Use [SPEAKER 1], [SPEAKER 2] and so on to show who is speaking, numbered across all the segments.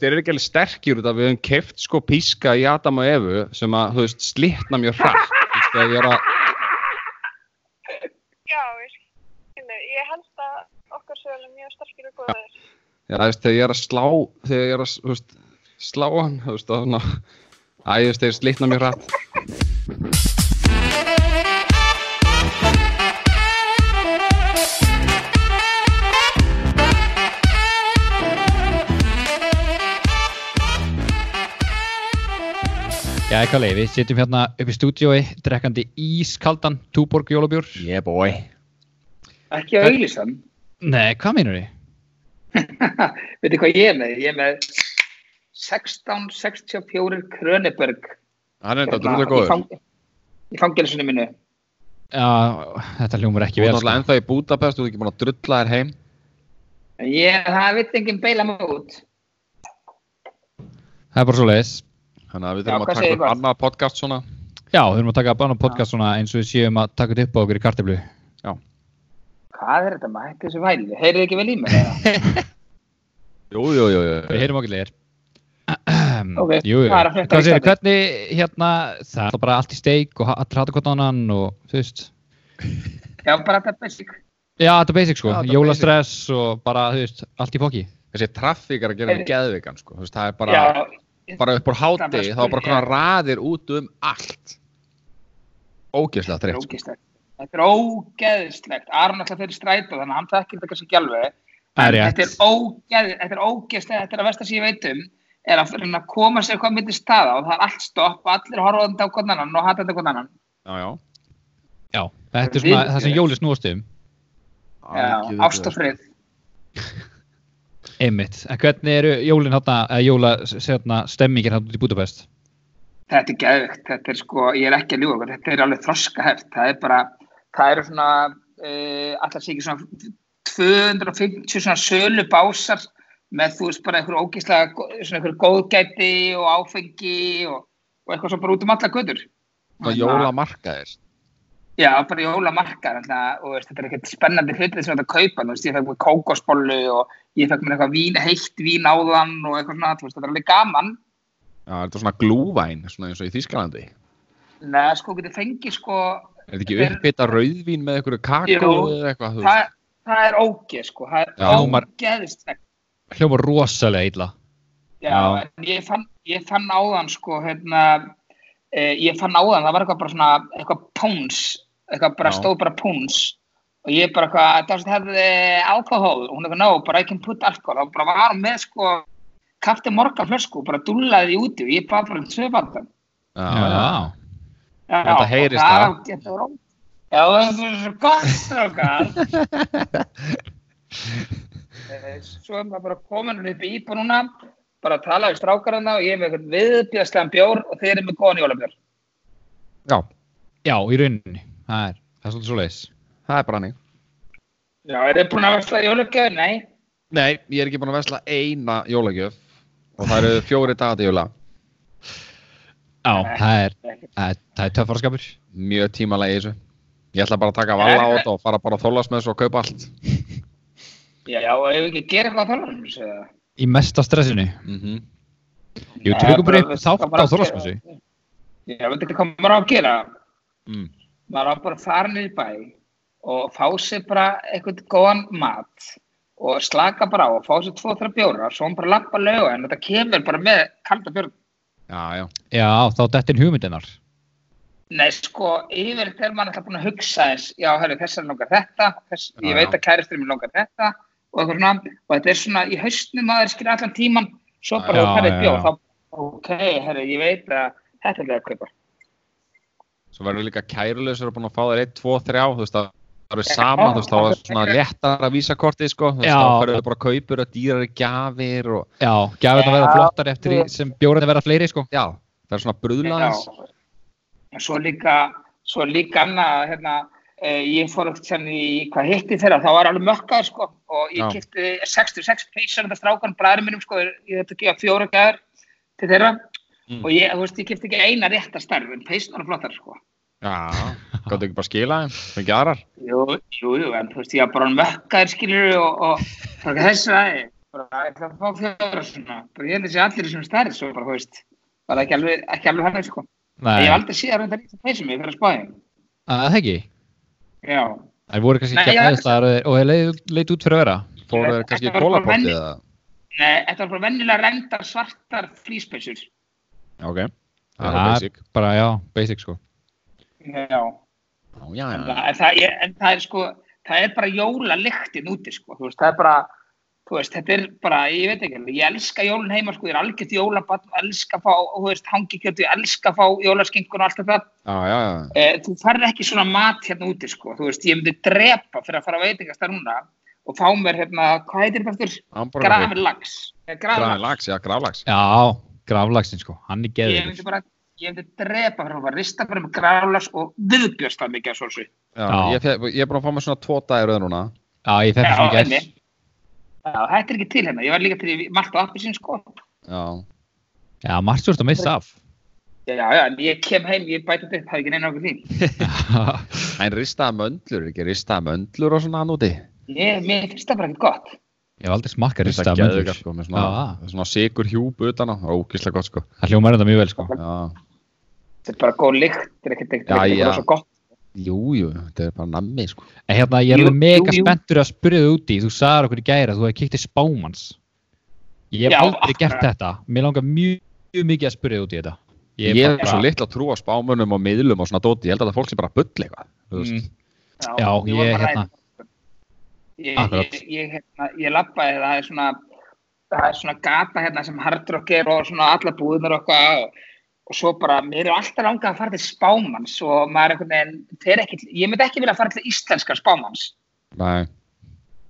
[SPEAKER 1] þeir eru ekki alveg sterkir út af við höfum keft sko píska í Adam og Evu sem að, þú veist, slitna mjög hratt þú veist, þegar ég er að,
[SPEAKER 2] Já, ég skilur. Ég held að okkar sögulega mjög sterkir og góðir.
[SPEAKER 1] já, þú veist, þegar ég er að slá þegar ég er að, þú veist, slá hann þú veist, og svona Æ, þú veist, þeir slitna mjög hratt
[SPEAKER 3] Já, Kalli, við sitjum hérna upp í stúdiói, drekkandi ískaldan, túborg jólabjór.
[SPEAKER 1] Yeah boy
[SPEAKER 4] Ekki að auglýsa hann.
[SPEAKER 3] Nei, hvað meinur þið?
[SPEAKER 4] Veitu hvað ég er með? Ég er með 1664 Kröneberg.
[SPEAKER 1] Hann er þetta drúlega góður
[SPEAKER 4] hérna, Í, fang, í fangelsunum minu.
[SPEAKER 3] Já, þetta hljómar
[SPEAKER 1] Þú
[SPEAKER 3] ekki
[SPEAKER 1] er
[SPEAKER 3] vel.
[SPEAKER 1] náttúrulega
[SPEAKER 3] Sko.
[SPEAKER 1] ennþá í Budapest, þú er ekki búin að drulla þér heim
[SPEAKER 4] En Ég, það vitt enginn beila mig út.
[SPEAKER 3] Það er bara svo leiðis.
[SPEAKER 1] Þannig að við
[SPEAKER 4] Já,
[SPEAKER 1] þurfum
[SPEAKER 4] hvað
[SPEAKER 1] að taka
[SPEAKER 4] segir
[SPEAKER 1] upp
[SPEAKER 4] Bart?
[SPEAKER 1] annað podcast svona
[SPEAKER 3] Já, við erum að taka bara podcast svona eins og við séum að taka þetta upp á okkur í kartiblu.
[SPEAKER 4] Hvað er þetta maður? Þetta er þessu væli. Heyrið ekki vel í mig? eða?
[SPEAKER 1] Jú, jú, jú,
[SPEAKER 3] Við
[SPEAKER 1] jú.
[SPEAKER 3] heyrum okkur leir.
[SPEAKER 4] Ok,
[SPEAKER 3] jú, jú.
[SPEAKER 4] hvað er að frétta
[SPEAKER 3] Hvað
[SPEAKER 4] í
[SPEAKER 3] segir,
[SPEAKER 4] Íslandi?
[SPEAKER 3] hvernig hérna, það er alltaf bara allt í steik og allir hata hvort annan og þú veist.
[SPEAKER 4] Já, bara þetta basic.
[SPEAKER 3] Já, þetta er basic sko,
[SPEAKER 1] Já, þetta er
[SPEAKER 3] jólastress og bara, þú veist, allt í fokki.
[SPEAKER 1] Þessi trafík er að gera mig
[SPEAKER 4] Heyrðu.
[SPEAKER 1] geðvikan sko. Þú veist, Það er bara,
[SPEAKER 4] Já,
[SPEAKER 1] bara upp úr
[SPEAKER 4] Það
[SPEAKER 1] háti þá
[SPEAKER 4] er bara
[SPEAKER 1] er bara
[SPEAKER 4] spurning,
[SPEAKER 1] konar raðir út um allt Ógeðslega
[SPEAKER 4] þetta er
[SPEAKER 1] þreytt sko.
[SPEAKER 4] ógeðslegt. Þetta er ógeðslegt. Aron alltaf fyrir strætó þannig að hann takkir þetta kannski ekki alveg.
[SPEAKER 3] Það er rétt.
[SPEAKER 4] Þetta er ógeð, þetta er ógeðslegt, þetta er að versta sem ég veit um er að reyna að koma sér hvað myndi staða og það er allt stopp, allir horfaðandi á hvern annan og hatandi á hvern annan.
[SPEAKER 1] Já, já
[SPEAKER 3] Já, þetta er svona
[SPEAKER 4] Við-
[SPEAKER 3] það sem jóli snúast um,
[SPEAKER 4] Já,
[SPEAKER 1] Algjörlega.
[SPEAKER 4] ást og frið.
[SPEAKER 3] einmitt. En hvernig eru jólin hérna, eða jóla, hérna, stemmingir hérna út í Budapest?
[SPEAKER 4] Þetta er geðvikt, þetta er sko, ég er ekki að ljúga, ykkur, þetta er alveg þroskaheft, það er bara, það eru svona, uh, alltaf sé ekki svona 250 svona sölubásar með þú veist bara einhver ógeðslega, gó- svona einhver góðgæti og áfengi og, og eitthvað svo bara út um alla götur.
[SPEAKER 1] Það jólamarkaðir
[SPEAKER 4] Já, bara jólamarkar, alltaf, og veist, þetta er ekkert spennandi hlutir sem þetta kaupa, þú veist, ég fekk mér kókosbollu og ég fekk mér eitthvað vín, heitt vín áðan og eitthvað svona, þú veist, þetta er alveg gaman.
[SPEAKER 1] Já, þetta er svona glúvæn, svona eins og í Þýskalandi
[SPEAKER 4] Nei, sko, getið fengið sko,
[SPEAKER 1] Er þetta ekki
[SPEAKER 4] Þetta er-
[SPEAKER 1] uppbytta rauðvín með einhverju kakó
[SPEAKER 4] Jú.
[SPEAKER 1] eða eitthvað þú
[SPEAKER 4] það,
[SPEAKER 1] veist?
[SPEAKER 4] það er ógeð, sko, það
[SPEAKER 1] Já,
[SPEAKER 4] er
[SPEAKER 3] maður-
[SPEAKER 4] ógeðislegt.
[SPEAKER 3] Hljómar rosalega illa.
[SPEAKER 4] Já,
[SPEAKER 3] Já.
[SPEAKER 4] en ég fann, ég fann áðan, sko, hérna, eh, ég fann áðan, það var eitthvað bara svona, eitthvað póns, eitthvað bara,
[SPEAKER 1] Já.
[SPEAKER 4] stóð bara póns og ég bara eitthvað, það hefði alkohól, og hún eitthvað, no, bara I can put alkohol, þá bara var hún með, sko, kafti morga flösku, og bara dúllaði því úti og ég bara bara um tvö bandan.
[SPEAKER 1] Já, já.
[SPEAKER 4] Já,
[SPEAKER 1] Þetta heyrist
[SPEAKER 4] og
[SPEAKER 1] það.
[SPEAKER 4] getur ró- Já, það er svo gott strákar. Eh, svo er maður bara komin upp í íbú núna, bara að tala við strákarna og ég er með eitthvað viðbjörnslegan bjór og þeir eru með góðan jólabjór.
[SPEAKER 1] já,
[SPEAKER 3] Já, í rauninni. Það er, það er svolítið svo leiðis.
[SPEAKER 1] það er bara hannig
[SPEAKER 4] Já, er þið búin að versla jólabjór? Nei.
[SPEAKER 1] Nei, ég er ekki búin að vesla eina jólagjöf og það eru fjóri dagar til jóla
[SPEAKER 3] Já, það er, það er, það er töffaraskapur.
[SPEAKER 1] Mjög tímalega í þessu Ég ætla bara að taka valla á þetta og fara bara að þólas með þessu og kaupa allt
[SPEAKER 4] Já, og ef við ekki gera eitthvað á þorlarins eða?
[SPEAKER 3] Í mesta stressinu.
[SPEAKER 1] mm
[SPEAKER 3] Jú,
[SPEAKER 4] Nei,
[SPEAKER 3] tökum bara
[SPEAKER 4] við-
[SPEAKER 3] upp þátt
[SPEAKER 4] það bara
[SPEAKER 3] á
[SPEAKER 4] að gera-
[SPEAKER 3] Þorláksmessu.
[SPEAKER 4] Já, veitu hvað maður á að gera?
[SPEAKER 1] mm.
[SPEAKER 4] maður á bara að fara niður í bæ og fá sér bara eitthvað góðan mat og slaka bara á og fá sér tvo, þrjá bjóra svo hún bara lappa lauga en þetta kemur bara með kalda bjórn.
[SPEAKER 1] Já, já
[SPEAKER 3] Já, þá dettin hugmyndinar.
[SPEAKER 4] Nei, sko, yfir þegar maður er alltaf búin að hugsa þess, já, herri, þessar langar þetta, þess,
[SPEAKER 1] Já,
[SPEAKER 4] ég veit
[SPEAKER 1] já.
[SPEAKER 4] að kæristur minn langar þetta og eitthvað svona, og þetta er svona í haustnum maður skilja allan tíman, svo bara
[SPEAKER 3] Já,
[SPEAKER 4] þú færði
[SPEAKER 3] já,
[SPEAKER 4] bjór,
[SPEAKER 3] já.
[SPEAKER 4] þá, ok, herri, ég veit að þetta er það að kaupa.
[SPEAKER 1] svo verður líka kærulösur og búin að fá þér 1, 2, 3 þú veist að það eru saman þú veist þá er svona léttar að vísa kortið sko þú veist
[SPEAKER 3] Já.
[SPEAKER 1] þá ferðu bara að kaupur og dýrari gjafir og
[SPEAKER 3] Já, gæfirna verða
[SPEAKER 4] Já,
[SPEAKER 3] flottar eftir því sem bjórarnir verða fleiri, sko.
[SPEAKER 1] já það er svona bruðlaðis
[SPEAKER 4] Já. En Svo líka, svo líka annað, hérna, eh, ég fór ekkert sem í, hvað hitti þeirra, það var alveg mökkaður, sko, og ég
[SPEAKER 1] Já.
[SPEAKER 4] kipti 66 peysar þetta strákan, bræður mínum, sko, ég þetta gefa fjóra gæður til þeirra,
[SPEAKER 1] Mm.
[SPEAKER 4] og ég, þú veist, ég kipti ekki eina rétta stærð, en peysnar er flottar, sko.
[SPEAKER 1] já, gott ekki bara skila þeim fengið aðrar
[SPEAKER 4] Jú, jú, jú, en þú veist, ég var bara mökkaður, skilur, og, og það er þessu aðeins. bara ég ætla að fá fjóra svona bara ég held að sé allir sem stærð svo bara, þú veist, bara ekki alveg, ekki alveg hann sko. ég hef
[SPEAKER 3] Nei,
[SPEAKER 4] aldrei séð að reynda líka peysum ég fyrir að spáði
[SPEAKER 3] að það ekki
[SPEAKER 4] já,
[SPEAKER 3] Það voru kannski
[SPEAKER 4] Nei,
[SPEAKER 3] ekki
[SPEAKER 4] já.
[SPEAKER 3] aðstæðar og þeir leit, leit út fyrir að vera
[SPEAKER 1] Fóru þeir
[SPEAKER 4] Þetta
[SPEAKER 1] kannski í
[SPEAKER 4] var bara
[SPEAKER 1] kólapotti
[SPEAKER 4] venju-
[SPEAKER 1] eða?
[SPEAKER 4] Nei, þetta var bara venjulega reyndar svartar flýspeysur
[SPEAKER 1] Já, ok. Það
[SPEAKER 3] Það
[SPEAKER 1] er
[SPEAKER 3] er
[SPEAKER 1] basic.
[SPEAKER 3] Bara já, basic sko
[SPEAKER 4] já,
[SPEAKER 1] Já, já,
[SPEAKER 4] en
[SPEAKER 1] já.
[SPEAKER 4] það, en það, er, en það er sko það er bara jólalyktin úti sko, þú veist, það er bara þú veist, þetta er bara, ég veit ekki alveg, ég elska jólun heima sko, ég er algjört jólabann elska að fá, þú veist, hangikjötu, ég elska að fá jólaskingun og allt þetta
[SPEAKER 1] Já, já, já.
[SPEAKER 4] Eh, þú farði ekki svona mat hérna úti sko, þú veist, ég myndi drepa fyrir að fara að veitingast þar núna og fá mér hérna, hvað heitir þetta aftur?
[SPEAKER 1] Hamborgarfrikk.
[SPEAKER 4] Grafin lax. Eh,
[SPEAKER 1] Grafin
[SPEAKER 4] Grafin lax.
[SPEAKER 1] lags, já, graflags.
[SPEAKER 3] Já, gravlagsinn sko, hann er
[SPEAKER 4] Ég myndi
[SPEAKER 3] geður
[SPEAKER 4] bara, ég myndi drepa fyrir að fara að rista fyrir með grafin lax og viðbjörst það mikið af sólsu.
[SPEAKER 1] Já,
[SPEAKER 3] Já.
[SPEAKER 1] Ég, fe- ég er búin að fá mér svona tvo dagir öður núna.
[SPEAKER 3] Já, ég fekk
[SPEAKER 4] Já,
[SPEAKER 3] svona gæs
[SPEAKER 4] einmitt. Já, þetta er ekki til hérna, ég var líka til í malt og appisinn sko.
[SPEAKER 1] Já.
[SPEAKER 3] Já, margt svo ertu að missa af
[SPEAKER 4] Já, já, en ég kem heim, ég bæti þetta upp, það er ekki neina okkur því.
[SPEAKER 1] En ristaða möndlur, ekki ristaða möndlur og svona hann úti.
[SPEAKER 4] Ég, mér finnst það bara ekki gott.
[SPEAKER 3] Ég hef aldrei smakkað
[SPEAKER 1] Ristaða
[SPEAKER 3] ristað
[SPEAKER 1] möndlur.
[SPEAKER 3] möndlur
[SPEAKER 1] Sko, með
[SPEAKER 3] Já.
[SPEAKER 1] svona, svona sigur hjúp utan á. Ógislega gott, sko.
[SPEAKER 3] Það hljómar þetta mjög vel sko
[SPEAKER 1] Já.
[SPEAKER 4] Þetta er bara góð lykt, þetta er ekkert ekkert
[SPEAKER 1] Já, já.
[SPEAKER 4] ekkert svo gott.
[SPEAKER 1] Jú, jú, þetta er bara nammi, sko.
[SPEAKER 3] En hérna, ég er
[SPEAKER 4] Jú,
[SPEAKER 3] alveg mega
[SPEAKER 4] jú, jú.
[SPEAKER 3] spenntur að spyrja þig úti Þú sagðar okkur í gæra, þú hefði kíkt í spámanns Ég hef
[SPEAKER 4] Já,
[SPEAKER 3] aldrei
[SPEAKER 4] akkurat.
[SPEAKER 3] gert þetta Mér langar mjög, mjög mikið að spyrja þig úti í þetta
[SPEAKER 1] Ég er
[SPEAKER 3] bara-
[SPEAKER 1] bara svo litla trú á spámunum og miðlum og svona dóti. Ég held að það fólk sem bara bull eitthvað. Þú veist.
[SPEAKER 3] Mm.
[SPEAKER 4] við
[SPEAKER 3] Já,
[SPEAKER 4] vorum
[SPEAKER 3] ég,
[SPEAKER 4] að ræða
[SPEAKER 3] hérna.
[SPEAKER 4] þetta. Ég,
[SPEAKER 3] Akkurat.
[SPEAKER 4] ég, ég, hérna, ég labbaði, það er svona, það er svona gata hérna sem hardrock er og svona alla búðunar og eitthvað og, og svo bara, mér er alltaf langað að fara til spámanns og maður er einhvern veginn, þeir ekki, ég myndi ekki vilja fara til íslenska spámanns.
[SPEAKER 1] Nei.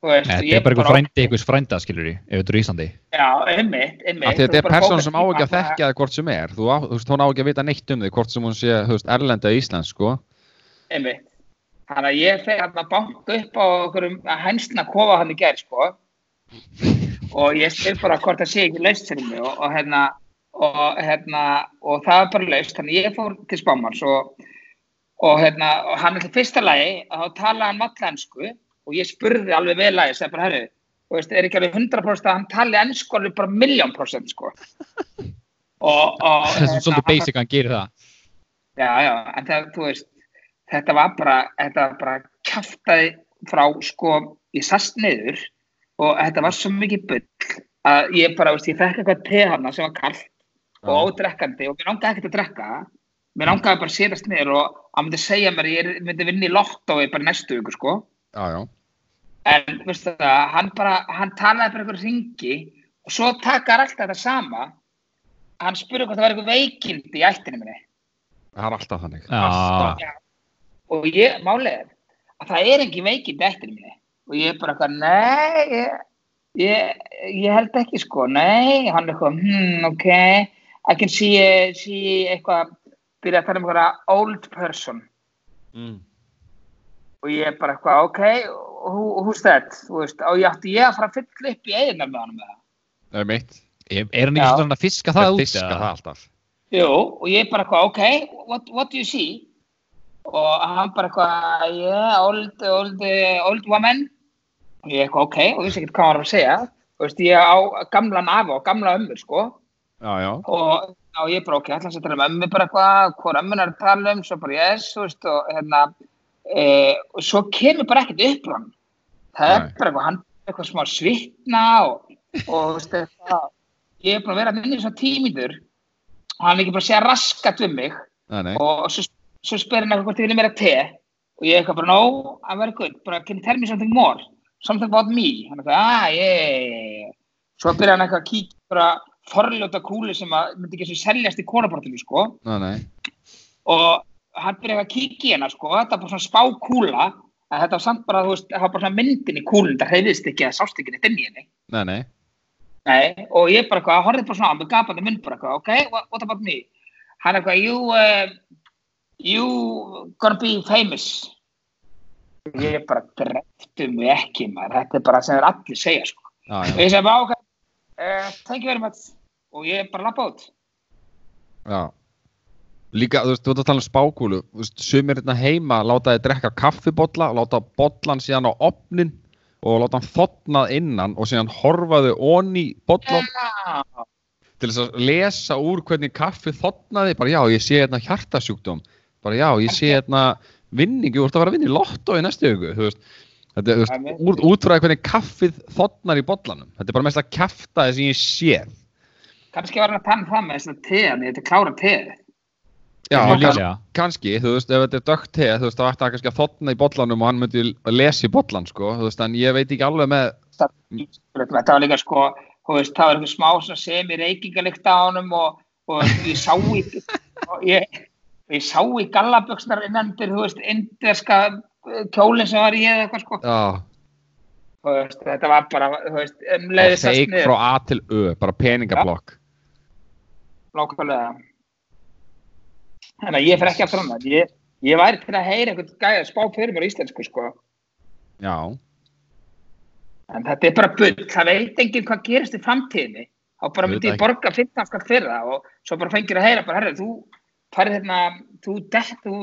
[SPEAKER 4] þú Veist,
[SPEAKER 3] Nei,
[SPEAKER 4] og
[SPEAKER 3] Þetta
[SPEAKER 4] ég
[SPEAKER 3] er bara einhver frændi, einhvers frænda, skilur ég, ef þetta er í Íslandi.
[SPEAKER 4] Já, einmitt, einmitt.
[SPEAKER 1] Af því
[SPEAKER 4] Þú
[SPEAKER 1] þetta er
[SPEAKER 4] bara
[SPEAKER 1] persóna
[SPEAKER 4] bókar
[SPEAKER 1] sem á ekki að
[SPEAKER 4] tíma,
[SPEAKER 1] þekkja það hvort sem er. Þú, á, þú veist, hún á ekki að vita neitt um þig hvort sem hún sé, þú veist, erlenda í Íslands, sko.
[SPEAKER 4] Einmitt. Þannig að ég fer að banka upp á einhverjum hænsna kofa hann í gerð, sko. Og ég spyr bara hvort það sé ekki laust fyrir mig og, og hérna, og hérna, og það er bara laust. Þannig að ég fór til Spámans og, og hérna, og hann er til fyrsta lagi að þá talaði hann valla ennsku og ég spurði alveg vel að ég segi bara, herru, þú veist, er ekki alveg 100% að hann tali ennsku alveg bara miljón prosent, sko. Og, og,
[SPEAKER 3] Það er
[SPEAKER 4] hérna,
[SPEAKER 3] svolítið
[SPEAKER 4] hann-
[SPEAKER 3] basic að hann gerir það.
[SPEAKER 4] Já, já, en það, þú veist, þetta var bara, þetta var bara kjaftaði frá, sko, ég sast niður og þetta var svo mikið bull að ég bara, veist, ég fekk eitthvað te hana sem var kallt
[SPEAKER 1] Já.
[SPEAKER 4] og ódrekkandi og mér langaði ekkert að drekka, mér langaði bara að setjast niður og hann myndi segja mér að ég er- myndi vinna í lottói bara í næstu viku, sko.
[SPEAKER 1] Já, já.
[SPEAKER 4] En, veistu það, hann bara, hann talaði bara einhverju ringi og svo takar alltaf þetta sama. Hann spurði hvort það var eitthvað veikindi í ættinni minni.
[SPEAKER 1] Það er alltaf þannig.
[SPEAKER 3] Já,
[SPEAKER 4] Já. og ég, málið er að það er engin veikind eftir mig og ég er bara eitthvað, nei ég, ég, ég held ekki sko nei, hann er eitthvað, hmm, ok I can see, see eitthvað, byrja að tala um eitthvað old person
[SPEAKER 1] Mm.
[SPEAKER 4] og ég er bara eitthvað, ok who, who's that, þú veist og ég átti ég að fara að fylla upp í eiginar með honum með það
[SPEAKER 1] Það er mitt.
[SPEAKER 3] Er er hann ekki
[SPEAKER 4] Já.
[SPEAKER 3] svona að fiska
[SPEAKER 1] Það
[SPEAKER 3] það
[SPEAKER 1] er
[SPEAKER 3] út?
[SPEAKER 1] diska það
[SPEAKER 3] eða?
[SPEAKER 1] alltaf.
[SPEAKER 4] Jú, og ég bara eitthvað, ok, what, what do you see? Og hann bara eitthvað, yeah, old, old, eh, old woman. Og ég eitthvað, ok, og vissi ekkert hvað hann var að segja. Þú veist, ég á gamlan afa og gamla ömmur, sko.
[SPEAKER 1] Já, já.
[SPEAKER 4] Og, og ég bara, ok, ætla hans að tala um ömmu bara eitthvað, hvað ömmun er að tala um, svo bara, yes, þú veist, og hérna, e, og svo kemur bara ekkert upp úr hann. Það er
[SPEAKER 1] Nei.
[SPEAKER 4] bara eitthvað, hann er eitthvað smá svitna og, og þú veist, eitthvað. Ég er bara að vera að minna í svona tímindur og hann er ekki bara að segja raskat um mig
[SPEAKER 1] Nei, nei.
[SPEAKER 4] og svo, svo spyr hann eitthvað hvort ég vilja meira te og ég eitthvað bara, no, I'm very good bara, can you tell me something more, something about me hann eitthvað, ah, yeah, yeah, yeah, yeah svo byrja hann eitthvað að kíkja bara forljóta kúli sem að myndi ekki sem seljast í konabortinu, sko
[SPEAKER 1] Nei, nei.
[SPEAKER 4] og hann byrja eitthvað að kíkja í hana, sko þetta var bara svona spákúla en þetta var samt bara, þú veist, það var bara svona myndin í kúlun það hreyðist ekki að sást ekki neitt inn í henni
[SPEAKER 1] Nei, nei.
[SPEAKER 4] Nei, og ég bara eitthvað, horfði bara svona á mig, gapandi mynd bara eitthvað, ok, what, what about me? Hann eitthvað, you, uh, you gonna be famous. Ég bara dreftu mig ekki, maður, þetta er bara sem þeir allir segja, sko.
[SPEAKER 1] Já,
[SPEAKER 4] Og
[SPEAKER 1] já.
[SPEAKER 4] ég segi bara, ok, uh, thank you very much, og ég bara lappa út.
[SPEAKER 1] já. Líka, þú veist, þú ert að tala um spákúlu. Þú veist, sumir hérna heima láta þið drekka kaffibotla, láta botlan síðan á opnin og láta hann þotnað innan og síðan horfaðu onni bollan til þess að lesa úr hvernig kaffi þotnaði, bara já, ég sé hérna hjartasjúkdóm, bara já, ég sé hérna vinningu, þú ert að vera að vinna í lotto í næstu hugu, þú veist þetta er, þú
[SPEAKER 4] Það
[SPEAKER 1] veist,
[SPEAKER 4] er
[SPEAKER 1] úr, útfræði hvernig kaffið þotnar í bollanum, þetta er bara mest að kæfta þess að ég sé
[SPEAKER 4] Kannski var hann að panna það með þess að teðan, ég þetta klára teð.
[SPEAKER 1] já,
[SPEAKER 3] Mjög
[SPEAKER 1] kannski,
[SPEAKER 3] líklega.
[SPEAKER 1] kannski, þú veist, ef þetta er dögt teð, þú veist, þá ætti það kannski að þotna í bollanum og hann myndi að lesa í bollan, sko, þú veist, en ég veit ekki alveg með,
[SPEAKER 4] Þetta var líka sko, þú veist, það var eitthvað smá svona sem í reykingalikta á honum og, og ég sá í, og ég, ég sá í gallaböksnar innandir, þú veist, inderska kjólinn sem var í eða eitthvað sko.
[SPEAKER 1] já,
[SPEAKER 4] Þú veist, þetta var bara, þú veist, um
[SPEAKER 1] bara
[SPEAKER 4] leiðist að
[SPEAKER 1] feik
[SPEAKER 4] sniður.
[SPEAKER 1] frá A til Ö, bara peningablokk,
[SPEAKER 4] Nákvæmlega. Þannig að ég fer ekki aftur annað. Ég, ég væri til að heyra einhvern gæða spá fyrir mér á íslensku, sko.
[SPEAKER 1] já,
[SPEAKER 4] En þetta er bara bull. Það veit enginn hvað gerist í framtíðinni. Þá bara
[SPEAKER 1] Ég veit
[SPEAKER 4] myndi ég
[SPEAKER 1] ekki.
[SPEAKER 4] borga 15 skall fyrir það og svo bara fengir að heyra bara, herri, þú farið hérna, þú dett, þú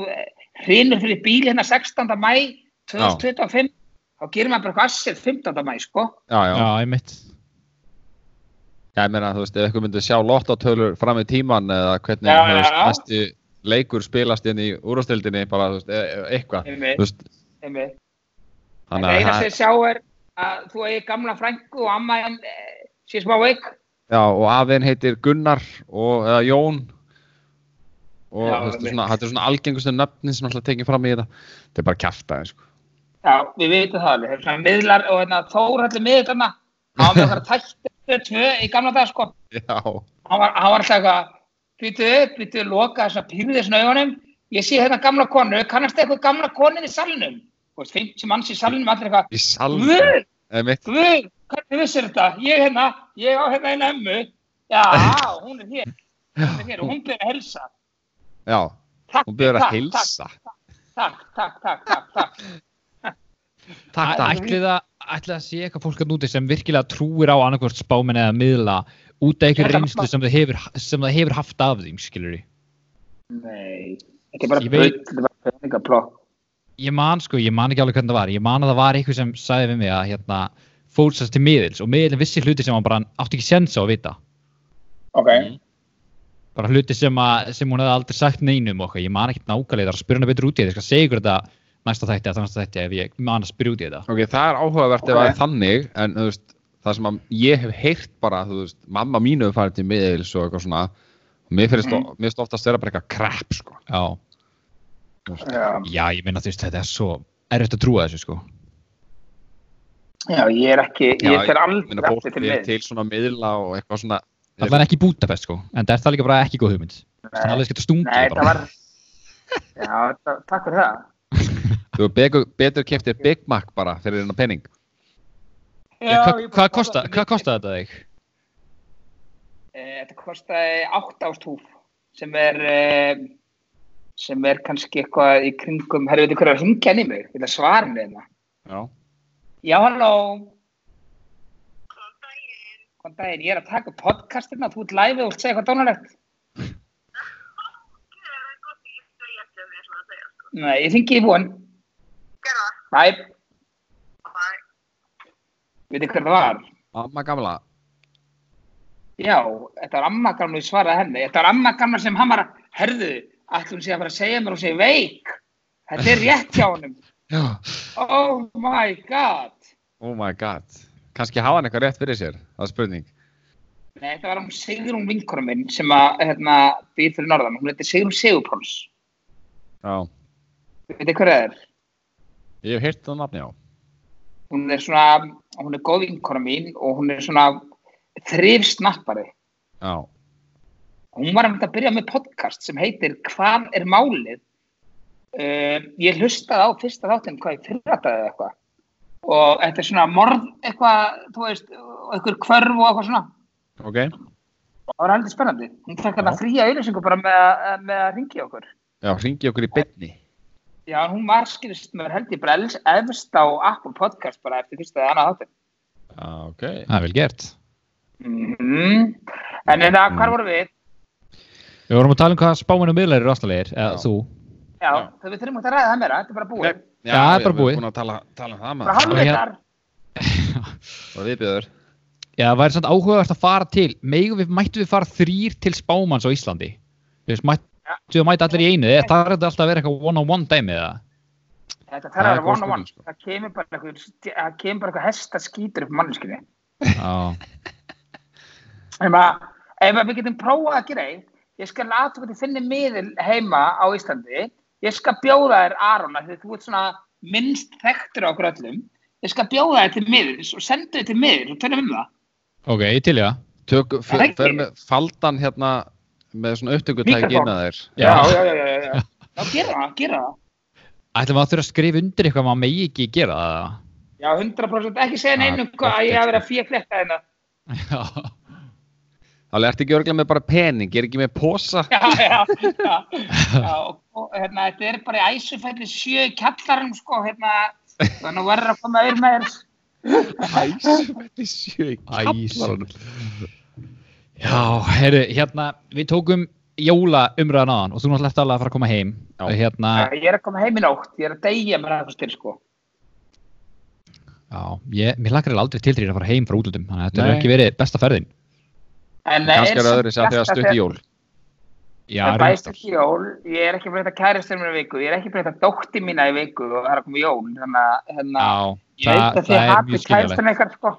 [SPEAKER 4] hrinur fyrir bíl hérna 16. mæ 2025. Þá gerir maður bara eitthvað assið 15. mæ, sko.
[SPEAKER 1] já, já,
[SPEAKER 3] Já, einmitt.
[SPEAKER 1] Já, ég meina, þú veist, ef ykkur myndi sjá lottotölur fram í tíman eða hvernig
[SPEAKER 4] Já,
[SPEAKER 1] þú
[SPEAKER 4] já,
[SPEAKER 1] veist,
[SPEAKER 4] já.
[SPEAKER 1] næsti leikur spilast inn í úrvastildinni, bara, þú veist, e e eitthvað,
[SPEAKER 4] Einmitt,
[SPEAKER 1] þú veist,
[SPEAKER 4] einmitt. En
[SPEAKER 1] þannig
[SPEAKER 4] það
[SPEAKER 1] að
[SPEAKER 4] eina
[SPEAKER 1] það,
[SPEAKER 4] sem ég sjá er að þú eigi gamla frængu og amma en sé smá veik.
[SPEAKER 1] já, og aðein heitir Gunnar og, eða Jón og,
[SPEAKER 4] Já,
[SPEAKER 1] þú veist,
[SPEAKER 4] einmitt.
[SPEAKER 1] svona, þetta er svona algengustu nöfnin sem alltaf tekið fram í þetta, þetta er bara kjaftaði, sko.
[SPEAKER 4] Já, við veitum það alveg. Það er svona miðlar og hérna, Þórhalli miðlarna, hann var með okkar tætti tvö í gamla dag, sko.
[SPEAKER 1] Já,
[SPEAKER 4] Hann var, hann var alltaf eitthvað, býtu upp, býtu loka þess að pýrði þessna augunum. Ég sé hérna gamla konu, kannast eitthvað gamla konin í salnum? Þú veist, 50 manns í salnum, allir eitthvað,
[SPEAKER 1] í salm,
[SPEAKER 4] guð,
[SPEAKER 1] eða mitt,
[SPEAKER 4] guð, hvernig vissir þetta? Ég hérna, ég á hérna einu ömmu. Já, hún er hér, hún er hér og hún byrði að helsa.
[SPEAKER 1] já,
[SPEAKER 4] Takk,
[SPEAKER 1] hún byrður að
[SPEAKER 4] takk,
[SPEAKER 1] heilsa,
[SPEAKER 4] Takk, takk, takk, takk, takk.
[SPEAKER 1] takk,
[SPEAKER 3] Æ-
[SPEAKER 1] takk,
[SPEAKER 3] Ætli það, ætli það sé eitthvað fólk að núti sem virkilega trúir á annarkvort spáminn eða miðla út af einhver
[SPEAKER 4] Þetta-
[SPEAKER 3] reynslu sem það hefur, sem það hefur haft af þeim, skilur ég.
[SPEAKER 4] Nei, þetta er bara
[SPEAKER 3] Ég
[SPEAKER 4] bull,
[SPEAKER 3] veit-
[SPEAKER 4] þetta er bara peningaplokk.
[SPEAKER 3] Ég man sko, ég man ekki alveg hvernig það var, ég man að það var eitthvað sem sagði við mig að hérna fólksast til miðils og miðilin vissi hluti sem hann bara átti ekki sens á að vita.
[SPEAKER 4] Ok,
[SPEAKER 3] bara hluti sem, að, sem hún hefði aldrei sagt neinum okkur, ég man ekkert nákvæmlega, það er að spyrja hana betur út í þetta, ég skal segja ykkur þetta næsta þætti eða næsta þætti ef ég man að spyrja út í þetta.
[SPEAKER 1] Ok, það er áhugavert ef
[SPEAKER 4] Ok.
[SPEAKER 1] það er þannig en þú veist, það sem að ég hef heyrt bara, þú veist, mamma mínu hefur farið til miðils og eitthvað svona og mér finnst,
[SPEAKER 4] Mhm.
[SPEAKER 1] mm. mér finnst oftast vera bara eitthvað krepp sko.
[SPEAKER 3] Já,
[SPEAKER 4] já.
[SPEAKER 3] já ég minna þú veist þetta er svo erfitt að trúa þessu sko.
[SPEAKER 4] Já, ég er ekki,
[SPEAKER 1] Já,
[SPEAKER 4] ég fer
[SPEAKER 1] Ég meina,
[SPEAKER 4] aldrei
[SPEAKER 1] fólk
[SPEAKER 4] aftur til
[SPEAKER 1] er
[SPEAKER 4] miðs.
[SPEAKER 1] til svona miðla og eitthvað svona
[SPEAKER 3] Það var ekki í Búdapest sko, en það er það líka bara ekki góð hugmynd. Það er
[SPEAKER 4] Nei,
[SPEAKER 3] alveg skemmt að stungið
[SPEAKER 4] nei, það
[SPEAKER 3] bara.
[SPEAKER 4] var, já, það, takk fyrir það.
[SPEAKER 1] þú hefur betur, betur keftið Big Mac bara fyrir hennar penning
[SPEAKER 3] Já, hva, hvað kosta, hva kosta þetta þig?
[SPEAKER 4] Eh, Þetta kostaði 8 ástúf sem er, eh, sem er kannski eitthvað í kringum, herru, veitu hverju er að hringja inn í mig, vil að svara henni þeimna.
[SPEAKER 1] Já,
[SPEAKER 4] Já, halló. Góðan daginn, ég er að taka upp podcastina, þú ert live og þú ert að segja eitthvað dónalegt. Nei, ég hringi í búinn. Næ, veitu hver það var?
[SPEAKER 1] mamma gamla
[SPEAKER 4] Já, þetta var amma gamla, ég svaraði henni. Þetta var amma gamla sem hann var að, herðu, allt hún sé að fara að segja mér og segja veik. Þetta er rétt hjá honum.
[SPEAKER 1] Já.
[SPEAKER 4] Oh my god.
[SPEAKER 1] Oh my god kannski hafa hann eitthvað rétt fyrir sér það er spurning
[SPEAKER 4] Nei, þetta var hún Sigrún vinkonum minn sem að, hérna, býr fyrir norðan. Hún heitir Sigrún Sigurpáls.
[SPEAKER 1] Já,
[SPEAKER 4] Veit þið hver það er?
[SPEAKER 1] ég hef heyrt það nafni á
[SPEAKER 4] Hún er svona, hún er góð vinkonum mín og hún er svona þrifsnappari.
[SPEAKER 1] Já,
[SPEAKER 4] Hún var að að byrja með podcast sem heitir Hvað er málið? Uh, ég hlustaði á fyrsta þáttinn hvað ég fyrrataði eða eitthvað. Og þetta er svona morð eitthvað, þú veist, og einhver kvörf og eitthvað svona.
[SPEAKER 1] ok
[SPEAKER 4] Og Það var heldur spennandi. Hún fekk þetta
[SPEAKER 1] Já.
[SPEAKER 4] fría auðlýsingu bara með, að- með að ringi okkur.
[SPEAKER 1] Já, ringi okkur í byrni
[SPEAKER 4] Já, en hún var skilist með held ég bara els- efst á Apple podcast bara eftir fyrsta eða annað þáttinn.
[SPEAKER 1] Já, ok
[SPEAKER 3] Það er vel gert.
[SPEAKER 4] Mm En en það,
[SPEAKER 1] Mm.
[SPEAKER 4] hvar vorum við?
[SPEAKER 3] Við vorum að tala um hvað spáminn og miðlar eru aðstæðlegir, eða
[SPEAKER 1] Já.
[SPEAKER 3] þú.
[SPEAKER 4] Já,
[SPEAKER 1] Já.
[SPEAKER 4] já. við þurfum að ræða það meira, þetta er bara búið.
[SPEAKER 1] Nei,
[SPEAKER 3] Já, það er bara
[SPEAKER 1] við erum
[SPEAKER 3] búið.
[SPEAKER 1] búin að tala, tala um það
[SPEAKER 4] Bara
[SPEAKER 1] maður.
[SPEAKER 3] hálf-
[SPEAKER 4] halvveitar.
[SPEAKER 1] bara viðbjöður
[SPEAKER 3] Já, það væri samt áhugavert að fara til Megum við, mættu við fara þrýr til spámanns á Íslandi? Þú veist, mættu við að mæta allir í einu eða þarf þetta alltaf að vera eitthvað one-on-one dæmi eða?
[SPEAKER 4] Þetta
[SPEAKER 1] Það
[SPEAKER 4] þarf að
[SPEAKER 1] er
[SPEAKER 4] vera
[SPEAKER 1] góð
[SPEAKER 4] one on one.
[SPEAKER 1] spurning, sko.
[SPEAKER 4] Það kemur bara eitthvað, það kemur bara eitthvað hesta skýtur upp mannskinni.
[SPEAKER 3] Já,
[SPEAKER 4] Ef að, ef að við getum prófað að gera eitt, ég skal láta hvernig þinni miðil heima á Íslandi, ég skal bjóða þér Arona, því þú ert svona minnst þekktur á okkur öllum, ég skal bjóða þér til miðils og senda þér til miðils og tölum um það.
[SPEAKER 3] ok, ég til ég
[SPEAKER 1] Tök,
[SPEAKER 4] Það er ekki-
[SPEAKER 1] fer með faldan hérna með svona upptökutæki
[SPEAKER 4] Mikrofón.
[SPEAKER 1] inn að þér
[SPEAKER 3] Já.
[SPEAKER 4] já, já, já, já. Já, gera það, gera það.
[SPEAKER 3] Ætlum við að þurfa að skrifa undir eitthvað maður megi ekki gera það eða?
[SPEAKER 4] Já, 100% ekki segja neinu
[SPEAKER 3] Það er
[SPEAKER 4] hvað að ég
[SPEAKER 3] gott,
[SPEAKER 4] hafi verið að fíja fletta hérna.
[SPEAKER 3] Já,
[SPEAKER 1] Það ert ekki örglega með bara pening, er ekki með posa
[SPEAKER 4] já, já, já, já og, og hérna, þetta er bara í æsufelli sjö í kjallarum, sko, hérna, þannig að verður að koma yfir með þér.
[SPEAKER 1] Æsfætti sjö í
[SPEAKER 3] Æsum.
[SPEAKER 1] kjallaranum.
[SPEAKER 3] Já, herru, hérna, við tókum jóla umræðan á og þú náttúrulega ert alveg að fara að koma heim.
[SPEAKER 1] Já.
[SPEAKER 3] Og hérna,
[SPEAKER 1] Ah.
[SPEAKER 4] Ég er að koma heim í nótt, ég er að deyja mér aðeins til, sko.
[SPEAKER 3] já, ég, mér lakar eða aldrei til þér að fara heim frá útlöndum, þannig að þetta
[SPEAKER 1] Nei.
[SPEAKER 3] hefur ekki verið besta ferðin.
[SPEAKER 4] En
[SPEAKER 1] Kannski er öðru sér þegar stutt í jól
[SPEAKER 3] Já,
[SPEAKER 4] Ég bæst
[SPEAKER 3] reyndar.
[SPEAKER 4] ekki jól, ég er ekki breyta kæristur mér í viku, ég er ekki breyta dótti mína í viku og það er að koma jól, þannig að, hérna,
[SPEAKER 3] Já,
[SPEAKER 4] ég veit
[SPEAKER 3] það,
[SPEAKER 4] að
[SPEAKER 3] það
[SPEAKER 4] þið
[SPEAKER 3] er
[SPEAKER 4] hattu
[SPEAKER 3] mjög skiljalegt.
[SPEAKER 4] kæristurinn eitthvað, sko.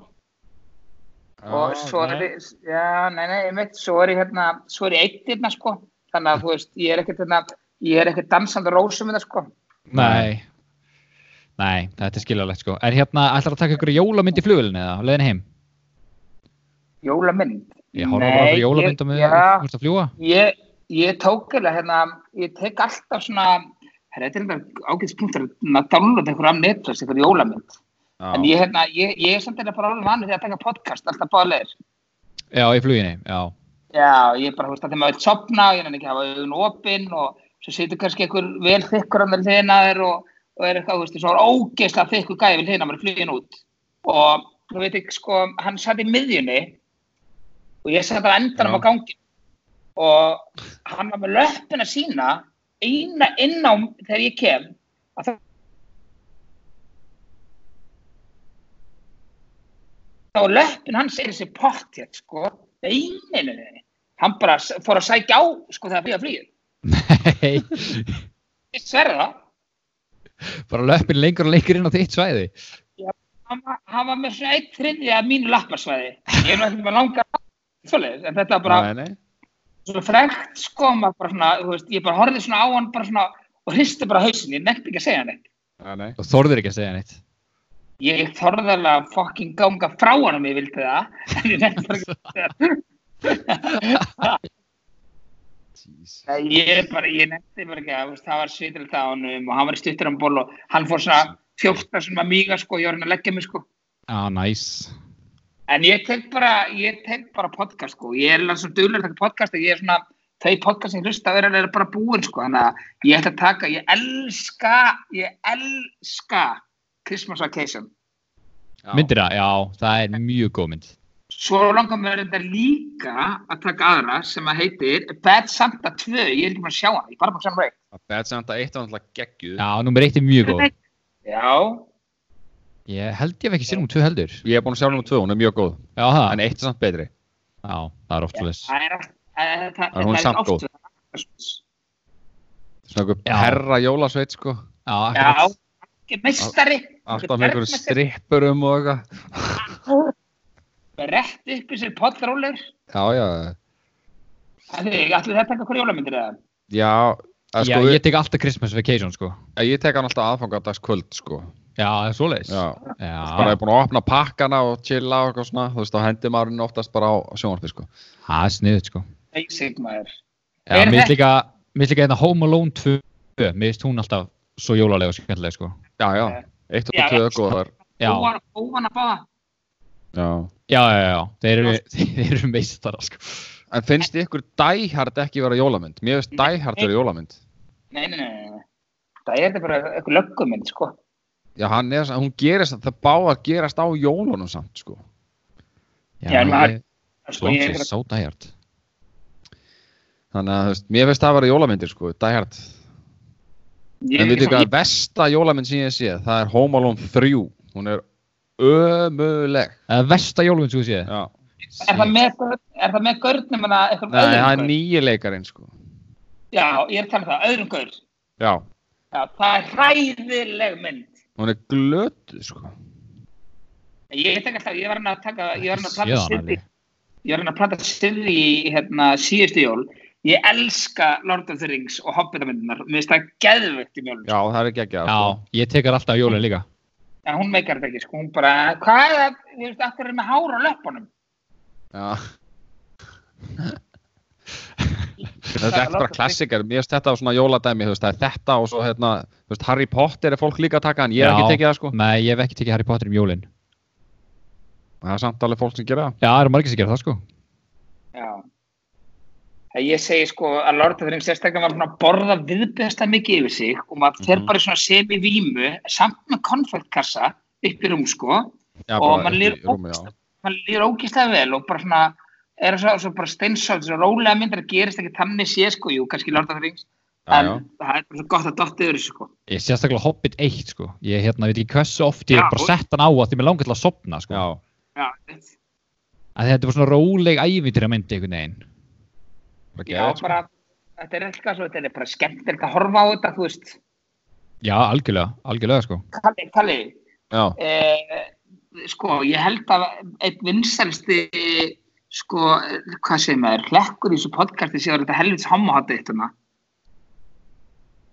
[SPEAKER 4] og
[SPEAKER 1] Já,
[SPEAKER 4] svo er
[SPEAKER 1] nei.
[SPEAKER 4] ég, já, nei, nei, einmitt, svo er ég hérna, svo er ég eitt hérna, sko, þannig að, þú veist, ég er ekkert hérna, ég er ekkert dansandi rósum hérna, sko.
[SPEAKER 3] Nei. Nei, þetta er skiljalegt sko. En hérna, ætlar að taka ykkur jólamynd í flugulinu eða á leiðin heim?
[SPEAKER 4] Jólamynd?
[SPEAKER 3] Ég horfa bara fyrir jólamynd á mig
[SPEAKER 4] ég, já,
[SPEAKER 3] að fljúa.
[SPEAKER 4] ég, ég tók eða hérna, ég tek alltaf svona, herra, þetta er þetta ágæðspunktur að downloada einhverja af netlust, einhverja jólamynd.
[SPEAKER 1] Já.
[SPEAKER 4] En ég, hérna, ég, ég er samt eða bara alveg vanið þegar að taka podcast, alltaf báðleir.
[SPEAKER 3] Já, í fluginu, já.
[SPEAKER 4] Já, ég er bara, þú veist, að þegar maður vil sopna, ég er ekki að hafa augun opinn og svo situr kannski einhver vel þykkur annar hliðin að þér og, og er eitthvað, þú veist, svo er ógeðslega þykkur gæði við hliðin að maður flugin út. Og, þú veit ekki, sko, hann satt í miðjunni og ég satt á
[SPEAKER 1] Já.
[SPEAKER 4] endanum á gangin og hann var með löppina sína eina inn á þegar ég kem að það þá var löppin hans er þessi pott hér, sko, eininu þeirri. Hann bara s- fór að sækja á, sko, þegar flýja flýið.
[SPEAKER 3] Nei,
[SPEAKER 4] Ég sverða það.
[SPEAKER 3] bara löppin lengur og lengur inn á þitt svæði.
[SPEAKER 4] Hann var- Hann var með svona eitt þriðið af mínu lapparsvæði. Ég er nú ekki með langar svoleiðis, en þetta var bara
[SPEAKER 1] Nei, nei.
[SPEAKER 4] svona frekt, sko, maður bara svona, þú veist, ég bara horfði svona á hann bara svona og hristi bara hausin, ég nefndi ekki að segja hann eitt.
[SPEAKER 1] Nei, nei.
[SPEAKER 3] Og þorður ekki að segja neitt.
[SPEAKER 4] Ég þorði alveg að fucking ganga frá hann um ég vildi það, en ég nefndi bara ekki að segja það. Nei, Ég, er bara, ég nefndi bara ekki að þú veist, það var svitilegt á hann og hann var í stuttur á ból og hann fór svona 14 sem að míga sko, ég var hann að leggja mig sko.
[SPEAKER 3] Já, næs.
[SPEAKER 4] En ég tek bara, ég tek bara podcast sko, ég er alveg svona duðlega að taka podcast og ég er svona, þau podcast sem ég hlusta verður er bara búin sko, þannig að ég ætla að taka, ég elska, ég elska Christmas Vacation.
[SPEAKER 1] Já.
[SPEAKER 3] Myndir það? Já, það er mjög góð mynd.
[SPEAKER 4] Svo langar mér þetta líka að taka aðra sem að heitir Bad Santa 2, ég er ekki maður að sjá hann, ég er bara búin að sjá hann reynd.
[SPEAKER 1] Að Bad Santa 1 var náttúrulega geggjuð.
[SPEAKER 3] Já, nummer eitt er mjög góð.
[SPEAKER 4] Já,
[SPEAKER 3] Ég held ég hef ekki sér um tvö heldur.
[SPEAKER 1] Ég hef búin að sjá hún um tvö, hún er mjög góð.
[SPEAKER 3] Já, það.
[SPEAKER 1] En eitt er samt betri.
[SPEAKER 3] Já, það er oft svolítið.
[SPEAKER 4] Það er oft- það er- það-
[SPEAKER 1] En hún er
[SPEAKER 4] það
[SPEAKER 1] samt
[SPEAKER 4] oft
[SPEAKER 1] góð.
[SPEAKER 4] verið Rasmus.
[SPEAKER 1] Svona
[SPEAKER 3] Já.
[SPEAKER 1] einhver herra jólasveit, sko.
[SPEAKER 3] Já,
[SPEAKER 4] Já,
[SPEAKER 3] akkurat.
[SPEAKER 4] ekki meistari.
[SPEAKER 1] Alltaf með einhverju strippurum og eitthvað.
[SPEAKER 4] Rett upp í sér poddrólur.
[SPEAKER 1] Já, já.
[SPEAKER 4] Allir þetta ekki okkur jólamyndir eða?
[SPEAKER 1] Já, að
[SPEAKER 3] Já,
[SPEAKER 1] sko,
[SPEAKER 3] ég
[SPEAKER 1] ég,
[SPEAKER 3] tek alltaf Christmas vacation, sko.
[SPEAKER 1] ég tek hann alltaf aðfangadags kvöld, sko.
[SPEAKER 3] Já, það er svolítið.
[SPEAKER 1] Já. Bara
[SPEAKER 4] Ah.
[SPEAKER 3] Já,
[SPEAKER 1] ég er búin að opna pakkana og chilla og eitthvað svona. Þú veist, þá hendir maður henni oftast bara á sjónvarpi, sko.
[SPEAKER 3] það er sniðið, sko.
[SPEAKER 4] Basic maður.
[SPEAKER 3] Já,
[SPEAKER 4] Er
[SPEAKER 3] mér finnst
[SPEAKER 4] þetta-
[SPEAKER 3] líka, mér finnst líka hérna Home Alone 2, mér finnst hún alltaf svo jólalega og skemmtilega, sko.
[SPEAKER 1] Já, já.
[SPEAKER 4] Já.
[SPEAKER 1] Eitt
[SPEAKER 4] Eh. Já.
[SPEAKER 1] og tvö góðar.
[SPEAKER 3] Já,
[SPEAKER 4] Óvan- Óvan að báða.
[SPEAKER 1] Já.
[SPEAKER 3] já, já, já, þeir eru, þeir eru meistara, sko.
[SPEAKER 1] En finnst ykkur Die Hard ekki vera jólamynd? Mér finnst Die Hard vera jólamynd.
[SPEAKER 4] Nei, nei, nei, nei, nei. Það er þetta bara eitthvað löggumynd, sko.
[SPEAKER 1] Já, hann er, hún gerist, það báðar gerast á jólunum samt, sko.
[SPEAKER 4] Já, en maður-
[SPEAKER 3] ég-
[SPEAKER 4] Sko,
[SPEAKER 3] Langt
[SPEAKER 4] ég
[SPEAKER 3] sér
[SPEAKER 4] er
[SPEAKER 3] sá dæjart.
[SPEAKER 1] Þannig að, þú veist, mér finnst það að vera jólamyndir, sko, Die Hard.
[SPEAKER 4] ég er
[SPEAKER 1] En
[SPEAKER 4] ekki
[SPEAKER 1] veitu
[SPEAKER 4] svona-
[SPEAKER 1] hvað, besta jólamynd sem ég sé, það er Home Alone 3. Hún er ömuleg
[SPEAKER 3] Það er versta jólvin sem þú séð.
[SPEAKER 1] Já.
[SPEAKER 4] Er það með, börn- er það með görnum en að einhverjum
[SPEAKER 1] Nei, það er
[SPEAKER 4] gaur?
[SPEAKER 1] nýji leikarinn sko
[SPEAKER 4] Já, ég er að tala um það, öðrum gaur.
[SPEAKER 1] Já,
[SPEAKER 4] Já, það er hræðileg mynd.
[SPEAKER 1] hún er glötuð sko
[SPEAKER 4] Ég veit ekki alltaf, ég var hann að um taka, ég var hann að
[SPEAKER 3] Ég sé
[SPEAKER 4] plata
[SPEAKER 3] hann
[SPEAKER 4] Sirri,
[SPEAKER 3] alveg.
[SPEAKER 4] ég var hann að plata Sirri í hérna síðustu jól. Ég elska Lord of the Rings og Hobbita-myndunar, mér finnst það geðvögt í mjölum.
[SPEAKER 1] Já, það er sko. ekki ekki að
[SPEAKER 3] Já, ég tekar alltaf jólvin líka.
[SPEAKER 4] En hún meikar þetta ekki, sko, hún bara, hvað er það, ég veist, akkur er með hára á löpunum?
[SPEAKER 1] Já. Þetta er bara klassikar, mér finnst þetta svona jóladæmi, þú veist, það er þetta og svo hérna, þú veist, Harry Potter er fólk líka að taka en ég er
[SPEAKER 3] Já.
[SPEAKER 1] ekki tekið það sko,
[SPEAKER 3] Nei, ég hef ekki tekið Harry Potter um jólin.
[SPEAKER 1] það er samt alveg fólk sem gera það.
[SPEAKER 3] Já, það eru margir sem gera það sko.
[SPEAKER 4] Já. Það ég segi sko að Lord of the Rings sérstaklega var búin að borða viðbjöðsta mikið yfir sig og maður fer
[SPEAKER 1] Mhm.
[SPEAKER 4] bara í svona semi-vímu samt með konfektkassa upp í rúm sko.
[SPEAKER 1] Já, bara
[SPEAKER 4] Og mann
[SPEAKER 1] upp í
[SPEAKER 4] líður
[SPEAKER 1] rúmi, já.
[SPEAKER 4] Man líður ógislega vel og bara svona er svo, svo bara steinsátt, svo rólega myndir að gerist ekki þannig sé sko, jú, kannski Lord of the Rings.
[SPEAKER 1] Já,
[SPEAKER 4] en
[SPEAKER 1] já.
[SPEAKER 4] það er bara svo gott að dotta yfir þessu sko.
[SPEAKER 3] Ég sérstaklega Hobbit 1 sko. Ég hérna, veit ekki hversu oft ég
[SPEAKER 4] Já,
[SPEAKER 3] hef bara
[SPEAKER 4] og-
[SPEAKER 3] sett hann á að því mér langar til að sopna sko.
[SPEAKER 1] Já,
[SPEAKER 4] Já, veit.
[SPEAKER 3] Að þetta var svona róleg ævintir að myndi einhvern veginn.
[SPEAKER 1] bara
[SPEAKER 4] já
[SPEAKER 1] geðið sko.
[SPEAKER 4] bara, þetta er eitthvað svo, þetta er bara skemmtilegt að horfa á þetta, þú veist.
[SPEAKER 3] Já, algjörlega, algjörlega sko.
[SPEAKER 4] Kalli, Kalli,
[SPEAKER 1] Já,
[SPEAKER 4] eh, sko, ég held að einn vinsælsti sko, hvað segir maður, hlekkur í þessu podcasti séu þetta helvits hérna. homahatti eittuna.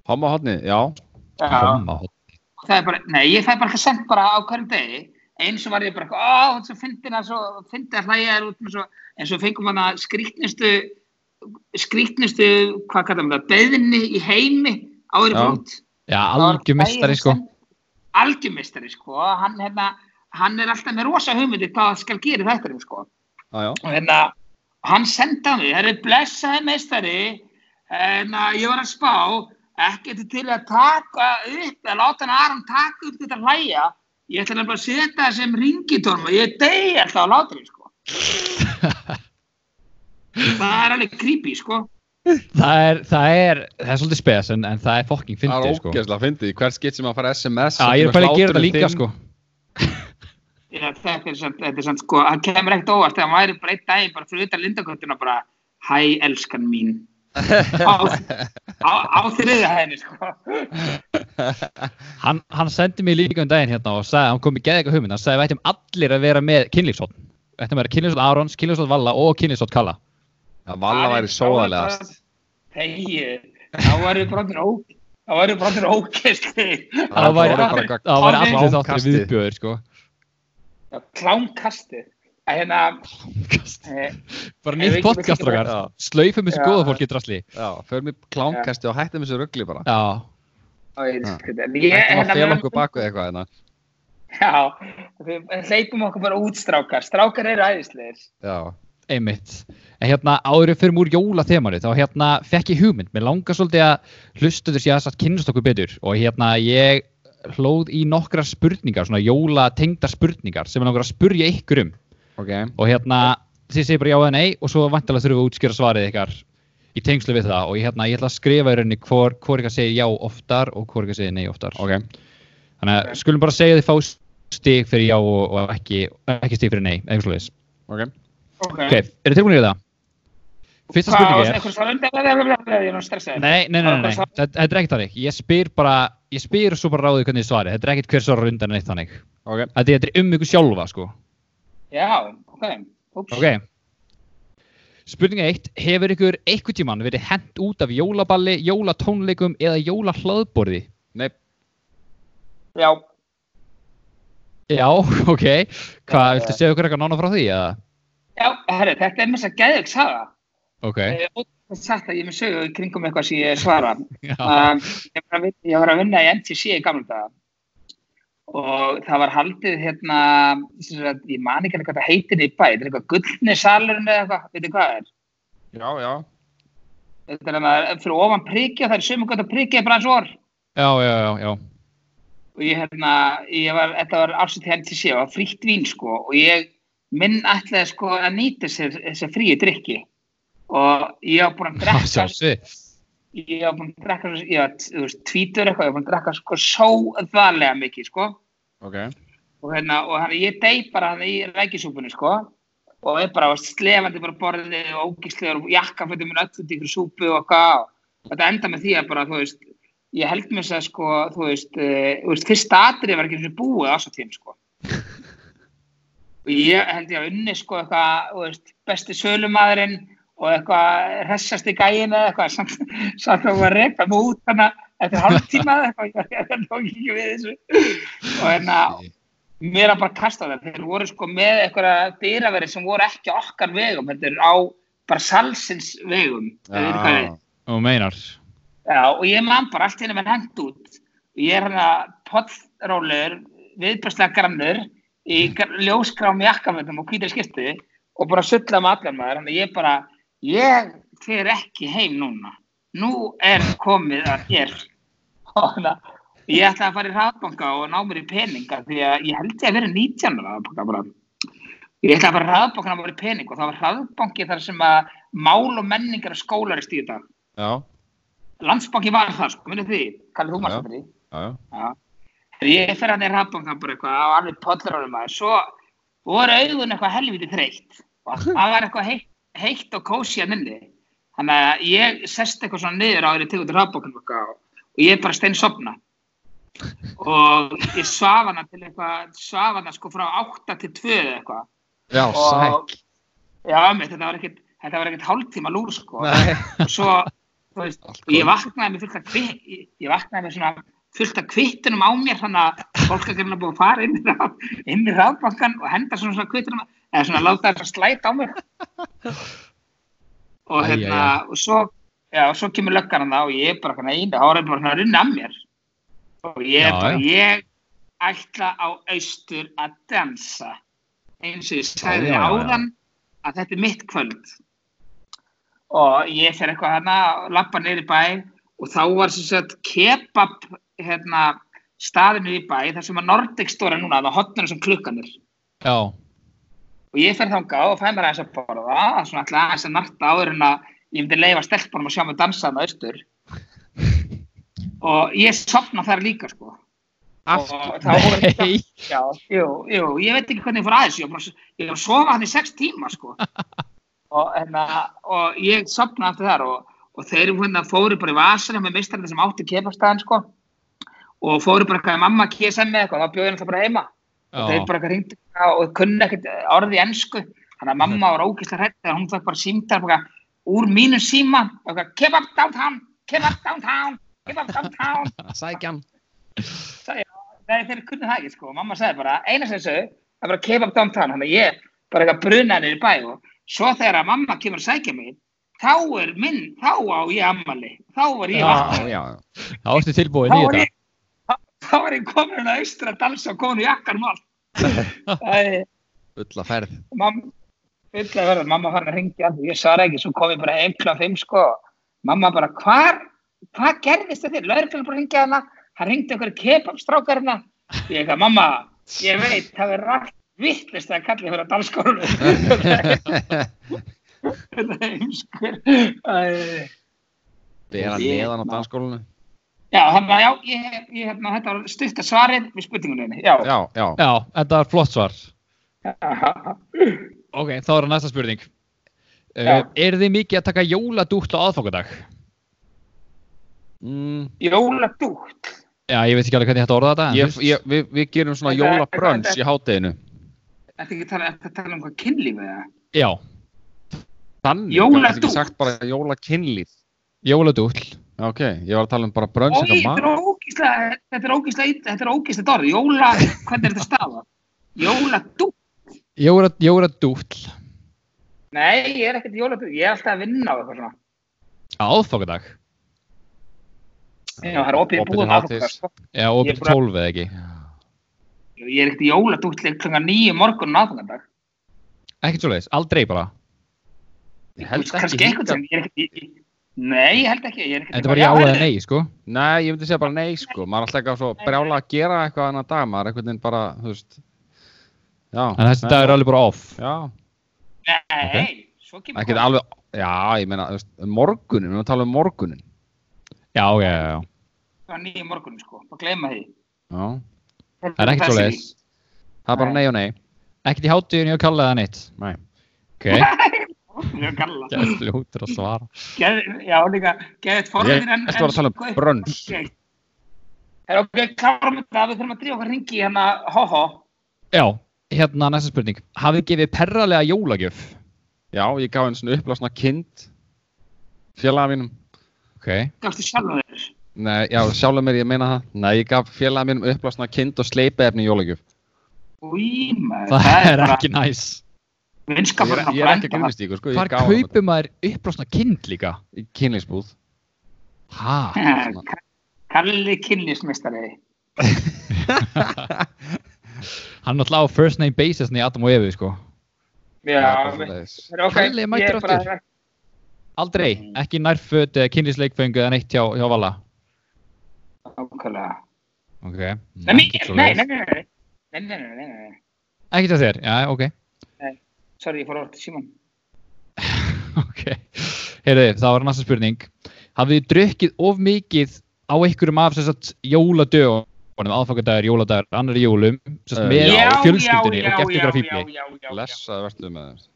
[SPEAKER 1] homma hodni, já,
[SPEAKER 3] Homma,
[SPEAKER 4] Það er bara, nei, ég fæ bara eitthvað sent bara á hverjum degi, eins og var ég bara, eitthvað, ó, hún svo fyndin að svo, fyndi að hlæja er út með svo, en svo fengum hann að skrýtnustu, skrýtnustu, hvað kallar maður það, beðinni í heimi á þeirri
[SPEAKER 1] Já.
[SPEAKER 4] bútt.
[SPEAKER 3] Já, algjör mistari sko.
[SPEAKER 4] Algjumistari, sko, hann, hérna, hann er alltaf með rosa hugmyndi hvað skal gera þetta, sko.
[SPEAKER 1] já, já,
[SPEAKER 4] og hérna, hann sendi á mig, það er blessaði meistari, hérna, ég var að spá, ekkert er til að taka upp, að láta hann Aron taka upp þetta hlæja, ég ætla nefnilega að setja það sem ringitón og ég degi alltaf á látri, sko. það er alveg creepy, sko.
[SPEAKER 3] Það er, það er, það er svolítið spes en, en það er fokking
[SPEAKER 1] það
[SPEAKER 3] fyndið
[SPEAKER 1] er
[SPEAKER 3] sko.
[SPEAKER 1] ógeðslega fyndið, í hvert skitt sem að fara SMS
[SPEAKER 3] Já,
[SPEAKER 1] og
[SPEAKER 3] ég er
[SPEAKER 1] kemur
[SPEAKER 3] bara að gera
[SPEAKER 1] hláturinn
[SPEAKER 3] þetta líka
[SPEAKER 1] þinn.
[SPEAKER 3] sko.
[SPEAKER 4] Já, þetta er samt, þetta er samt, sko, það kemur ekkert óvart, þegar maður er bara einn daginn, bara fyrir utan lindaköttuna, bara, hæ, elskan mín. á, á, á þriðja hæðinni, sko.
[SPEAKER 3] Hann, hann sendi mig líka um daginn hérna og sagði, hann kom í geða eitthvað hugmynd, hann sagði við ættum allir að vera með kynlífsótt. Við ættum að vera kynlífsótt Arons, kynlífsótt Valla og kynlífsótt Kalla.
[SPEAKER 1] Það valla væri sóðalegast.
[SPEAKER 4] Þegið, þá varum við brotin ók, þá varum við brotin ókist.
[SPEAKER 1] Það
[SPEAKER 3] væri
[SPEAKER 1] voru bara
[SPEAKER 3] allir-
[SPEAKER 1] eitthvað
[SPEAKER 3] það væri allir
[SPEAKER 1] klámkasti.
[SPEAKER 3] þáttir viðbjöður sko.
[SPEAKER 4] Klámkasti. Að hérna, e,
[SPEAKER 3] bara
[SPEAKER 4] Ef við
[SPEAKER 3] nýtt
[SPEAKER 4] ekki-
[SPEAKER 3] podcast okkar.
[SPEAKER 1] Já.
[SPEAKER 3] Slaufum þessu
[SPEAKER 4] Já.
[SPEAKER 3] góða fólki drasli.
[SPEAKER 1] Já, förum í klámkasti og hættum þessu ruggli bara.
[SPEAKER 3] Já,
[SPEAKER 4] ég,
[SPEAKER 3] Ah.
[SPEAKER 1] Já.
[SPEAKER 4] en ég,
[SPEAKER 1] Hættum að fela
[SPEAKER 4] mér-
[SPEAKER 1] okkur baku eitthvað hérna.
[SPEAKER 4] já, við hleypum okkur bara út strákar, strákar eru æðisleir.
[SPEAKER 1] Já,
[SPEAKER 3] einmitt. En hérna árið fyrir múr jólathemanu þá hérna fekk ég hugmynd. Mér langar svolítið að hlustu þessi að satt kynnast okkur betur og hérna ég hlóð í nokkrar spurningar, svona jólatengdar spurningar sem ég langar að spurja ykkur um.
[SPEAKER 1] ok.
[SPEAKER 3] og hérna þið segir bara já eða nei og svo vantilega þurfum við að útskýra svarið ykkar í tengslu við það og ég, hérna, ég ætla að skrifa í rauninni hvor, hvor ykkar segir já oftar og hvor ykkar segir nei oftar
[SPEAKER 1] Ok,
[SPEAKER 3] þannig að skulum bara segja þið fá stig fyrir já og, og ekki, ekki stig fyrir nei eitthvað slúðis
[SPEAKER 1] ok.
[SPEAKER 4] Okay.
[SPEAKER 3] ok, eru þið tilbúinir í það? fyrsta spurning er
[SPEAKER 4] Eitthvað svo undan, ég er nú stressaður.
[SPEAKER 3] nei, nei, nei, nei, nei.
[SPEAKER 4] Hvað-
[SPEAKER 3] Þetta, þetta er ekkert þannig ég spyr bara, ég spyr og svo bara ráðið hvernig þið svarið þetta er ekkert hver svarar undan neitt þannig
[SPEAKER 1] Ok,
[SPEAKER 3] þetta er- þetta er um ykkur sjálfa sko
[SPEAKER 4] Já, ok. Úps.
[SPEAKER 3] Ok. Spurning 1. Hefur ykkur einhvern tímann verið hent út af jólaballi, jólatónleikum eða jólahlaðborði?
[SPEAKER 1] nei,
[SPEAKER 4] Já,
[SPEAKER 3] Já, ok. Hvað, viltu segja okkur eitthvað nána frá því? Eða?
[SPEAKER 4] já, herri, þetta er mér svo gæðug saga.
[SPEAKER 3] Ok.
[SPEAKER 4] Okay. Það er satt að ég er með sögu í kringum eitthvað sem ég svara.
[SPEAKER 3] Já.
[SPEAKER 4] um, ég, var að vinna, ég var að vinna í MTC í gamla daga og það var haldið hérna, sem sagt, ég man ekki alveg hvað það heitir í bæ, þetta er eitthvað gullni salurinn eða eitthvað, veitir hvað það er?
[SPEAKER 1] já, já.
[SPEAKER 4] Þetta er hérna fyrir ofan prikið og það er sömu gott að prikið er bara eins og orð.
[SPEAKER 3] já, já, já, já.
[SPEAKER 4] og ég hérna, ég var, þetta var ásett hérna til sé, það var frítt vín sko og ég minn ætlaði sko að nýta sér þessi fríu drikki og ég var búin að
[SPEAKER 3] Það
[SPEAKER 4] drekka,
[SPEAKER 3] sjálfsvið.
[SPEAKER 4] ég var búin að drekka, svo- ég var, þú veist, tvítur eitthvað, ég var búin að drekka sko sóðalega mikið sko
[SPEAKER 1] Ok,
[SPEAKER 4] og hérna, og hérna, ég dey bara hann í rækisúpunni, sko, og ég bara var slefandi bara borðið og ógislegur og jakkafötum minn öll út í ykkur súpu og hvað, og þetta enda með því að bara, þú veist, ég held mér þess að, sko, þú veist, uh, þú veist, fyrsta atrið var ekki eins og búið á þessu tím, sko. Og ég held ég að unni, sko, eitthvað, þú veist, besti sölumadurinn og eitthvað hressasti gæin eða eitthvað, samt, samt að var að reypa mig út, þannig að eftir hálftíma eða eitthvað, ég- ég tók ekki við þessu. Og hérna, mér að bara kasta það, þeir voru sko með einhverja dýraveri sem voru ekki á okkar vegum, þetta er á bara salsins vegum, ja.
[SPEAKER 1] Ah.
[SPEAKER 4] hvað, er.
[SPEAKER 3] og meinar
[SPEAKER 4] já, og ég man bara allt hérna með hend út, og ég er hérna poddrólur, viðbærslega grannur, í gr- ljósgrám jakkafötum og hvítir skipti og bara sulla með allan maður, þannig að ég bara, ég fer ekki heim núna, nú er komið að hér, og þannig að Ég ætlaði að fara í hraðbanka og ná mér í peninga því að ég held ég að vera 19 ára hraðbanka bara. Ég ætlaði að fara í hraðbanka og ná mér í pening og það var hraðbanki þar sem að mál og menningar og skólar er stíð í dag.
[SPEAKER 1] já,
[SPEAKER 4] Landsbanki var það, sko, minnum því. Kallið þú
[SPEAKER 1] Já.
[SPEAKER 4] maður þetta því?
[SPEAKER 1] já, já.
[SPEAKER 4] Já. Ég fer hann í hraðbanka bara eitthvað á alveg pollarónum maður. Svo voru augun eitthvað helviti þreytt og það var eitthvað heitt, heitt og kósi að minni. Þannig að ég sest eitthvað svona niður á þeirri tegur til hraðbankan og, og ég bara stein sopna. Og ég svaf hana til eitthvað, svaf hana sko frá 8 til 2 eða eitthvað.
[SPEAKER 1] já sæk
[SPEAKER 4] Já, mér, þetta var ekkert, þetta var ekkert hálftíma lúr sko.
[SPEAKER 1] Nei.
[SPEAKER 4] Og svo, þú veist,
[SPEAKER 1] Allt
[SPEAKER 4] og ég
[SPEAKER 1] gott.
[SPEAKER 4] vaknaði með fullt af kvitt, ég ég vaknaði með svona fullt af kvittunum á mér þannig að fólk er greinlega búið að fara inn í, ráð, inn í ráðbankan og henda svona svona kvittunum eða svona láta þess að slæta á mér og
[SPEAKER 3] Æ,
[SPEAKER 4] hérna
[SPEAKER 3] æ,
[SPEAKER 4] og svo, já, og svo kemur löggan hann og ég er bara hann einu, þá er hann bara svona runni að mér og ég
[SPEAKER 3] Já,
[SPEAKER 4] er bara,
[SPEAKER 3] já.
[SPEAKER 4] ég ætla á austur að dansa eins og ég sagði
[SPEAKER 3] Já, já, já.
[SPEAKER 4] áðan að þetta er mitt kvöld og ég fer eitthvað hana lappa niður í bæ og þá var sem sagt kebab hérna, staðinu í bæ þar sem að Nordic stóra núna það hotnur sem klukkanir
[SPEAKER 3] já,
[SPEAKER 4] og ég fer þangað og fæ mér aðeins að borða svona alltaf aðeins að narta áður en að ég myndi leifa stelpunum að sjá mig dansa þarna austur og ég sopna þar líka sko og þá voru
[SPEAKER 3] nei
[SPEAKER 4] Já, jú, jú, ég veit ekki hvernig ég fór aðeins, ég var bara að- ég var að sofa hann í sex tíma, sko. Og, hérna, og ég sopnaði aftur þar og, og þeir hérna, fóru bara í vasana með mistarinn sem átti kebabstaðan, sko. Og fóru bara eitthvað í mamma KSM eða eitthvað, og þá bjóði hann það bara heima. Og þeir
[SPEAKER 3] já,
[SPEAKER 4] bara eitthvað ringdi og kunni ekkert orðið ennsku. Þannig að mamma var ógeðslega hrætt þegar hún það bara símdar bara úr mínum síma, eitthvað, kebab downtown, kebab downtown, kebab downtown.
[SPEAKER 1] sækjan
[SPEAKER 4] Nei, þeir kunni það ekki, sko. Mamma sagði bara, eina sem þessu, það er bara kebab downtown, þannig að ég bara eitthvað bruna niður í bæ og svo þegar að mamma kemur að sækja mig, þá er minn, þá á ég ammali, þá var ég
[SPEAKER 3] Já,
[SPEAKER 1] já,
[SPEAKER 4] vaknaður.
[SPEAKER 1] já,
[SPEAKER 3] þá ertu tilbúin
[SPEAKER 4] Þá
[SPEAKER 3] í
[SPEAKER 4] var
[SPEAKER 3] þetta
[SPEAKER 4] ég, þá var ég komin að austra að dansa og komin í jakkar mál.
[SPEAKER 1] fulla ferð
[SPEAKER 4] mamma, fulla verða, mamma fann að ringja alveg, ég svara ekki, svo kom ég bara heim klá fimm, sko. Mamma bara, hvar, hvað gerðist þetta? Lörfjöld bara ringja hana, hann ringdi okkur kebabstrákar hana. Ég eitthvað, mamma, ég veit, það er rætt vittlist að kalla fyrir að danskóru. Þetta er heimskur. Æ.
[SPEAKER 1] bera
[SPEAKER 4] Ég-
[SPEAKER 1] neðan á danskólinu
[SPEAKER 4] Já, þannig að já, ég, ég, hérna, þetta var stutta svarið við spurningunni. Já.
[SPEAKER 1] já, já,
[SPEAKER 3] já, þetta var flott svar
[SPEAKER 4] já.
[SPEAKER 3] ok, þá er það næsta spurning uh,
[SPEAKER 4] Já.
[SPEAKER 3] er þið mikið að taka jóladútt á aðfangadag?
[SPEAKER 1] Mm,
[SPEAKER 4] Jóladútt.
[SPEAKER 3] já, ég veit ekki alveg hvernig ég hætti að orða þetta en
[SPEAKER 1] ég,
[SPEAKER 3] þú veist-
[SPEAKER 1] ég, við, við gerum svona
[SPEAKER 4] Þetta-
[SPEAKER 1] jólabrönns
[SPEAKER 4] þetta-
[SPEAKER 1] í hátteginu
[SPEAKER 4] Þetta ekki tala, ertu að tala um hvað kynlífið það.
[SPEAKER 3] já,
[SPEAKER 1] þannig,
[SPEAKER 4] Jóladútt.
[SPEAKER 1] það er ekki sagt bara jólakinnlíf
[SPEAKER 3] jóladútt
[SPEAKER 1] Já, ok, ég var að tala um bara brönns
[SPEAKER 4] Ói,
[SPEAKER 1] eitthvað
[SPEAKER 4] þetta er
[SPEAKER 1] mat.
[SPEAKER 4] ógíslega, þetta er ógíslega, þetta er ógíslega dorð, jóla, hvernig er þetta stafa? Jóla
[SPEAKER 3] Jóra, Jóra Dúll
[SPEAKER 4] Nei, ég er ekkert jóla ég er alltaf að vinna á eitthvað svona.
[SPEAKER 3] aðfokadag
[SPEAKER 4] Já, það er opið
[SPEAKER 1] Opið
[SPEAKER 4] búið
[SPEAKER 1] til
[SPEAKER 4] með
[SPEAKER 1] hátíðis.
[SPEAKER 4] aðfokkar.
[SPEAKER 3] Já, og
[SPEAKER 4] Ég
[SPEAKER 3] byrjum
[SPEAKER 4] bara-
[SPEAKER 3] 12 eða ekki
[SPEAKER 4] sko. Ég er ekkert í jóla dútt leik klunga nýju morgun aðfokkardag.
[SPEAKER 3] Ekkert svo leiðis, aldrei bara
[SPEAKER 1] Ég held
[SPEAKER 4] Kannski
[SPEAKER 1] ekki
[SPEAKER 4] eitthvað sem ég er ekkert í... Nei, ég held ekki, ég er ekkert...
[SPEAKER 3] Þetta var já eða
[SPEAKER 4] heyrðu,
[SPEAKER 3] nei, sko
[SPEAKER 1] Nei, ég myndi segja bara nei, sko. Maður er alltaf eitthvað svo brjála að gera eitthvað annan dag. Maður er einhvern veginn bara, þú veist. Já.
[SPEAKER 3] En þessi dag er alveg bara off
[SPEAKER 1] Já,
[SPEAKER 4] Nei, svo kemur...
[SPEAKER 1] ekkert
[SPEAKER 4] gott.
[SPEAKER 1] alveg, já, ég meina, þú veist, morgunin, við erum að tala um morgunin.
[SPEAKER 3] Já, já, já, já
[SPEAKER 4] Klukkan níu morgun, sko, bara gleyma því.
[SPEAKER 1] Já,
[SPEAKER 3] Það er ekkert svo leiðis
[SPEAKER 1] það er bara
[SPEAKER 4] Nei.
[SPEAKER 1] nei og nei
[SPEAKER 3] Ekkert í hátíðinu og kallaði það neitt.
[SPEAKER 1] Nei.
[SPEAKER 3] Ok,
[SPEAKER 4] Ég er galla.
[SPEAKER 3] það er fljótur að svara.
[SPEAKER 4] Geð- Já, líka, geðið
[SPEAKER 1] Ég
[SPEAKER 4] forðir en...
[SPEAKER 1] ætti bara að tala um brönns
[SPEAKER 4] Það er ok, klárum þetta, við þurfum að drífa okkar ringi hérna, ho-ho.
[SPEAKER 3] Já, hérna næsta spurning. Hafið gefið perralega jólagjöf?
[SPEAKER 1] Já, ég gaf henni svona uppblásna kind félaga mínum
[SPEAKER 3] Ok,
[SPEAKER 4] Gafstu sjálfum þér.
[SPEAKER 1] Nei, já, sjálfur mér, ég meina það Nei, ég gaf félaga mínum uppblásna kind og sleipaefni í jólagjöf
[SPEAKER 4] Új, maður,
[SPEAKER 3] það, er ekki næs.
[SPEAKER 1] Ég
[SPEAKER 4] vinskapur
[SPEAKER 1] er, ég er ekki að grínast í ykkur, sko,
[SPEAKER 3] Hvar
[SPEAKER 1] ég gaf henni
[SPEAKER 3] kaupir maður uppblásna kind líka?
[SPEAKER 1] þetta í kynlífsbúð
[SPEAKER 3] Hæ?
[SPEAKER 4] grínast. Kalli kynlismistari.
[SPEAKER 3] Hann er alltaf á first name basis í Adam og Evi, sko.
[SPEAKER 1] Það
[SPEAKER 4] Já,
[SPEAKER 1] er bara
[SPEAKER 4] það
[SPEAKER 1] svoleiðis.
[SPEAKER 4] er ok.
[SPEAKER 3] Kalli er mættur
[SPEAKER 4] ég bara- hérna.
[SPEAKER 3] aftur. Aldrei, ekki nærföt, kynlísleikfengu eða neitt hjá, hjá Valla.
[SPEAKER 4] Nákvæmlega.
[SPEAKER 3] Ok.
[SPEAKER 4] Nei, mér- nei, nei, nei, nei. Nei, nei, nei, nei, nei, nei.
[SPEAKER 3] Ekki til þér, já, ok.
[SPEAKER 4] Sorry, ég fór orðið til Simon.
[SPEAKER 3] Ok, heyrðu, það var næsta spurning. Hafið þið drukkið of mikið á einhverjum af sem sagt jóladögunum, aðfangadagur, jóladagur, annari jólum,
[SPEAKER 1] Eh,
[SPEAKER 3] sem sagt með
[SPEAKER 1] Já,
[SPEAKER 3] fjölskyldinni og gett ykkur að
[SPEAKER 4] já,
[SPEAKER 3] fífli?
[SPEAKER 4] já, já, já.
[SPEAKER 1] Blessaði verður með þeim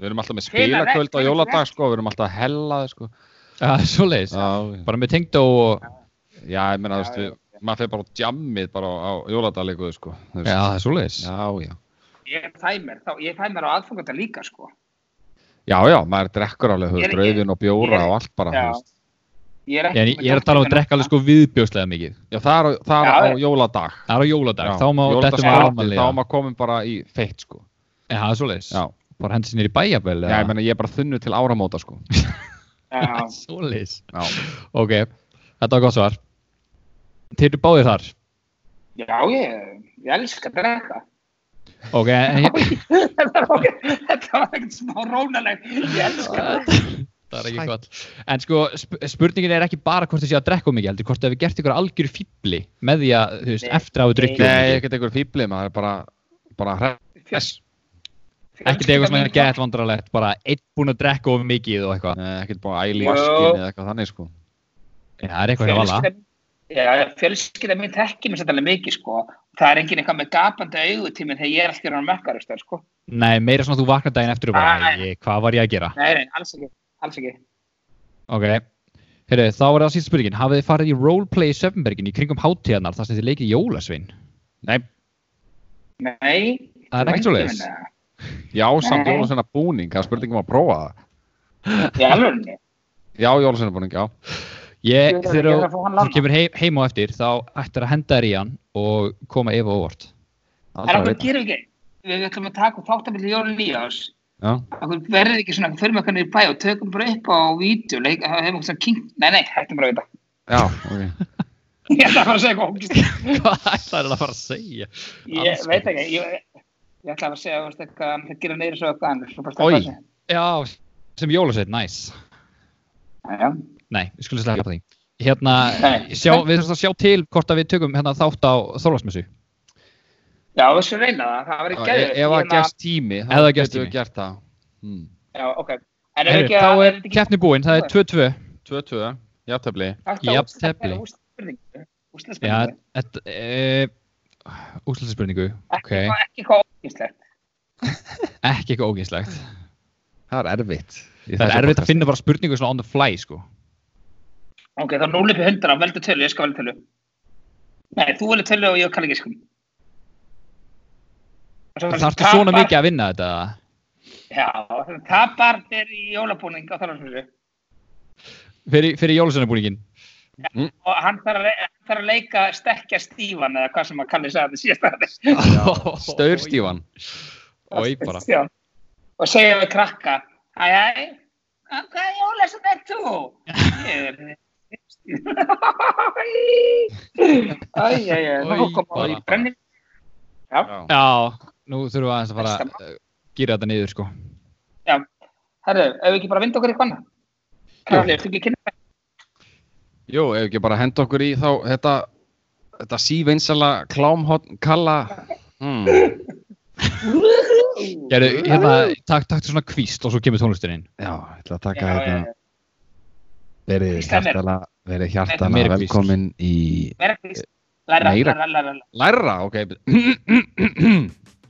[SPEAKER 1] Við erum alltaf með
[SPEAKER 4] Hina, nei,
[SPEAKER 1] spilaköld á
[SPEAKER 4] hina,
[SPEAKER 1] jóladag, sko Við erum alltaf að hella, sko
[SPEAKER 3] Það er svo leiðis,
[SPEAKER 1] Já,
[SPEAKER 3] bara með tengd og...
[SPEAKER 1] já ég meina,
[SPEAKER 4] Já,
[SPEAKER 1] þú
[SPEAKER 4] já.
[SPEAKER 1] veist, maður fyrir bara á jammið bara á jóladaglikuðu, sko þú veist.
[SPEAKER 3] Já, það er svo leiðis.
[SPEAKER 1] já, já
[SPEAKER 4] Ég fæ mér, þá, ég fæ mér á aðfangandag líka, sko.
[SPEAKER 1] Já, já, maður drekkur alveg, þú
[SPEAKER 4] Ég er
[SPEAKER 1] veist,
[SPEAKER 4] ekki-
[SPEAKER 1] rauðin og bjóra
[SPEAKER 4] ég er-
[SPEAKER 1] og allt bara, þú
[SPEAKER 4] Já.
[SPEAKER 1] veist.
[SPEAKER 4] Ég er, ekki
[SPEAKER 3] En
[SPEAKER 4] með
[SPEAKER 3] ég er að tala um að
[SPEAKER 4] dótturina.
[SPEAKER 3] drekka alveg sko viðbjóðslega mikið.
[SPEAKER 1] Já, það er, á- það er á
[SPEAKER 4] Já, já.
[SPEAKER 1] jóladag.
[SPEAKER 3] Það er á jóladag, þá má
[SPEAKER 1] Jóladags-
[SPEAKER 3] þetta
[SPEAKER 1] kvöldið,
[SPEAKER 3] var
[SPEAKER 1] Þá
[SPEAKER 3] almanlega.
[SPEAKER 1] má komin bara í feitt, sko.
[SPEAKER 3] En það er svo leiðis.
[SPEAKER 1] Já,
[SPEAKER 3] Bara hendur sinni í bæjabel
[SPEAKER 1] já. ég meina, ég er bara þunnu til áramóta, sko.
[SPEAKER 4] Já,
[SPEAKER 3] Svo leiðis.
[SPEAKER 1] Já,
[SPEAKER 3] Ok, þetta var gott svar. Þeir eru báðir þar.
[SPEAKER 4] já, ég, ég elska að drekka.
[SPEAKER 3] Ok, en hérna- hér...
[SPEAKER 4] Þetta var ekki- þetta var ekkert smá rónaleg. Ég elska að drekka.
[SPEAKER 3] það er ekki gott. En sko, sp spurningin er ekki bara hvort þið séu að drekka of mikið, heldur hvort þið hefur gert ykkur algjör fýbli með því að, þú veist,
[SPEAKER 4] Nei.
[SPEAKER 3] eftir að hafa drukkið of
[SPEAKER 1] Nei,
[SPEAKER 3] mikið.
[SPEAKER 1] ekkert einhver fýblið, maður er bara, bara hress.
[SPEAKER 3] Ekkert eitthvað sem er gett vandrarlegt, bara einn búinn að drekka of mikið og eitthvað.
[SPEAKER 1] Nei, ekkert búin að æla í
[SPEAKER 4] Já.
[SPEAKER 1] vaskin eða eitthvað þannig, sko.
[SPEAKER 3] Já, það er eitthvað hjá alla.
[SPEAKER 4] Fjölskylda- Já, fjölskylda mín tekki mér sættalega mikið, sko. Það er engin eitthvað með gapandi augutíminn þegar ég er alltaf hann mekkar, sko.
[SPEAKER 3] Nei, meira svona að þú vaknar daginn eftir og bara,
[SPEAKER 4] Æ.
[SPEAKER 3] æ, hvað var ég að gera?
[SPEAKER 4] Nei, nei, alls ekki, alls ekki.
[SPEAKER 3] Ok, heyrðu, þá er það síðan spurningin. Hafið þið farið í roleplay í Söfnbergin í kringum hátíðarnar þar sem þið leikið jólasvein?
[SPEAKER 1] Nei,
[SPEAKER 4] Nei.
[SPEAKER 3] Það er
[SPEAKER 4] þú
[SPEAKER 3] ekkert
[SPEAKER 4] væntir
[SPEAKER 3] svoleiðis.
[SPEAKER 4] mín það.
[SPEAKER 1] já, samt
[SPEAKER 4] Nei.
[SPEAKER 1] jólasveina búning, það er spurningum að prófa það.
[SPEAKER 4] Í alvörunni.
[SPEAKER 1] Já, jólasveina búning, já.
[SPEAKER 3] Ég,
[SPEAKER 4] Ég
[SPEAKER 3] Eh,
[SPEAKER 4] verð að
[SPEAKER 3] þegar
[SPEAKER 4] gera
[SPEAKER 3] þú-
[SPEAKER 4] að fá hann
[SPEAKER 3] þú
[SPEAKER 4] lánað.
[SPEAKER 3] kemur heim, heim á eftir, þá ættir að henda þér í hann og koma Eva á óvart.
[SPEAKER 4] Það
[SPEAKER 1] Aldrei
[SPEAKER 4] er
[SPEAKER 1] að
[SPEAKER 4] okkur
[SPEAKER 1] vita.
[SPEAKER 4] gerum ekki. Við ætlum að taka þáttabildi Jón Líás.
[SPEAKER 1] Já,
[SPEAKER 4] Okkur verður ekki svona, fyrir með okkur niður í bæ og tökum bara upp á vídeo, leik, hefum okkur svona kynnt. Nei, nei, hættum bara við þetta.
[SPEAKER 1] já, ok.
[SPEAKER 4] Ég ætla að fara að segja eitthvað ógist.
[SPEAKER 3] Hvað ætlar það að fara að segja?
[SPEAKER 4] Ég veit ekki, ég, ég ætla að fara að segja þú veist, eitthvað, hann gera neyri svo eitthvað annars. svo bara sleppa
[SPEAKER 1] Oj.
[SPEAKER 4] þessu.
[SPEAKER 3] Já, sem jólasveit, næs.
[SPEAKER 4] Já, já.
[SPEAKER 3] Nei, við skulum slækja på því. Hérna,
[SPEAKER 4] Nei.
[SPEAKER 3] sjá, við þurfum að sjá til hvort að við tökum hérna þátt á Þorvarsmessu.
[SPEAKER 4] Já, við skulum reyna það, það verður
[SPEAKER 1] Já,
[SPEAKER 4] geðið.
[SPEAKER 1] E- Ef það gerst tími,
[SPEAKER 3] Ef það
[SPEAKER 1] þá
[SPEAKER 3] gefst
[SPEAKER 1] getum við
[SPEAKER 3] tími.
[SPEAKER 1] gert það. Hmm.
[SPEAKER 4] Já, ok. En ef
[SPEAKER 3] Heyrðu,
[SPEAKER 4] ekki
[SPEAKER 3] Þá
[SPEAKER 4] að-
[SPEAKER 3] er keppni búin, það er 2-2.
[SPEAKER 1] 2-2, jafntöfli.
[SPEAKER 3] jafn tefli. Já,
[SPEAKER 4] Úrstæðspurningu.
[SPEAKER 3] þetta, e, úrslutaspurningu, ok.
[SPEAKER 4] Ekki eitthvað ógislegt.
[SPEAKER 3] Ekki eitthvað ógeinslegt.
[SPEAKER 1] Það er erfitt. í
[SPEAKER 3] Það
[SPEAKER 1] þessu
[SPEAKER 3] er erfitt
[SPEAKER 1] podcasti.
[SPEAKER 3] að finna bara spurningu svona on the fly, sko.
[SPEAKER 4] Ok, þá 0 upp í 100, veldu tölu, ég skal velja tölu. Nei, þú velja tölu og ég kann ekki skum.
[SPEAKER 3] Það þarfst svona mikið að vinna þetta. eða?
[SPEAKER 4] Já, það tapar þér í jólabúning á þarfarsfjölu
[SPEAKER 3] Fyrir, fyrir jólusunnabúningin.
[SPEAKER 4] og hann þarf að, le- hann þarf að leika stekkja stífan eða hvað sem að kalli sagði síðast aðeins.
[SPEAKER 1] Staurstífan.
[SPEAKER 3] Oi, bara.
[SPEAKER 4] Já. Og segja við krakka, hæ hæ, af hvaða jólasum er þú? Ég er Æj, æj, æj, þá
[SPEAKER 3] Oj,
[SPEAKER 4] koma
[SPEAKER 3] bara.
[SPEAKER 4] í brenni. Já,
[SPEAKER 1] Já.
[SPEAKER 3] Já, nú þurfum við aðeins að fara að eh, gíra þetta niður, sko.
[SPEAKER 4] herru, ef við ekki bara vinda okkur í kvanna? Karli, ertu ekki kynna?
[SPEAKER 1] Jú, ef ekki bara henda okkur í þá þetta, þetta sívinsala klámhotn kalla. Hmm.
[SPEAKER 3] Gerðu, hérna, takk, takk til svona kvíst og svo kemur tónlistin inn.
[SPEAKER 1] Já, ég ætla að taka
[SPEAKER 4] Já, já,
[SPEAKER 1] hérna.
[SPEAKER 4] já.
[SPEAKER 1] Verið
[SPEAKER 4] Hvíslan er-
[SPEAKER 1] hjartala, verið
[SPEAKER 3] Þetta er
[SPEAKER 1] hjartala
[SPEAKER 3] meira hvísl.
[SPEAKER 1] velkomin í
[SPEAKER 4] Meira, læra,
[SPEAKER 1] Meira.
[SPEAKER 4] læra, læra, læra.
[SPEAKER 1] læra, ok.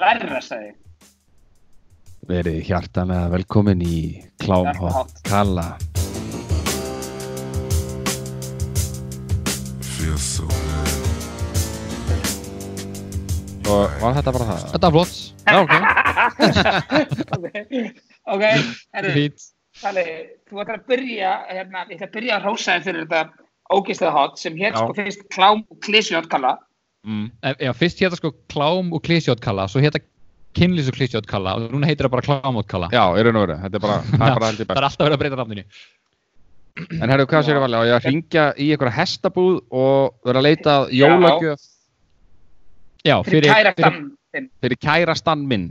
[SPEAKER 4] verra, sagði ég.
[SPEAKER 1] Verið hjartanlega velkomin í Klámhopp
[SPEAKER 4] Klámhopp.
[SPEAKER 1] Kalla.
[SPEAKER 5] Feels so good.
[SPEAKER 1] Og var þetta bara það?
[SPEAKER 3] Þetta er flott,
[SPEAKER 1] Já, ok.
[SPEAKER 4] ok, herru,
[SPEAKER 3] fínt
[SPEAKER 4] Tali, þú ætlar að byrja, hérna, ég ætla að byrja að rósa þér fyrir þetta ógeðslega hot sem hér
[SPEAKER 1] Já.
[SPEAKER 4] sko fyrst klám og klísjótt kalla.
[SPEAKER 1] Mm.
[SPEAKER 3] Eh, Já, fyrst hétta sko klám og klísjótkalla svo hétta kynlýs og klísjótkalla og núna heitir það bara klámótkalla
[SPEAKER 1] Já, í raun og veru. Þetta er bara, það er bara heldur best.
[SPEAKER 3] Það er alltaf verið að breyta nafninu
[SPEAKER 1] En herru, hvað séu valið? Á ég að ringja í einhverja hestabúð og vera að leita að jólagjöf
[SPEAKER 3] Já,
[SPEAKER 4] Fyrir,
[SPEAKER 3] fyrir,
[SPEAKER 4] kæra
[SPEAKER 3] fyrir,
[SPEAKER 4] damminn.
[SPEAKER 1] fyrir kærastan minn.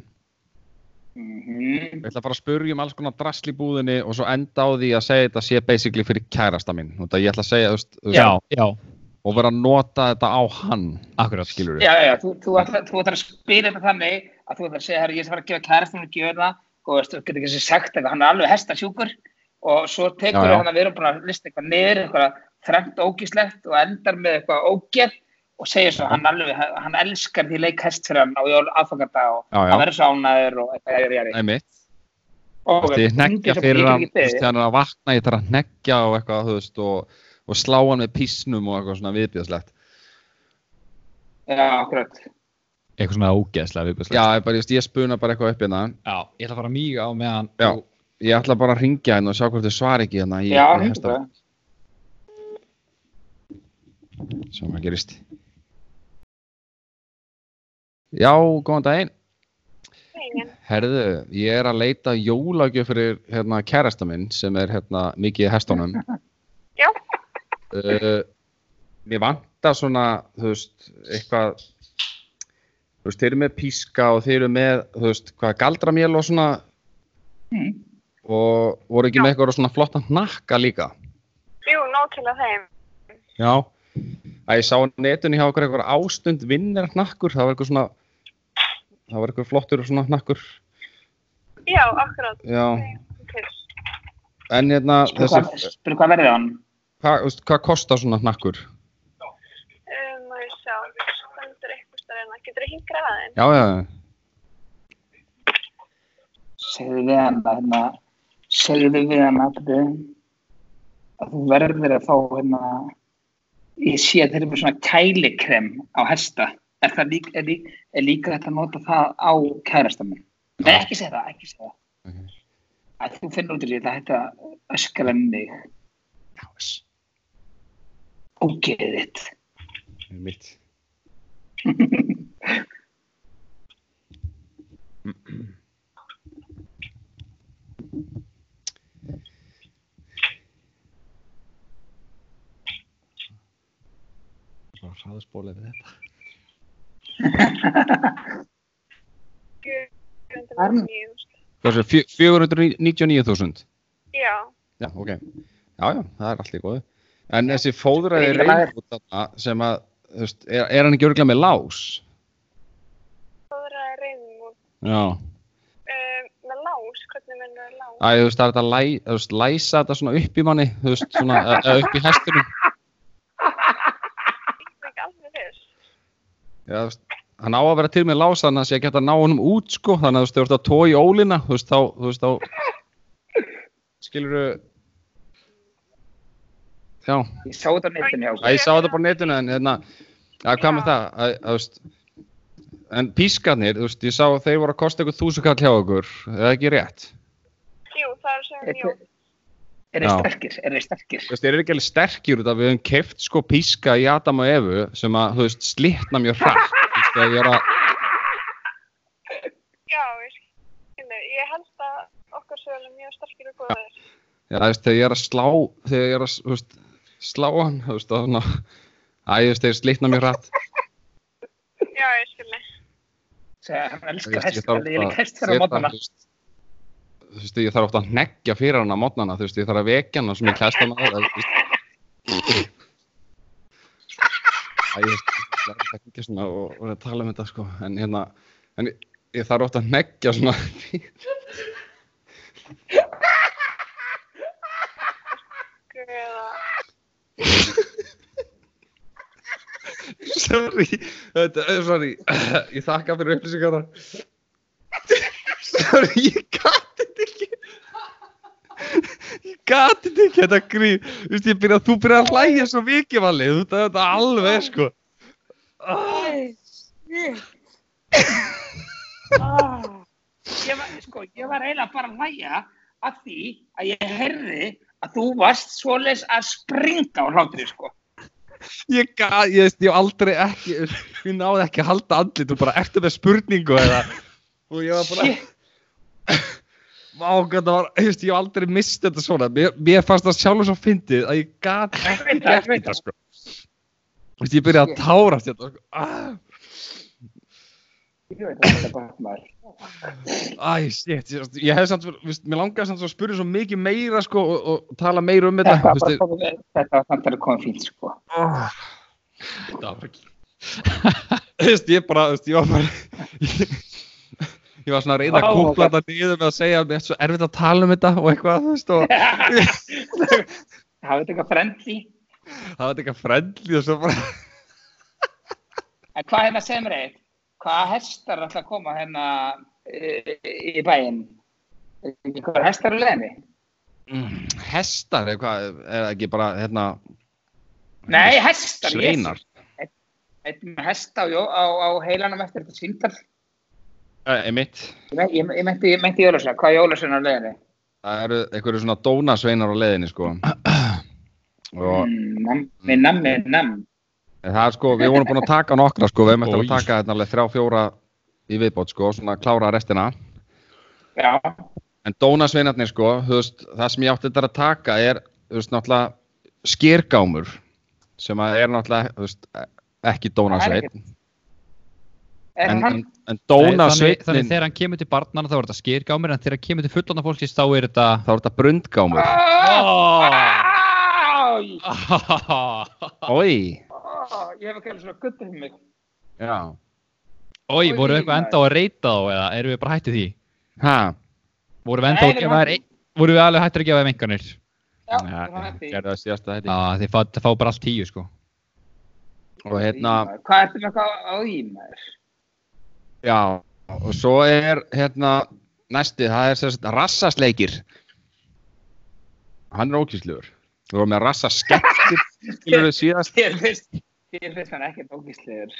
[SPEAKER 4] Mhm.
[SPEAKER 1] Ég ætla að fara að spurja um alls konar drasl í búðinni og svo enda á því að segja þetta sé basically fyrir kærasta minn. Þú veit að ég ætla að segja, þú veist, þú veist,
[SPEAKER 3] Já, já,
[SPEAKER 1] og vera að nota þetta á hann,
[SPEAKER 3] akkurat
[SPEAKER 1] skilur
[SPEAKER 4] Já, já, já, þú, þú, ætlar, þú ætlar að spila þetta þannig að þú ætlar að segja, herru, ég ætla að fara að gefa kærastunum að gjöra það og veist, þú getur ekki sagt eitthvað, hann er alveg hestasjúkur og svo tekur
[SPEAKER 1] Já, já.
[SPEAKER 4] hann að við erum búin að lista eitthvað niður, eitthvað þrengt ógíslegt og endar með eitthvað ógeð og segir svo, hann alveg, hann elskar því leik hest fyrir hann á jól aðfangardag og
[SPEAKER 1] Já, já.
[SPEAKER 4] hann verður svo ánæður og eitthvað, eitthvað, eitthvað,
[SPEAKER 1] Nei mitt.
[SPEAKER 4] Og
[SPEAKER 1] Þú veist, ég hneggja fyrir hann, þú veist,
[SPEAKER 4] hann.
[SPEAKER 1] þegar hann er að vakna, ég þarf að hneggja og eitthvað, þú veist, og, og slá hann með písnum og eitthvað svona viðbjöðslegt.
[SPEAKER 4] Já, akkurat.
[SPEAKER 3] Eitthvað svona ógeðslega
[SPEAKER 1] Já,
[SPEAKER 3] viðbjörnslega
[SPEAKER 1] ég, bara, ég, veist, ég spuna bara eitthvað upp hérna.
[SPEAKER 3] já, ég ætla að fara mýga á meðan
[SPEAKER 1] Já.
[SPEAKER 3] þú-
[SPEAKER 1] Ég ætla bara að ringja hérna og sjá hvort þau svar ekki hérna. Í,
[SPEAKER 4] Já,
[SPEAKER 1] í
[SPEAKER 4] hundur
[SPEAKER 1] hesta-
[SPEAKER 4] það.
[SPEAKER 1] Sjá hvað gerist. Já, góðan daginn.
[SPEAKER 2] Engin.
[SPEAKER 1] Herðu, ég er að leita jólagjöf fyrir hérna kærasta minn sem er hérna mikið í hestunum.
[SPEAKER 2] Já.
[SPEAKER 1] Uh, mér vantar svona, þú veist, eitthvað, þú veist, þeir eru með píska og þeir eru með, þú veist, hvað galdramél og svona
[SPEAKER 4] Mm.
[SPEAKER 1] og voru ekki með eitthvað svona flottan hnakka líka.
[SPEAKER 2] Jú, nóg til að þeim.
[SPEAKER 1] Já. Að ég sá á netunni hjá okkur eitthvað ástund vinnir hnakkur, það var eitthvað svona, það var eitthvað flottur svona hnakkur,
[SPEAKER 2] Já, akkurat.
[SPEAKER 1] já.
[SPEAKER 2] Til.
[SPEAKER 1] En hérna,
[SPEAKER 4] Spyrir Sko, hvað-
[SPEAKER 1] þessi,
[SPEAKER 4] spyrir hvað verðið hann?
[SPEAKER 1] hvað, þú veist, hvað kostar svona hnakkur?
[SPEAKER 2] Um, og ég sjá, stendur eitthvað stærðina. Getur þú hingrað aðeins?
[SPEAKER 1] Já, já, já.
[SPEAKER 4] Segðu við hann að hérna, segðu við hann að þetta að þú verður að fá hérna, ég sé að þeir eru með svona kælikrem á hesta. Er það líka, er líka, er líka þetta að nota það á kærasta minn? Nei, ekki segja það, ekki segja það.
[SPEAKER 1] Ok.
[SPEAKER 4] Að þú finnur út í því, það hætti að öskra mig. Ógeðið þitt.
[SPEAKER 1] mitt hraðspóla við þetta
[SPEAKER 4] Arm.
[SPEAKER 2] 499.
[SPEAKER 1] Hversu, fjö- 499.000
[SPEAKER 2] Já.
[SPEAKER 1] Já, ok Já, já, það er allir góðu En þessi fóðræði
[SPEAKER 4] Ég-
[SPEAKER 1] reyndbúta sem að, þú veist, er, er hann ekki örglega með lás?
[SPEAKER 2] Fóðra reynum út.
[SPEAKER 1] Já
[SPEAKER 2] Um, með lás, hvernig mennur lás?
[SPEAKER 1] Æ, þú veist, það er þetta að læ, þú veist, læsa þetta svona upp í manni, þú veist, svona, eða- eða upp í hestinum.
[SPEAKER 2] Það er ekki alveg þess.
[SPEAKER 1] Já, þú veist, hann á að vera til með lása þannig að sé að geta að ná honum út, sko, þannig að þú veist, þú ert að tói ólina, þú veist, þá, þú veist, þá, skilur já,
[SPEAKER 4] Ég sá þetta á netinu hjá
[SPEAKER 1] Æ, ég sá þetta bara á netinu, en hérna, að hvað með það, að, að, þú veist, en pískarnir, þú veist, ég sá að þeir voru að kosta ykkur þúsukall hjá okkur, eða ekki rétt,
[SPEAKER 2] Jú, það er sem
[SPEAKER 4] Eitthvað-
[SPEAKER 2] jú.
[SPEAKER 4] Er þeir
[SPEAKER 1] Já.
[SPEAKER 4] sterkir? Er þeir sterkir?
[SPEAKER 1] þú veist, þeir eru ekki alveg sterkjur út af við höfum keft sko píska í Adam og Evu sem að, þú veist, slitna mjög hratt, þú veist, þegar ég er að,
[SPEAKER 2] Já, ég skilu. Ég held að okkar sögulega mjög sterkir og góðir.
[SPEAKER 1] Já, þú veist, þegar ég er að slá, þegar ég er að, þú veist, slá hann, þú veist, og svona, æ, þú veist, þeir slitna mjög hratt.
[SPEAKER 2] Já, ég skilu.
[SPEAKER 4] Segja, hann
[SPEAKER 1] Þú
[SPEAKER 4] elskar
[SPEAKER 1] veist,
[SPEAKER 4] hest, ég lík hest fyrir að
[SPEAKER 1] setja,
[SPEAKER 4] mótna
[SPEAKER 1] þú veist, þú veist, ég þarf ofta að neggja fyrir hann að mótnana, þú veist, ég þarf að vekja hann sem ég klæst hann að, þú veist. Æ, þú veist, það er ekki svona og, og að tala um þetta, sko, en hérna, en ég, ég þarf ofta að neggja svona,
[SPEAKER 2] Guða.
[SPEAKER 1] sorry, þetta, sorry, ég þakka fyrir upplýsingarna. Maður, ég gati þetta ekki Ég gati þetta ekki Þetta grín Þú veist, ég byrja, þú byrjar að hlæja svo mikið vali Þú veist, þetta er alveg sko
[SPEAKER 4] Ah, ég, var, sko, ég var eiginlega bara að hlæja að því að ég heyrði að þú varst svoleiðis að springa á hlátri, sko.
[SPEAKER 1] Ég gati, ég veist, ég hef aldrei ekki Ég náði ekki að halda andlit Þú bara ertu með spurningu eða Og ég var bara
[SPEAKER 4] Shit.
[SPEAKER 1] Vá, hvað þetta var, þú veist, ég hef aldrei mist þetta svona Mér, mér fannst það sjálfur svo fyndið Að ég gati
[SPEAKER 4] Ég veit það,
[SPEAKER 1] gert
[SPEAKER 4] ég veit
[SPEAKER 1] þetta
[SPEAKER 4] það.
[SPEAKER 1] sko Þú veist, ég byrja að tárast þetta sko ah.
[SPEAKER 4] Ég veit það, þetta er bara maður.
[SPEAKER 1] Æ, shit, ég, ég hef samt, viðst, mér langaði samt svo að spyrja svo mikið meira, sko, og, og tala meira um
[SPEAKER 4] Þetta
[SPEAKER 1] þetta,
[SPEAKER 4] var bara komið, þetta var samt alveg komið fínt, sko.
[SPEAKER 1] oh, þetta var ekki, viðst, ég bara, viðst, ég var bara, ég, ég var svona að reyna að
[SPEAKER 4] Vá,
[SPEAKER 1] kúpla þetta niður með að segja, mér er svo erfitt að tala um þetta og eitthvað, þú veist, og
[SPEAKER 4] Hafið þetta eitthvað frendli?
[SPEAKER 1] það var eitthvað frendli og svo bara,
[SPEAKER 4] En hvað hérna segir mér eitt? Hvaða hestar er alltaf að koma hérna e, í bæinn? Er ekki Hvaða hestar er leðinni?
[SPEAKER 1] mm, hestar, eða hvað, eða ekki bara, hérna,
[SPEAKER 4] Nei, hestar,
[SPEAKER 1] sveinar,
[SPEAKER 4] Ég er með hesta á, jó- á, á heilanum eftir þetta síndal.
[SPEAKER 1] eh, emitt,
[SPEAKER 4] Ég, me- ég, ég meinti, ég meinti Jólasveina, hvað er Jólasveina á leiðinni?
[SPEAKER 1] það eru einhverju svona dónasveinar á leiðinni, sko, og,
[SPEAKER 4] Mm, nam- Nammi, nammi, nammi.
[SPEAKER 1] En það er sko, við vorum búin að taka nokkra sko, við hefum eftir að
[SPEAKER 3] Oj.
[SPEAKER 1] taka þetta alveg þrjá fjóra í viðbót sko, svona klára restina.
[SPEAKER 4] Já,
[SPEAKER 1] En dónasveinarnir sko, þú veist, það sem ég átti þetta að taka er, þú veist, náttúrulega skýrgámur sem að er náttúrulega, þú veist, e, ekki dónasveinn.
[SPEAKER 4] er
[SPEAKER 1] En, en,
[SPEAKER 4] hann?
[SPEAKER 1] en
[SPEAKER 3] Nei, þannig, þannig
[SPEAKER 1] dónasveinn,
[SPEAKER 3] þegar hann kemur til barnana þá er þetta skýrgámir en þegar hann kemur til fullana fólkis þá er þetta
[SPEAKER 1] þá er þetta brundgámur.
[SPEAKER 3] oh.
[SPEAKER 4] Æj,
[SPEAKER 1] Oi,
[SPEAKER 4] ég hef ekki alveg svona guttur um mig.
[SPEAKER 1] já,
[SPEAKER 3] Ói, voru við eitthvað enda á að reyta þá eða erum við bara hættið því?
[SPEAKER 1] ha,
[SPEAKER 3] Voru við enda á
[SPEAKER 4] Nei,
[SPEAKER 3] að
[SPEAKER 4] við
[SPEAKER 3] gefa þær
[SPEAKER 4] hættum.
[SPEAKER 3] voru við alveg hættir að gefa þeim enganir?
[SPEAKER 4] Já,
[SPEAKER 1] ja,
[SPEAKER 4] það er því.
[SPEAKER 1] gerðu það síðasta þetta.
[SPEAKER 3] Já, þeir fá, fá bara allt tíu sko
[SPEAKER 1] Og hérna,
[SPEAKER 4] Hvað ertu með eitthvað á því, maður?
[SPEAKER 1] já, og svo er, hérna, næsti, það er sérst rassasleikir. Hann er ókýrslegur. Við vorum með rassa skeptir skilur við síðast.
[SPEAKER 4] Þér finnst, þér finnst hann ekkert ógíslegur.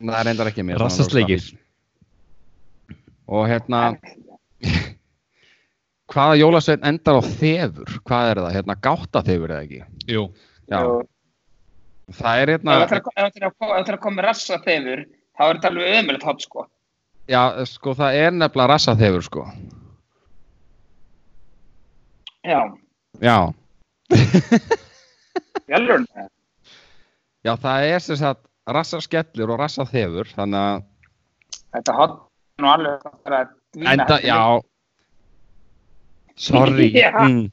[SPEAKER 1] Nei, Það reyndar ekki mér.
[SPEAKER 3] Rassasleikir.
[SPEAKER 1] Og hérna, hvaða jólasveinn endar á þefur? Hvað er það? Hérna, gáta þefur eða ekki?
[SPEAKER 3] Jú,
[SPEAKER 1] Já, það er
[SPEAKER 4] Ef
[SPEAKER 1] hérna,
[SPEAKER 4] þetta er að- ef þetta er að ko- ef þetta er að koma með rassa þefur, þá er þetta alveg ömulegt hopp, sko.
[SPEAKER 1] já, sko, það er nefnilega rassa þefur, sko.
[SPEAKER 4] Já,
[SPEAKER 1] Já,
[SPEAKER 4] jálfurinn.
[SPEAKER 1] já, það er sem sagt rassa skellur og rassa þefur, þannig að
[SPEAKER 4] Þetta hopp er nú alveg að fara að dvína.
[SPEAKER 1] Enda, já Sorry
[SPEAKER 4] Já.
[SPEAKER 1] mm.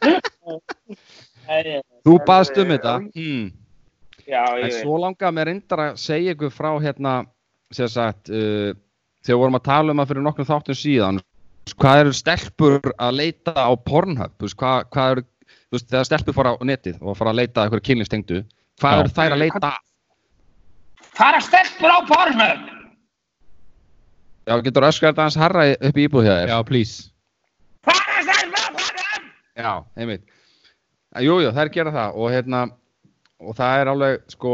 [SPEAKER 4] já.
[SPEAKER 1] Þú baðst um þetta mm.
[SPEAKER 4] Já, ég
[SPEAKER 1] En
[SPEAKER 4] veit.
[SPEAKER 1] svo langaði mér reyndar að segja ykkur frá hérna sem sagt uh, þegar vorum að tala um það fyrir nokkrum þáttum síðan hvað eru stelpur að leita á Pornhub þú veist, hvað, hvað eru, þú veist, þegar stelpur fara á netið og fara að leita að ykkur kynlistengdu hvað
[SPEAKER 3] Já.
[SPEAKER 1] eru þær að leita að?
[SPEAKER 4] Fara stelpur á pornum!
[SPEAKER 1] Já, getur öskar þetta hans harra upp í íbúð hjá þér
[SPEAKER 3] já, please
[SPEAKER 4] Fara stelpur á pornum!
[SPEAKER 1] Já, einmitt. En Jú, jú, þær gera það og hérna, og það er alveg, sko,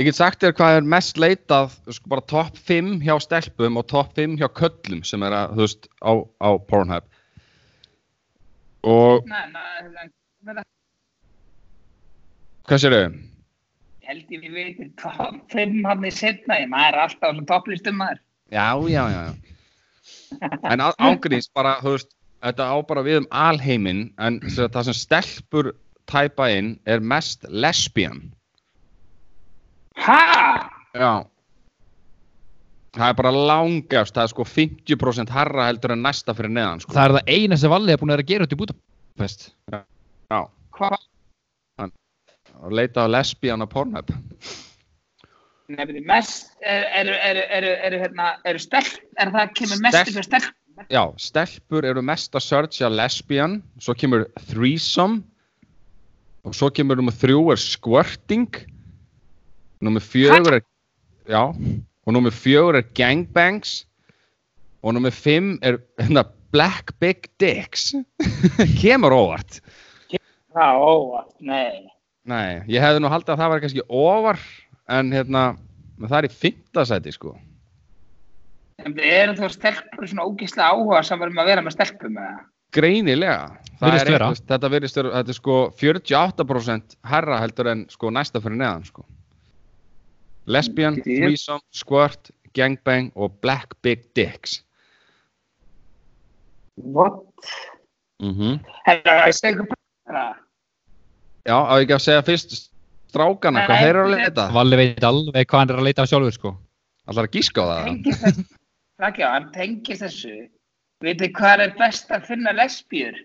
[SPEAKER 1] ég get sagt þér hvað er mest leitað, sko, bara topp 5 hjá stelpum og topp 5 hjá köllum sem er að, þú veist, á, á Pornhub. Og,
[SPEAKER 4] Nei, nei, nei, nei,
[SPEAKER 1] hvað sér þau?
[SPEAKER 4] ég held ég við veitir top 5 hann í setna, ég maður er alltaf á svona topplistum maður.
[SPEAKER 1] Já, já, já. já. En á- ángríns, bara, þú veist, þetta á bara við um alheiminn, en sem sagt, það sem stelpur tæpa inn er mest lesbían.
[SPEAKER 4] Ha?
[SPEAKER 1] Já Það er bara langjast, það er sko 50% harra heldur en næsta fyrir neðan sko.
[SPEAKER 3] Það er það eina sem Valli er búin að vera að gera út í Budapest
[SPEAKER 1] Já,
[SPEAKER 4] Hvað?
[SPEAKER 1] og leita á lesbíana pornhub
[SPEAKER 4] Nei, betur, mest eru, eru, eru, eru, eru, hérna, eru stelp, er það kemur mest
[SPEAKER 1] Stelp-
[SPEAKER 4] ykkur stelp?
[SPEAKER 1] Já, stelpur eru mest að searcha lesbían, svo kemur threesome og svo kemur nummer þrjú er squirting nummer fjögur er já, og nummer fjögur er gangbangs og nummer 5 er hérna, Black Big Dicks kemur óvart
[SPEAKER 4] Það er óvart, nei.
[SPEAKER 1] Nei, ég hefði nú haldið að það var kannski óvar en hérna, það er í fymta sæti sko
[SPEAKER 4] En við erum þá stelpur svona ógeðslega áhuga samar um að vera með stelpum með það.
[SPEAKER 1] greinilega Það
[SPEAKER 3] Virðist
[SPEAKER 1] er
[SPEAKER 3] vera.
[SPEAKER 1] eitthvað- þetta virðist vera, þetta er sko 48% herra heldur en sko næsta fyrir neðan sko lesbian,
[SPEAKER 4] Ég-
[SPEAKER 1] threesome, squirt gangbang og black big dicks
[SPEAKER 4] What?
[SPEAKER 1] mhm
[SPEAKER 4] Herra, ég segi ykkur bara.
[SPEAKER 1] Já, á ég ekki að segja fyrst strákana, hvað
[SPEAKER 4] Nei,
[SPEAKER 1] þeir eru að
[SPEAKER 4] nei.
[SPEAKER 1] leita?
[SPEAKER 3] Valli veit alveg hvað hann er að leita á sjálfur sko.
[SPEAKER 1] Allar að gíska á það?
[SPEAKER 4] Tengist þessu. Rækja, hann tengist þessu. Vitið hvað er best að finna lesbíur?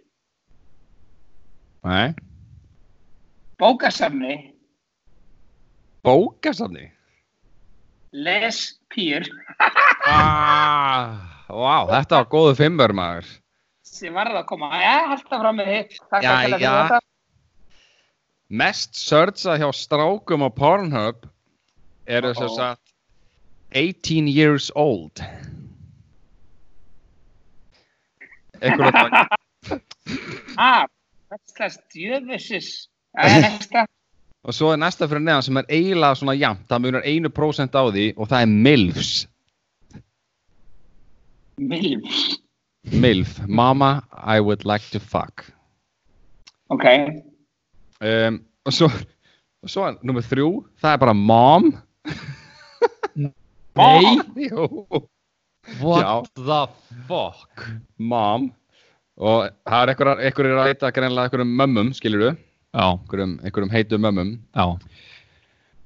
[SPEAKER 1] Nei.
[SPEAKER 4] Bókasafni,
[SPEAKER 1] Bókasafni?
[SPEAKER 4] lesbíur,
[SPEAKER 1] Ah, Vá, þetta var góðu fimmur maður.
[SPEAKER 4] sem var það að koma. Já, halda fram með hitt. Takk
[SPEAKER 1] Já,
[SPEAKER 4] að fyrir
[SPEAKER 1] já.
[SPEAKER 4] þetta.
[SPEAKER 1] Mest searchað hjá strákum á Pornhub eru
[SPEAKER 4] Uh-oh.
[SPEAKER 1] sem sagt 18 years old. Ekkur að það,
[SPEAKER 4] Ah, Vestlast djöfusis. Það er næsta.
[SPEAKER 1] og svo er næsta fyrir neðan sem er eiginlega svona jafnt, það munar 1% á því og það er MILFs.
[SPEAKER 4] Milf.
[SPEAKER 1] MILF, Mama I would like to fuck.
[SPEAKER 4] Ok.
[SPEAKER 1] um, og svo og svo er nummer þrjú, það er bara mom
[SPEAKER 3] Nei,
[SPEAKER 1] Jú,
[SPEAKER 3] what
[SPEAKER 1] Já.
[SPEAKER 3] the fuck
[SPEAKER 1] mom og það er einhver, einhver er að leita greinlega einhverjum mömmum, skilur du
[SPEAKER 3] Já,
[SPEAKER 1] einhverjum, einhverjum heitum mömmum
[SPEAKER 3] já,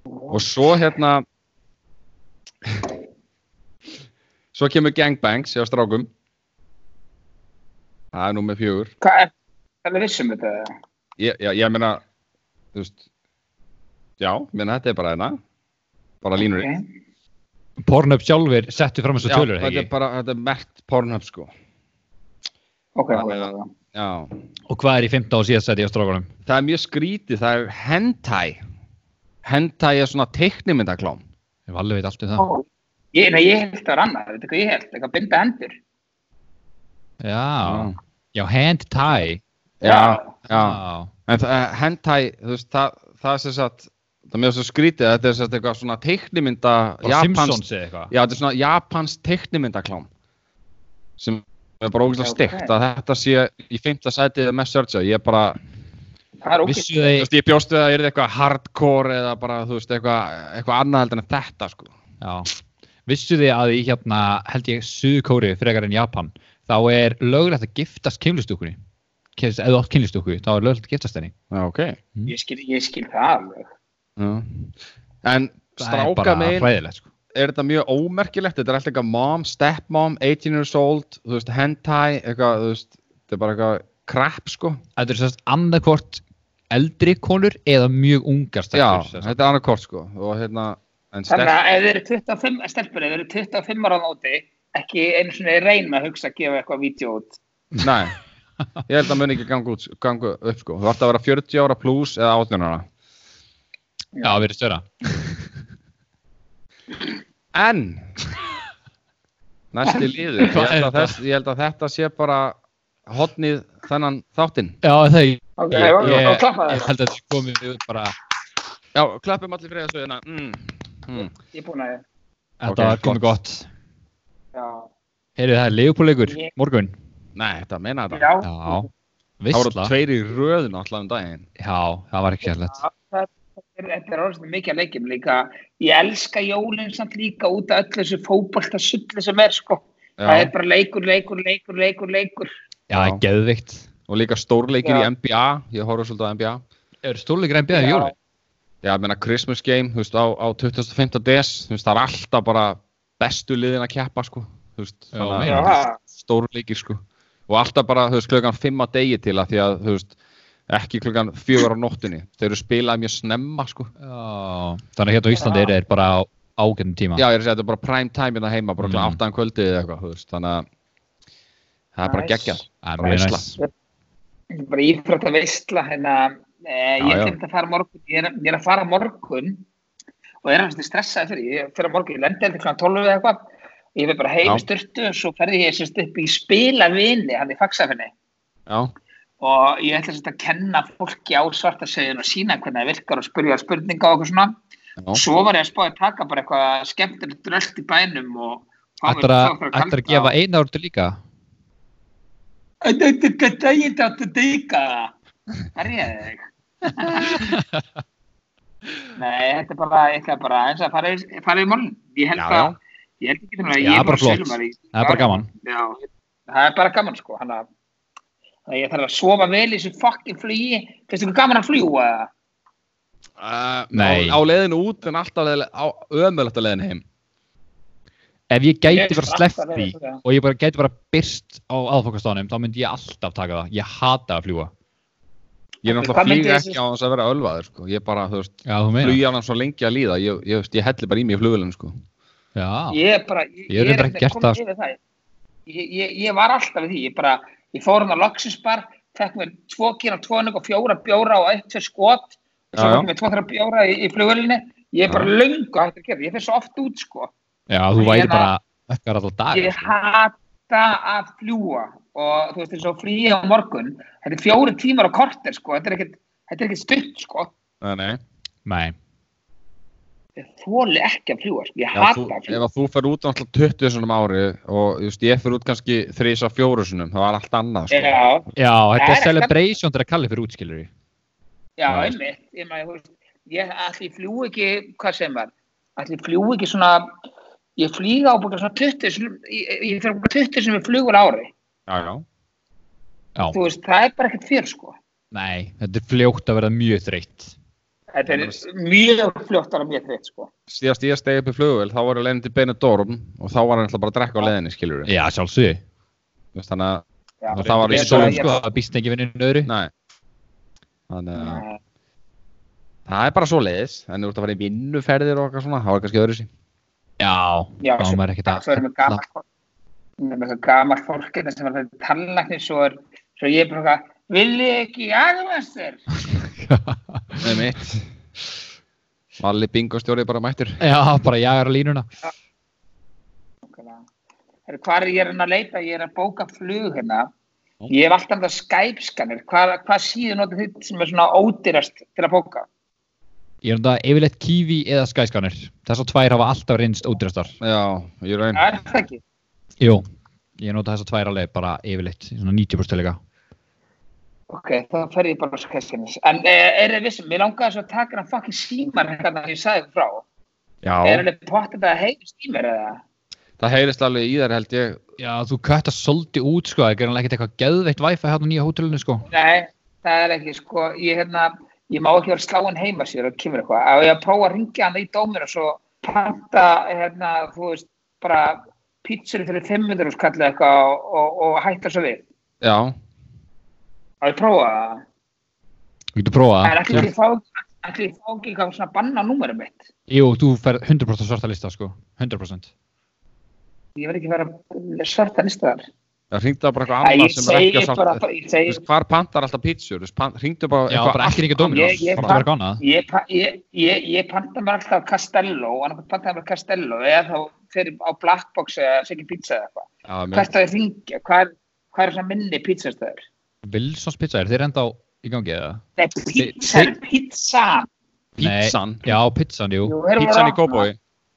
[SPEAKER 1] og svo hérna svo kemur gangbangs hjá strákum það er nummer fjögur
[SPEAKER 4] Hvað er það er vissum þetta? eða?
[SPEAKER 1] ég, já, ég meina þú veist já, ég meina þetta er bara hérna bara línur
[SPEAKER 4] Ok.
[SPEAKER 3] Pornhub sjálfur settu fram þessu
[SPEAKER 1] já,
[SPEAKER 3] tölur
[SPEAKER 1] þetta er
[SPEAKER 3] ekki?
[SPEAKER 1] bara, þetta er mert pornhub sko
[SPEAKER 4] Ok,
[SPEAKER 1] Já,
[SPEAKER 4] ok,
[SPEAKER 1] já.
[SPEAKER 4] ok.
[SPEAKER 1] já,
[SPEAKER 3] Og hvað er í 15 og síðast seti á strákunum?
[SPEAKER 1] það er mjög skrítið, það er hentai hentai er svona teiknimyndaklám
[SPEAKER 3] Valli veit allt um það
[SPEAKER 4] Ó, Ég, nei, ég held að það var annað, veitu hvað ég held, eitthvað að binda hendur.
[SPEAKER 3] Já, já, hand tie
[SPEAKER 1] já, Mm. já.
[SPEAKER 3] Já,
[SPEAKER 1] en það, eh, hentai, þú veist, það, það er sem sagt það er mjög svo skrítið, að þetta er sem sagt eitthvað svona teiknimynda
[SPEAKER 3] bara Simpsons eða eitthvað
[SPEAKER 1] já, þetta er svona japans teiknimyndaklám sem er bara ógæslega
[SPEAKER 4] Já,
[SPEAKER 1] steikt
[SPEAKER 4] ok.
[SPEAKER 1] að þetta sé í fymta sætið eða mest searcha, ég er bara
[SPEAKER 4] Það er ógeð.
[SPEAKER 3] Vissu
[SPEAKER 1] þú
[SPEAKER 3] þeir,
[SPEAKER 1] veist, ég bjóst við að það er eitthvað hardcore eða bara, þú veist, eitthvað eitthvað annað heldur en þetta, sko
[SPEAKER 3] já, vissu þið að í hérna held ég Suðkóri frekar en Japan þá er lögulegt að giftast kynlistúkunni Kynlist, eða átt kynlistúku, þá er lögulegt að giftast henni
[SPEAKER 1] já, ok
[SPEAKER 4] Ég skil, ég skil það alveg.
[SPEAKER 1] já. en
[SPEAKER 3] Það er bara
[SPEAKER 1] stráka meil
[SPEAKER 3] hræðilegt sko.
[SPEAKER 1] er þetta mjög ómerkilegt þetta er alltaf eitthvað mom, stepmom, 18 years old þú veist, hentai, eitthvað þú veist, þetta er bara eitthvað crap sko
[SPEAKER 3] Þetta er sérst annarkvort eldri konur eða mjög ungar
[SPEAKER 1] já,
[SPEAKER 3] stelpur, sem sagt.
[SPEAKER 1] þetta er annað kort sko og hérna, en
[SPEAKER 4] Þannig
[SPEAKER 1] step,
[SPEAKER 4] að ef þið eru 25, stelpur, ef þið eru 25 ára á nóti, ekki einu svona reyna að hugsa að gefa eitthvað vídeo út.
[SPEAKER 1] nei ég held að muni ekki ganga, út, ganga upp sko þú ætti að vera 40 ára pluss eða 18 ára
[SPEAKER 3] Já, við erum störa
[SPEAKER 1] en næsti liður, ég
[SPEAKER 3] Hvað er
[SPEAKER 1] held, að þess, ég held að þetta sé bara hotnið þennan þáttinn
[SPEAKER 3] Já, það er
[SPEAKER 4] Ok,
[SPEAKER 1] Ég-
[SPEAKER 4] ok,
[SPEAKER 3] ég,
[SPEAKER 4] ok, klappa
[SPEAKER 3] ég
[SPEAKER 4] það.
[SPEAKER 3] held að þetta komið við bara
[SPEAKER 1] já, klappum allir fyrir þessu hérna mm, mm.
[SPEAKER 4] Ég er búin að,
[SPEAKER 3] Þetta
[SPEAKER 1] Ok,
[SPEAKER 3] komið
[SPEAKER 1] gott.
[SPEAKER 3] gott
[SPEAKER 4] já,
[SPEAKER 3] Heyrðu það er leifupúleikur,
[SPEAKER 4] Ég-
[SPEAKER 3] morgun
[SPEAKER 1] nei, þetta meina þetta
[SPEAKER 4] já.
[SPEAKER 3] Já,
[SPEAKER 1] það voru
[SPEAKER 3] veistla
[SPEAKER 1] tveir í röðin alltaf um daginn
[SPEAKER 3] Já, það var ekki sérlegt
[SPEAKER 4] Já, það- Þetta er- þetta er orðið mikið að leikjum líka. Ég elska jólinn samt líka út af öllu þessu fótbolta sem er sko. Það
[SPEAKER 1] Já.
[SPEAKER 4] er bara leikur, leikur, leikur, leikur, leikur.
[SPEAKER 3] Já, það er geðvikt
[SPEAKER 1] og líka stórleikir
[SPEAKER 4] Já.
[SPEAKER 1] í NBA ég horfður svolítið á NBA
[SPEAKER 3] Er stólulegur enn bjöðið
[SPEAKER 4] Já.
[SPEAKER 3] jólum?
[SPEAKER 1] já, ég meina Christmas game, þú veist, á, á 25. des þú veist, það er alltaf bara bestu liðin að keppa, sko þú veist,
[SPEAKER 3] Já,
[SPEAKER 1] þannig að
[SPEAKER 3] meinar.
[SPEAKER 4] Já.
[SPEAKER 1] stórleikir, sko og alltaf bara, þú veist, klukkan 5 að degi til að því að, þú veist, ekki klukkan 4 á nóttunni, þeir eru spilað mjög snemma, sko
[SPEAKER 3] Já, þannig að hérna á Íslandi er, er bara á ágæðum tíma.
[SPEAKER 1] já, ég er að segja, þetta er bara prime time hérna heima, bara klukkan
[SPEAKER 3] Mm.
[SPEAKER 1] 8 að kvöldi eða eitthvað, þú veist, þannig að það er bara
[SPEAKER 4] Nice.
[SPEAKER 1] geggjað
[SPEAKER 3] það er
[SPEAKER 1] bara
[SPEAKER 3] mjög
[SPEAKER 1] veisla.
[SPEAKER 3] næst.
[SPEAKER 4] Þetta er bara íþrótt að veistla hérna, e,
[SPEAKER 1] Já,
[SPEAKER 4] ég
[SPEAKER 1] já.
[SPEAKER 4] glemt að fara á morgun ég er, ég er að fara á morgun og er hans stressaði fyrir, ég fyrir morgun, ég lendi heldur kl. 12 hérna eða eitthvað Ég fyrir bara heim
[SPEAKER 1] Já.
[SPEAKER 4] í styrtu og svo ferði ég sérst upp í spilavini hann í fagsafinni
[SPEAKER 1] já,
[SPEAKER 4] og ég ætla sérst að kenna fólki á svartasegin og sína hvernig það virkar og spurja spurninga og okkur svona.
[SPEAKER 1] já.
[SPEAKER 4] Svo var ég að spá að taka bara eitthvað skemmtilegt drölt í bænum og fá mér-
[SPEAKER 3] Ættir
[SPEAKER 4] fá okkur
[SPEAKER 3] að
[SPEAKER 4] kalda.
[SPEAKER 3] gefa eina orðu líka?
[SPEAKER 4] Þetta er ekki daginn þátt að deyka það. Það er ég þig. Nei, þetta er bara, ég ætla bara eins að fara í, fara í málun. Ég held
[SPEAKER 1] Já,
[SPEAKER 4] að, ég held ekki þannig að
[SPEAKER 3] Já,
[SPEAKER 4] ég
[SPEAKER 3] bara
[SPEAKER 4] er búinn að
[SPEAKER 3] flott.
[SPEAKER 4] sölu maður í-
[SPEAKER 3] Það er bara gaman.
[SPEAKER 4] Já, það er bara gaman sko. Þannig að- þannig að ég þarf að sofa vel í þessu fucking flugi. Finnst ykkur gaman að fljúa?
[SPEAKER 1] Uh,
[SPEAKER 3] Nei.
[SPEAKER 1] á, á leiðinu út en alltaf leiðinu, á ömulegt að leiðinu heim
[SPEAKER 3] Ef ég gæti
[SPEAKER 4] Ég
[SPEAKER 3] bara
[SPEAKER 4] er
[SPEAKER 3] sleppt
[SPEAKER 4] alltaf sko.
[SPEAKER 3] því
[SPEAKER 4] verið það.
[SPEAKER 3] og ég bara gæti bara byrst á aðfokastanum, þá myndi ég alltaf taka það. Ég hata að fljúa.
[SPEAKER 1] ég er
[SPEAKER 4] Ok,
[SPEAKER 1] náttúrulega
[SPEAKER 4] hvað
[SPEAKER 1] að
[SPEAKER 4] myndi
[SPEAKER 1] flýga
[SPEAKER 4] þessi-
[SPEAKER 1] ekki á þess að vera ölvaður sko. ég bara, þú veist,
[SPEAKER 3] Já, þú meina.
[SPEAKER 1] flugja hann svo lengi að líða ég, ég, veist, ég helli bara í mig í flugulinn sko.
[SPEAKER 3] Já,
[SPEAKER 4] Ég er bara, ég,
[SPEAKER 3] Ah. Ég er reyndar
[SPEAKER 4] ekki
[SPEAKER 3] ekki gert
[SPEAKER 4] kominn
[SPEAKER 3] það. sko.
[SPEAKER 4] yfir það. Ég, ég, ég var alltaf við því. Ég bara, ég fór hann að loksinsbar, fekk mér tvo kín og tvoning og fjóra bjóra og eitt fyrir skot. og
[SPEAKER 1] Já,
[SPEAKER 4] Svo
[SPEAKER 1] já.
[SPEAKER 4] fekk mér tvo þrjá bjóra í, í flugvölinni. Ég er bara
[SPEAKER 1] Já.
[SPEAKER 4] löngu hægt að gera. það. Ég fyrir svo oft út, sko.
[SPEAKER 3] já þú
[SPEAKER 4] Ég
[SPEAKER 3] væri
[SPEAKER 4] er
[SPEAKER 3] bara ökkar sko. alltaf dag.
[SPEAKER 4] Ég hata að fljúa og þú veist eins og fríi á morgun. Þetta er fjóri tímar og korter, sko. Þetta er ekkert, þetta er ekkert stutt, sko.
[SPEAKER 1] nei, nei.
[SPEAKER 3] Nei,
[SPEAKER 4] Ég þóli ekki að fljúa, sko. Ég
[SPEAKER 1] Já,
[SPEAKER 4] hata
[SPEAKER 1] þú,
[SPEAKER 4] að
[SPEAKER 1] ef
[SPEAKER 4] fljúa.
[SPEAKER 1] að þú fer út náttúrulega 20 sinum ári og þú veist, ég fer út kannski 3-4 sinum, það var allt annað sko.
[SPEAKER 4] Já,
[SPEAKER 3] já, þetta er
[SPEAKER 4] Það er
[SPEAKER 3] celebration til að kalla fyrir útskilur.
[SPEAKER 4] Já,
[SPEAKER 1] Já.
[SPEAKER 4] einmitt. Ég maður, þú veist, ég ætli ég fljú ekki, hvað sem var, ætli ég fljú ekki svona, ég flýga á búin svona 20, sinnum- ég, ég fyrir búin 20 sem við flugur ári.
[SPEAKER 1] já, já.
[SPEAKER 3] Já,
[SPEAKER 4] Þú veist, það er bara ekkert fyrir, sko.
[SPEAKER 3] nei, þetta er fljótt að verða mjög þreytt.
[SPEAKER 4] Þetta er mjög fljótt ára mjög þreitt, sko.
[SPEAKER 1] síðast ég stegi upp í flugvél, þá var ég leiðin til Benidorm og þá var hann alltaf bara að drekka á leiðinni, skiljur
[SPEAKER 3] Já, sjálfsög.
[SPEAKER 1] við þannig að,
[SPEAKER 4] Já,
[SPEAKER 1] Og það var í
[SPEAKER 4] Ég-
[SPEAKER 1] sól,
[SPEAKER 3] sólum
[SPEAKER 4] ég-
[SPEAKER 3] sko, að býst ekki vinni nöðru.
[SPEAKER 1] nei þannig að
[SPEAKER 4] Nei.
[SPEAKER 1] það er bara svo leiðis, þannig að þú ert að fara í vinnuferðir og eitthvað svona, það var kannski öðru sér
[SPEAKER 3] Já,
[SPEAKER 4] Já,
[SPEAKER 3] þá
[SPEAKER 4] svo-
[SPEAKER 3] er maður ekkert
[SPEAKER 4] svo erum við gamalt fólk, með þessu gamalt fólk hérna sem var fyrir tannlækni, svo er, svo ég er bara eitthvað, vil ég ekki aðvæmast þér?
[SPEAKER 1] með mitt Valli bingostjóri bara mættur
[SPEAKER 3] Já, bara jagar á línuna.
[SPEAKER 4] Nákvæmlega. Herru, Hvar er ég er að leita? Ég er að bóka flug hérna. Ég hef alltaf það Skype-skanir. Hvað, hvað síðu notur þitt sem er svona ódýrast til að bóka?
[SPEAKER 3] Ég er um þetta yfirleitt Kiwi eða Skyscanner. Þessar tvær hafa alltaf reynst útrastar.
[SPEAKER 1] já, ég raun
[SPEAKER 4] Það er það ekki.
[SPEAKER 3] Jú, ég nota þessar tvær alveg bara yfirleitt, í svona 90% leika.
[SPEAKER 4] Ok, þá fer ég bara á Skype-skanir. En eh, er það vissum, mér langaði svo að taka hann fucking símar hérna þegar ég sagði ykkur frá. Er
[SPEAKER 1] já,
[SPEAKER 4] hann pottet að heim símar eða?
[SPEAKER 1] það heyrist alveg í þær held ég
[SPEAKER 3] Já, þú kvætt að svolítið út sko, það er greinlega ekkert eitthvað geðveitt væfa hérna á nýja hótelinu sko.
[SPEAKER 4] Nei, það er ekki, sko, ég hérna, ég má ekki vera sláin heima sér og kemur eitthvað. Á ég að prófa að ringja hann í dóminu og svo panta, hérna, þú veist, bara pítsur fyrir 500 skallið eitthvað og, og, og hætta svo við.
[SPEAKER 1] já,
[SPEAKER 4] Á ég að prófa
[SPEAKER 1] Ah,
[SPEAKER 4] það.
[SPEAKER 3] Þú getur prófað
[SPEAKER 4] En
[SPEAKER 3] það.
[SPEAKER 4] ætli ég fá, ætli ég fá ekki eitthvað svona banna númerum mitt.
[SPEAKER 3] Jú, þú ferð 100% svarta lista sko, 100%.
[SPEAKER 4] Ég verð ekki vera svarta listaðar.
[SPEAKER 1] það hringdi það bara eitthvað
[SPEAKER 4] Æ,
[SPEAKER 1] annað
[SPEAKER 4] ég
[SPEAKER 1] sem er ekki
[SPEAKER 4] segi
[SPEAKER 1] að
[SPEAKER 4] bara,
[SPEAKER 1] sátt
[SPEAKER 4] ég
[SPEAKER 1] Þú
[SPEAKER 4] segi,
[SPEAKER 1] veist, hvar pantar alltaf pítsur, Þú veist, pan- hringdu bara
[SPEAKER 3] Já, bara ekki ringja Dominos,
[SPEAKER 4] Ég- ég-
[SPEAKER 3] bara vera gánað.
[SPEAKER 4] Ég, pa- ég, ég, ég panta mér alltaf Castello, annarkoð panta mér Castello eða þá fyrir á Blackbox eða Siggy Pizza eða eitthvað. Hvert
[SPEAKER 1] annað
[SPEAKER 4] að ég ringja? Hvað er, hvað er svona minni pizzastöður?
[SPEAKER 3] Wilsons pizza, er þeir enda á í gangi eða?
[SPEAKER 4] Nei, pizza,
[SPEAKER 1] Þi-
[SPEAKER 4] pizza.
[SPEAKER 1] pizzan,
[SPEAKER 3] Já, pizzan, jú.
[SPEAKER 4] Jú, erum við
[SPEAKER 1] pizzan í
[SPEAKER 4] að-
[SPEAKER 1] kópói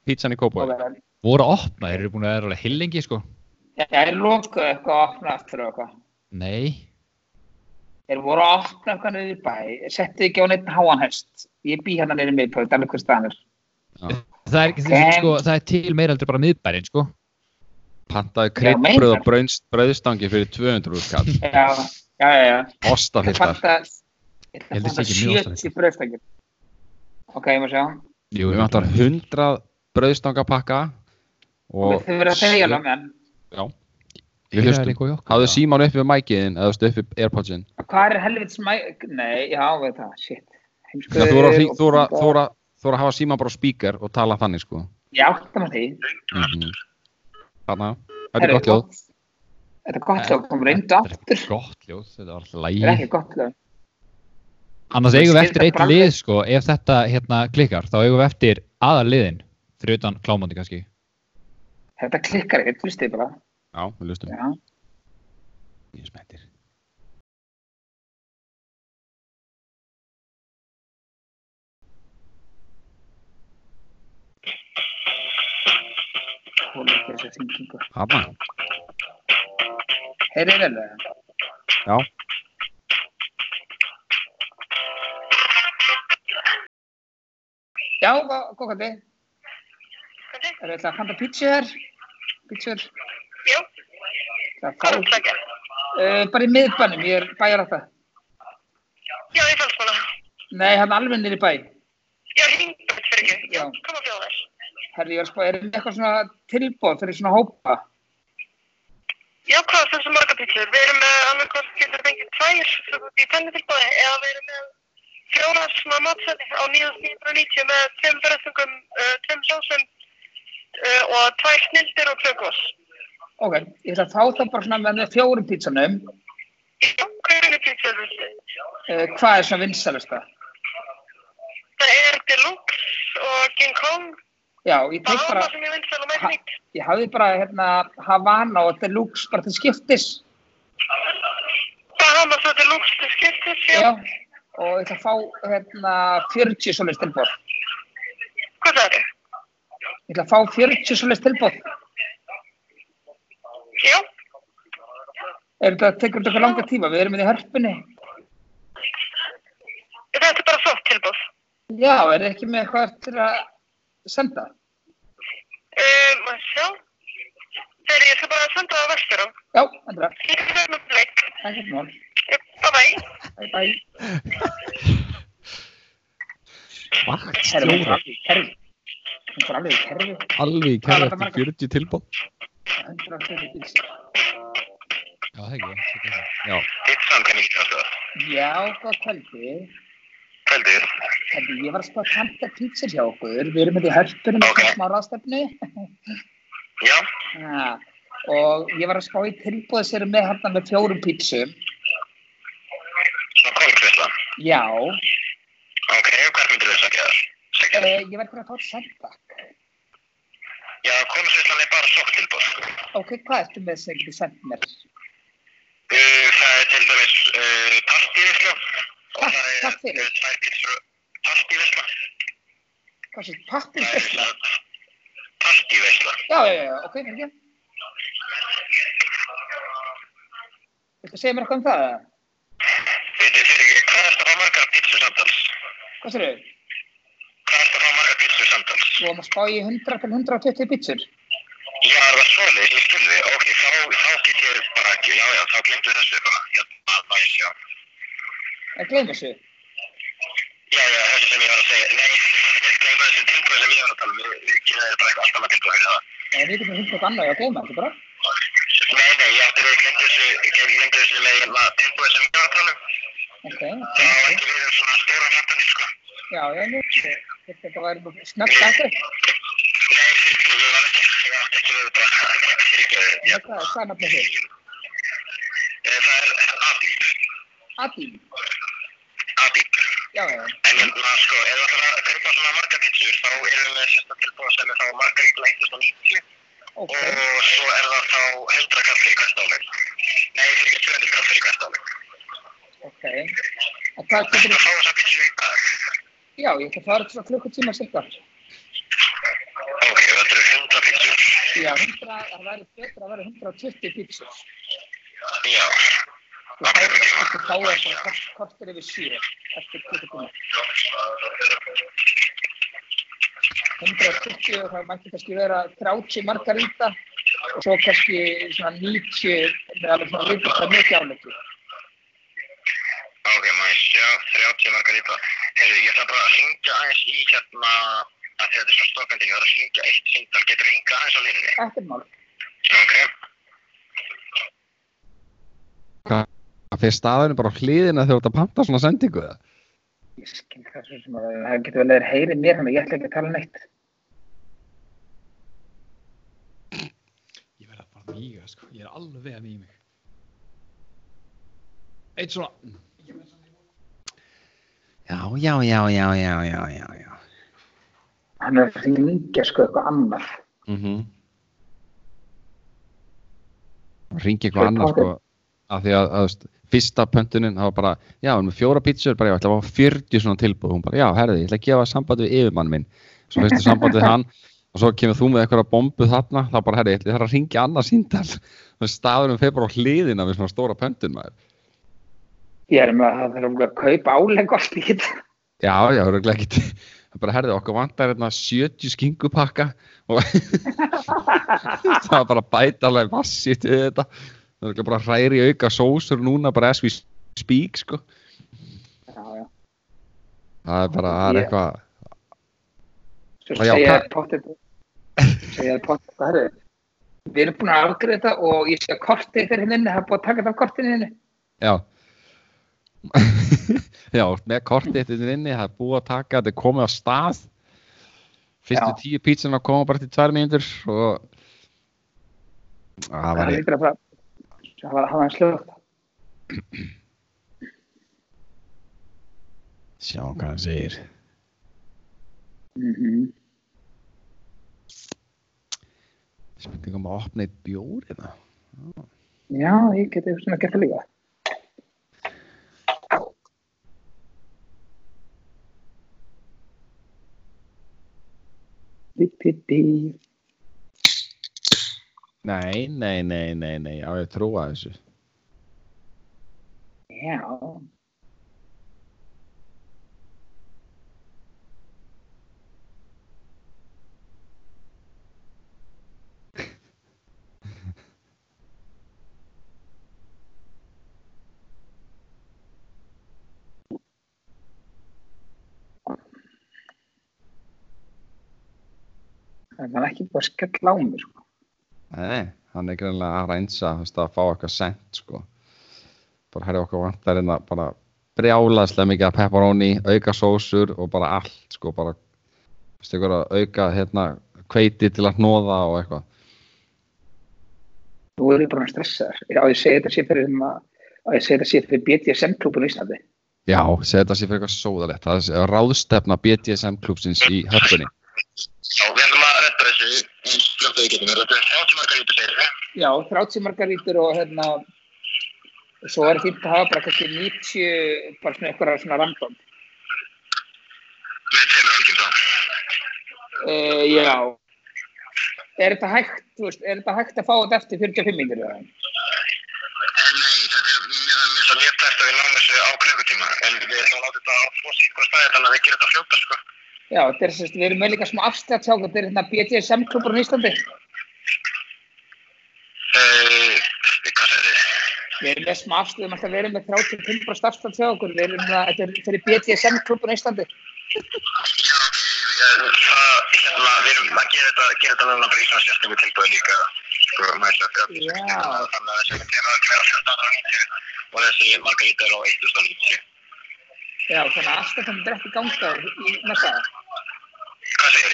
[SPEAKER 1] pizzan í
[SPEAKER 4] Já,
[SPEAKER 1] kópói
[SPEAKER 3] Voru að opna, þeir eru búin að vera alveg hillingi sko.
[SPEAKER 4] Það er lokuð eitthvað að opna aftur og eitthvað.
[SPEAKER 3] Nei,
[SPEAKER 4] Þeir voru að opna eitthvað niður í bæ, settu ekki á neitt háanhest. Ég bý hérna niður með pöðu, alveg hvað staðanir.
[SPEAKER 3] það er, okay.
[SPEAKER 4] Ok.
[SPEAKER 3] sko, það er til meira heldur bara miðbærin sko.
[SPEAKER 1] pantaði
[SPEAKER 4] meinar.
[SPEAKER 1] kreitbröð og braunst- brauðstangi fyrir 200 úrkall
[SPEAKER 4] Já, já, já, já. Ég
[SPEAKER 1] ostafiltar
[SPEAKER 4] panta, ég
[SPEAKER 3] Ég held ég sé
[SPEAKER 4] panta
[SPEAKER 3] ekki mjög ástæðan.
[SPEAKER 4] 70 bröðstækjum. Ok, ég má sjá.
[SPEAKER 3] Jú,
[SPEAKER 1] við vantar 100 brauðstangapakka og
[SPEAKER 4] Þið verða að þegja alveg með hann.
[SPEAKER 1] við hlustum hafðu
[SPEAKER 3] sí
[SPEAKER 1] síman uppi við mækiðin eða uppi við airpodsinn
[SPEAKER 4] Hvað er helvits mæ... Nei, já, veit það, shit.
[SPEAKER 1] þú
[SPEAKER 4] Heimskuður
[SPEAKER 1] voru að hring-
[SPEAKER 4] og-
[SPEAKER 1] þú voru að- þú voru að- þú voru að hafa síman bara á speaker og tala þannig sko
[SPEAKER 4] Ég átta maður því.
[SPEAKER 1] Mhm. þarna þetta er gott ljóð
[SPEAKER 4] Þetta er gott ljóð, kom reyndu aftur.
[SPEAKER 3] gott ljóð, þetta var
[SPEAKER 4] Þetta er
[SPEAKER 3] lægi
[SPEAKER 4] ekki gott ljóð.
[SPEAKER 3] annars eigum við eftir eitt
[SPEAKER 4] Skilta
[SPEAKER 3] lið sko ef þetta hérna klikkar, þá eigum við eftir aðal liðin fyrir utan klámandi kannski
[SPEAKER 4] Þetta klikkar ekkert, hlustið bara.
[SPEAKER 1] Já, við lustum.
[SPEAKER 4] Já.
[SPEAKER 1] Ég er spenntir.
[SPEAKER 4] Hún er ekki þessa þingingu.
[SPEAKER 1] Hanna?
[SPEAKER 4] Heyrið vel það?
[SPEAKER 1] Já.
[SPEAKER 4] Já, gó- góð kvöldi. Er þetta að panta pítsu þar? Pítsur?
[SPEAKER 2] Jú,
[SPEAKER 4] Það er
[SPEAKER 2] hvað er það
[SPEAKER 4] fá.
[SPEAKER 2] ekki?
[SPEAKER 4] Uh, bara í miðbænum, ég er bæjar átta.
[SPEAKER 2] Já, ég fannst hana.
[SPEAKER 4] Nei, hann alveg niður í bæ.
[SPEAKER 2] Já, ringbætt fyrir ekki. Já,
[SPEAKER 4] Já.
[SPEAKER 2] kom að bjóða þér.
[SPEAKER 4] Herri, ég var sko, er þetta eitthvað svona tilbóð fyrir svona hópa?
[SPEAKER 2] Já, hvað finnst þú marga pítsur? Við erum með annað hvort getur fengið tvær svo í penni tilbúði eða við erum með fjórar svona matsæli á 9.990 með tveim bröðsungum, uh, tveim sósum uh, og tvær snildir og klökkvoss.
[SPEAKER 4] Ok, ég ætla að fá það bara svona með með fjórum pítsunum.
[SPEAKER 2] Já, hvernig pítsur viltu?
[SPEAKER 4] Uh, hvað er svona vinsælasta?
[SPEAKER 2] Það er deluxe og king kong,
[SPEAKER 4] Já, ég tek bara,
[SPEAKER 2] balama sem ég um vinsæl og með
[SPEAKER 4] Ha-
[SPEAKER 2] nýtt.
[SPEAKER 4] ég hafði bara hérna Havana og Deluxe bara til skiptis.
[SPEAKER 2] Bahama svo deluxe til skiptis, já.
[SPEAKER 4] Já, og ég ætla að fá hérna 40 svoleiðs tilbóð.
[SPEAKER 2] Hvað það eru?
[SPEAKER 4] Ég ætla að fá 40 svoleiðs tilbóð.
[SPEAKER 2] Já,
[SPEAKER 4] Er þetta, tekur þetta eitthvað langa tíma? Við erum inn í hörpunni.
[SPEAKER 2] þetta er bara svoft tilbúð.
[SPEAKER 4] Já, er þetta ekki með eitthvað til að senda?
[SPEAKER 2] Um, maður sjá. Þegar ég skal bara senda það á vestur á.
[SPEAKER 4] Já, andra,
[SPEAKER 2] Ég um skal vera með blikk.
[SPEAKER 4] það er hérna mál.
[SPEAKER 2] Bye bye.
[SPEAKER 4] Bye bye.
[SPEAKER 1] Vakt
[SPEAKER 4] Herri, hún
[SPEAKER 1] stjóra.
[SPEAKER 4] fór alveg í kerfi. Hún fór alveg í kerfi.
[SPEAKER 1] Alveg í
[SPEAKER 4] Hvað
[SPEAKER 1] kæra
[SPEAKER 4] er þetta
[SPEAKER 1] eftir 40 tilbóð.
[SPEAKER 4] 140 bíls.
[SPEAKER 3] Já, það er ekki. þetta er ekki.
[SPEAKER 1] Já.
[SPEAKER 5] Ditsan kann ich das.
[SPEAKER 4] Já, góð kvöldi.
[SPEAKER 5] Kvöldi.
[SPEAKER 4] Herri, ég var að spá að panta pítsir hjá okkur. Við erum hérna í hörpunni með
[SPEAKER 5] Ok.
[SPEAKER 4] okay. smá ráðstefnu.
[SPEAKER 5] Já,
[SPEAKER 4] Ha, og ég var að spá í tilbúið sér með hérna með fjórum pítsum.
[SPEAKER 5] svona konungsvisla.
[SPEAKER 4] Já,
[SPEAKER 5] Ok, hvað myndir þess að gera?
[SPEAKER 4] e,
[SPEAKER 5] Sækja.
[SPEAKER 4] ég verður að fá sendak.
[SPEAKER 5] Já, konungsvislan er bara sokktilbúð.
[SPEAKER 4] Ok, hvað ertu með sem getur sendt mér?
[SPEAKER 5] Uh, það er til dæmis uh, partívisla. Og
[SPEAKER 4] Takk-
[SPEAKER 5] það er
[SPEAKER 4] takk fyrir.
[SPEAKER 5] uh, tvær pítsur partívisla.
[SPEAKER 4] Hvað sem
[SPEAKER 5] Það er
[SPEAKER 4] pappir?
[SPEAKER 5] svona partívisla.
[SPEAKER 4] Já, já, já, ok, ekki. Viltu að segja mér eitthvað um það? eða?
[SPEAKER 5] Vitið fyrir ekki, hvað er það að fá margar pítsur samtals?
[SPEAKER 4] Hvað sér þau?
[SPEAKER 5] Hvað er það að fá margar pítsur samtals?
[SPEAKER 4] Þú varum að spá í 100 til 120 pítsur.
[SPEAKER 5] Já, það var svoleiðis, ég skilði. Ok, þá, þá get ég bara ekki, já, já, þá glemdu þessu bara. Já, að næsja.
[SPEAKER 4] Ég gleyma þessu.
[SPEAKER 5] Já, já, þessu sem ég var að segja. Nei, ég gleyma þessu tilbúið sem ég var að tala um. Við- Við kynnaði bara eitthvað allt annað tilbúið fyrir það.
[SPEAKER 4] Nei, við getum hundra eitthvað annað að gleyma þessu bara.
[SPEAKER 5] Nei, nei, ég átti við glemdu þessu, ég glemdu þessu með hérna tilbúið sem ég var að tala um. Það
[SPEAKER 4] Ok,
[SPEAKER 5] var
[SPEAKER 4] ok.
[SPEAKER 5] ekki við um svona stóra hrættanir, sko.
[SPEAKER 4] Já, já, nú. Þetta var snöggt aðgrið.
[SPEAKER 5] Nei, fyrir ég var ekki, ég átti ekki við bara, fyrir ekki við, já.
[SPEAKER 4] Hvað hvað er nafnið þér?
[SPEAKER 5] Eh, Það er Adib,
[SPEAKER 4] Adín.
[SPEAKER 5] Adib.
[SPEAKER 4] Já, já.
[SPEAKER 5] En hérna, sko, ef það þarf að kaupa svona marga pítsur, þá erum við sérsta tilbúið sem er þá margar íbla 190
[SPEAKER 4] Ok,
[SPEAKER 5] og svo er það þá 100 kall fyrir hvert áleg. Nei, fyrir ekki 200 kall fyrir hvert áleg.
[SPEAKER 4] ok. Og hvað
[SPEAKER 5] Það
[SPEAKER 4] getur
[SPEAKER 5] fá þess að pítsur í dag.
[SPEAKER 4] já, ég ætla að fara svona klukkutíma cirka.
[SPEAKER 5] Ok, þetta eru 100 pítsur.
[SPEAKER 4] Já, 100, það væri betra að vera 120 pítsur.
[SPEAKER 5] Já.
[SPEAKER 4] Þú fáir þú fáir bara kort- kortir yfir 7 eftir klukkutíma. 120 og það mætti kannski vera 30 margaríta og svo kannski svona 90 með alveg svona vitið það mikið áleggi.
[SPEAKER 5] Ok, maður sjá, 30 margar íbla. Heyrðu, ég ætla bara að hringja aðeins í hérna, að þetta er svona stokkandi, ég var að hringja eitt síndal, getur hringa aðeins á línunni.
[SPEAKER 4] Ekkert mál.
[SPEAKER 5] Ok.
[SPEAKER 1] Það fyrir staðinu bara á hliðina þegar þú ert að panta svona sendingu það.
[SPEAKER 4] Ég skil það svo sem að það getur vel að þeir heyri mér hann og ég ætla ekki að tala um neitt.
[SPEAKER 6] Ég verða bara að míga, sko. Ég er alveg að míga mig. Eitt svona.
[SPEAKER 1] Já, já, já, já, já, já, já, já.
[SPEAKER 4] Hann er að hringja sko eitthvað annað.
[SPEAKER 1] Mm -hmm. ringi eitthvað annað sko, af því að, að þú veist, fyrsta pöntunin það var bara, já, við erum með fjóra pítsur bara, já, ætla að fá 40 svona tilbúð, hún bara, já, herði ég ætla að gefa samband við yfirmann minn svo fyrstu samband við hann og svo kemur þú með eitthvað bombu þarna, þá bara, herði, ég ætla- ég þarf að ringi annað síndal, staðurum fyrir bara um á hliðina við svona stóra pöntun maður
[SPEAKER 4] Ég er með að það þarf örugglega að kaupa álegg og allt í þetta.
[SPEAKER 1] já, já, örgulega ekki það bara, herði, okkur vantar hérna 70 skingupakka og það var bara að bæta alveg massið við þetta það er örugglega bara hræri auka sósur núna bara as we speak sko
[SPEAKER 4] Já, já.
[SPEAKER 1] það er bara, það er
[SPEAKER 4] Ég-
[SPEAKER 1] eitthvað
[SPEAKER 4] Svo
[SPEAKER 1] Já,
[SPEAKER 4] segja
[SPEAKER 1] hvað-
[SPEAKER 4] pottet segja pottet að herri við erum búin að afgriða þetta og ég sé að kortið ykkar hinn inni, það er búið að taka þetta af kortinu hinn inni.
[SPEAKER 1] Já Já, með kortið þetta inni, það er búið að taka þetta er komið á stað fyrstu
[SPEAKER 4] Já.
[SPEAKER 1] tíu pítsan að koma bara til tvær mínútur og það var
[SPEAKER 4] það
[SPEAKER 1] ég
[SPEAKER 4] lítur að fara það var að hafa hann slögt
[SPEAKER 1] sjá hvað hann segir
[SPEAKER 4] mm -hmm.
[SPEAKER 1] spurningum um að opna hérna. eitt bjóri það
[SPEAKER 4] já, ég geti eitthvað svona gert það líka Dí, dí, dí.
[SPEAKER 1] Nei, nei, nei, nei, nei, á ég að trúa þessu
[SPEAKER 4] Já, það er ekki búið að skella á mér sko.
[SPEAKER 1] Nei, hann er greinlega að reynsa þú veist, að fá eitthvað sent sko. bara herri okkur vantar en að bara brjálaðslega mikið af pepperoni auka sósur og bara allt sko, bara þú veist, eitthvað að auka hérna, kveiti til að hnóða og eitthvað
[SPEAKER 4] Nú er ég bara stressaður. Já, ég segi þetta sé fyrir, um að- á ég segi þetta sé fyrir BDSM-klúbun í Íslandi.
[SPEAKER 1] Já, segja þetta sér fyrir eitthvað sóðalegt það er ráðstefna BDSM klúpsins í höfbunni
[SPEAKER 5] Já, við ætlum að redda þessu eins fljótt og við getum. Við erum að 30 margar íbúð segir það.
[SPEAKER 4] Já, 30 margarítur og hérna svo er fínt að hafa bara kannski 90 bara svona eitthvað svona random
[SPEAKER 5] Með tveimur álgjum þá.
[SPEAKER 4] uh, Já Er þetta hægt, þú veist, er þetta hægt að fá þetta eftir 45 mínir eða?
[SPEAKER 5] En nei, þetta er mjög, mjög, svo mjög tært að við náum þessu á klukkutíma. En við ætlum að láta þetta á tvo síkkur staði þannig að við gerum þetta fljóta, sko.
[SPEAKER 4] Já, þetta er sérst, við erum með líka smá afslætt hjá þetta er hérna BDSM-klúbun í Íslandi
[SPEAKER 5] Uh, hvað segir þið?
[SPEAKER 4] Við erum með smá afslætt, við erum alltaf verið með 35 bara afslætt hjá okkur, við erum með, þetta er fyrir BDSM-klúbun í Íslandi
[SPEAKER 5] Já, ok, eh, það, hérna, við erum að gera þetta, gera þetta núna bara í svona sérstöku tilbúið líka, sko, maður sagt að,
[SPEAKER 4] Já.
[SPEAKER 5] þannig að þessi tegum að vera 1490 og þessi margarítar á 1090.
[SPEAKER 4] Já, þannig að afslættan er ekki gangstæður í næsta
[SPEAKER 5] Hvað segir þið?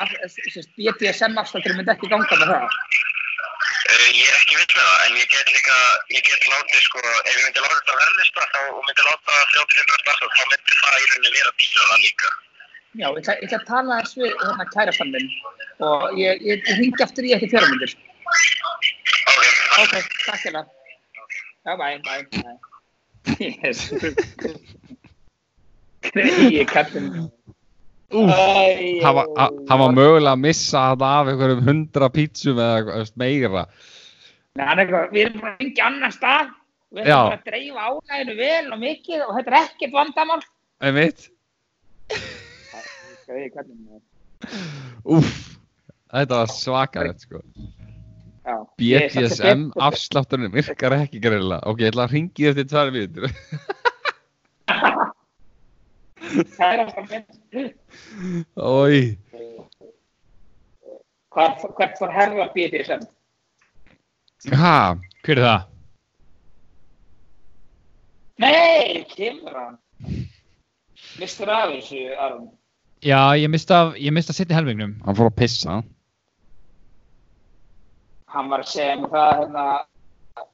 [SPEAKER 4] Þannig að sérst, BDSM-afslættur myndi ekki ganga með það
[SPEAKER 5] Uh, ég er ekki viss með það, en ég get líka, ég get látið sko, ef ég myndi láta þetta verðlista þá, og myndi láta 35 starfsfólk, þá myndi það í rauninni vera bílaða líka.
[SPEAKER 4] Já, ég ætla, ég ætla að tala aðeins við hérna kærastan minn og ég, ég, ég ringi aftur í eftir fjóramöndir.
[SPEAKER 5] Ok,
[SPEAKER 4] Ok, takk hérna. Já, bæ, bæ, bæ. Jésus. Greiði kallinn.
[SPEAKER 1] Úf,
[SPEAKER 4] Æ,
[SPEAKER 1] hann var- hann- hann var mögulega að missa þetta af einhverjum hundra pítsum eða þú veist, meira
[SPEAKER 4] Nei, hann er eitthvað, við erum bara að ringja annar stað.
[SPEAKER 1] Já.
[SPEAKER 4] Við erum bara að dreifa álæginu vel og mikið og þetta er ekkert vandamál.
[SPEAKER 1] einmitt,
[SPEAKER 4] Greiði kallinn.
[SPEAKER 1] úf þetta var svakalegt sko
[SPEAKER 4] Já. Ég er samt
[SPEAKER 1] BDSM
[SPEAKER 4] að-
[SPEAKER 1] afslátturinn virkar ekki greinilega ok, ég ætla að ringi eftir tvær mínútur
[SPEAKER 4] Kærastan minn.
[SPEAKER 1] Ói,
[SPEAKER 4] Hvað, hvert fór herra BDSM?
[SPEAKER 1] ha,
[SPEAKER 3] Hver er það?
[SPEAKER 4] Nei, kemur hann. Mistur af þessu, Aron.
[SPEAKER 3] Já, ég mista, ég mista sitt í helmingnum.
[SPEAKER 1] hann fór að pissa
[SPEAKER 4] Hann var að segja mér það hérna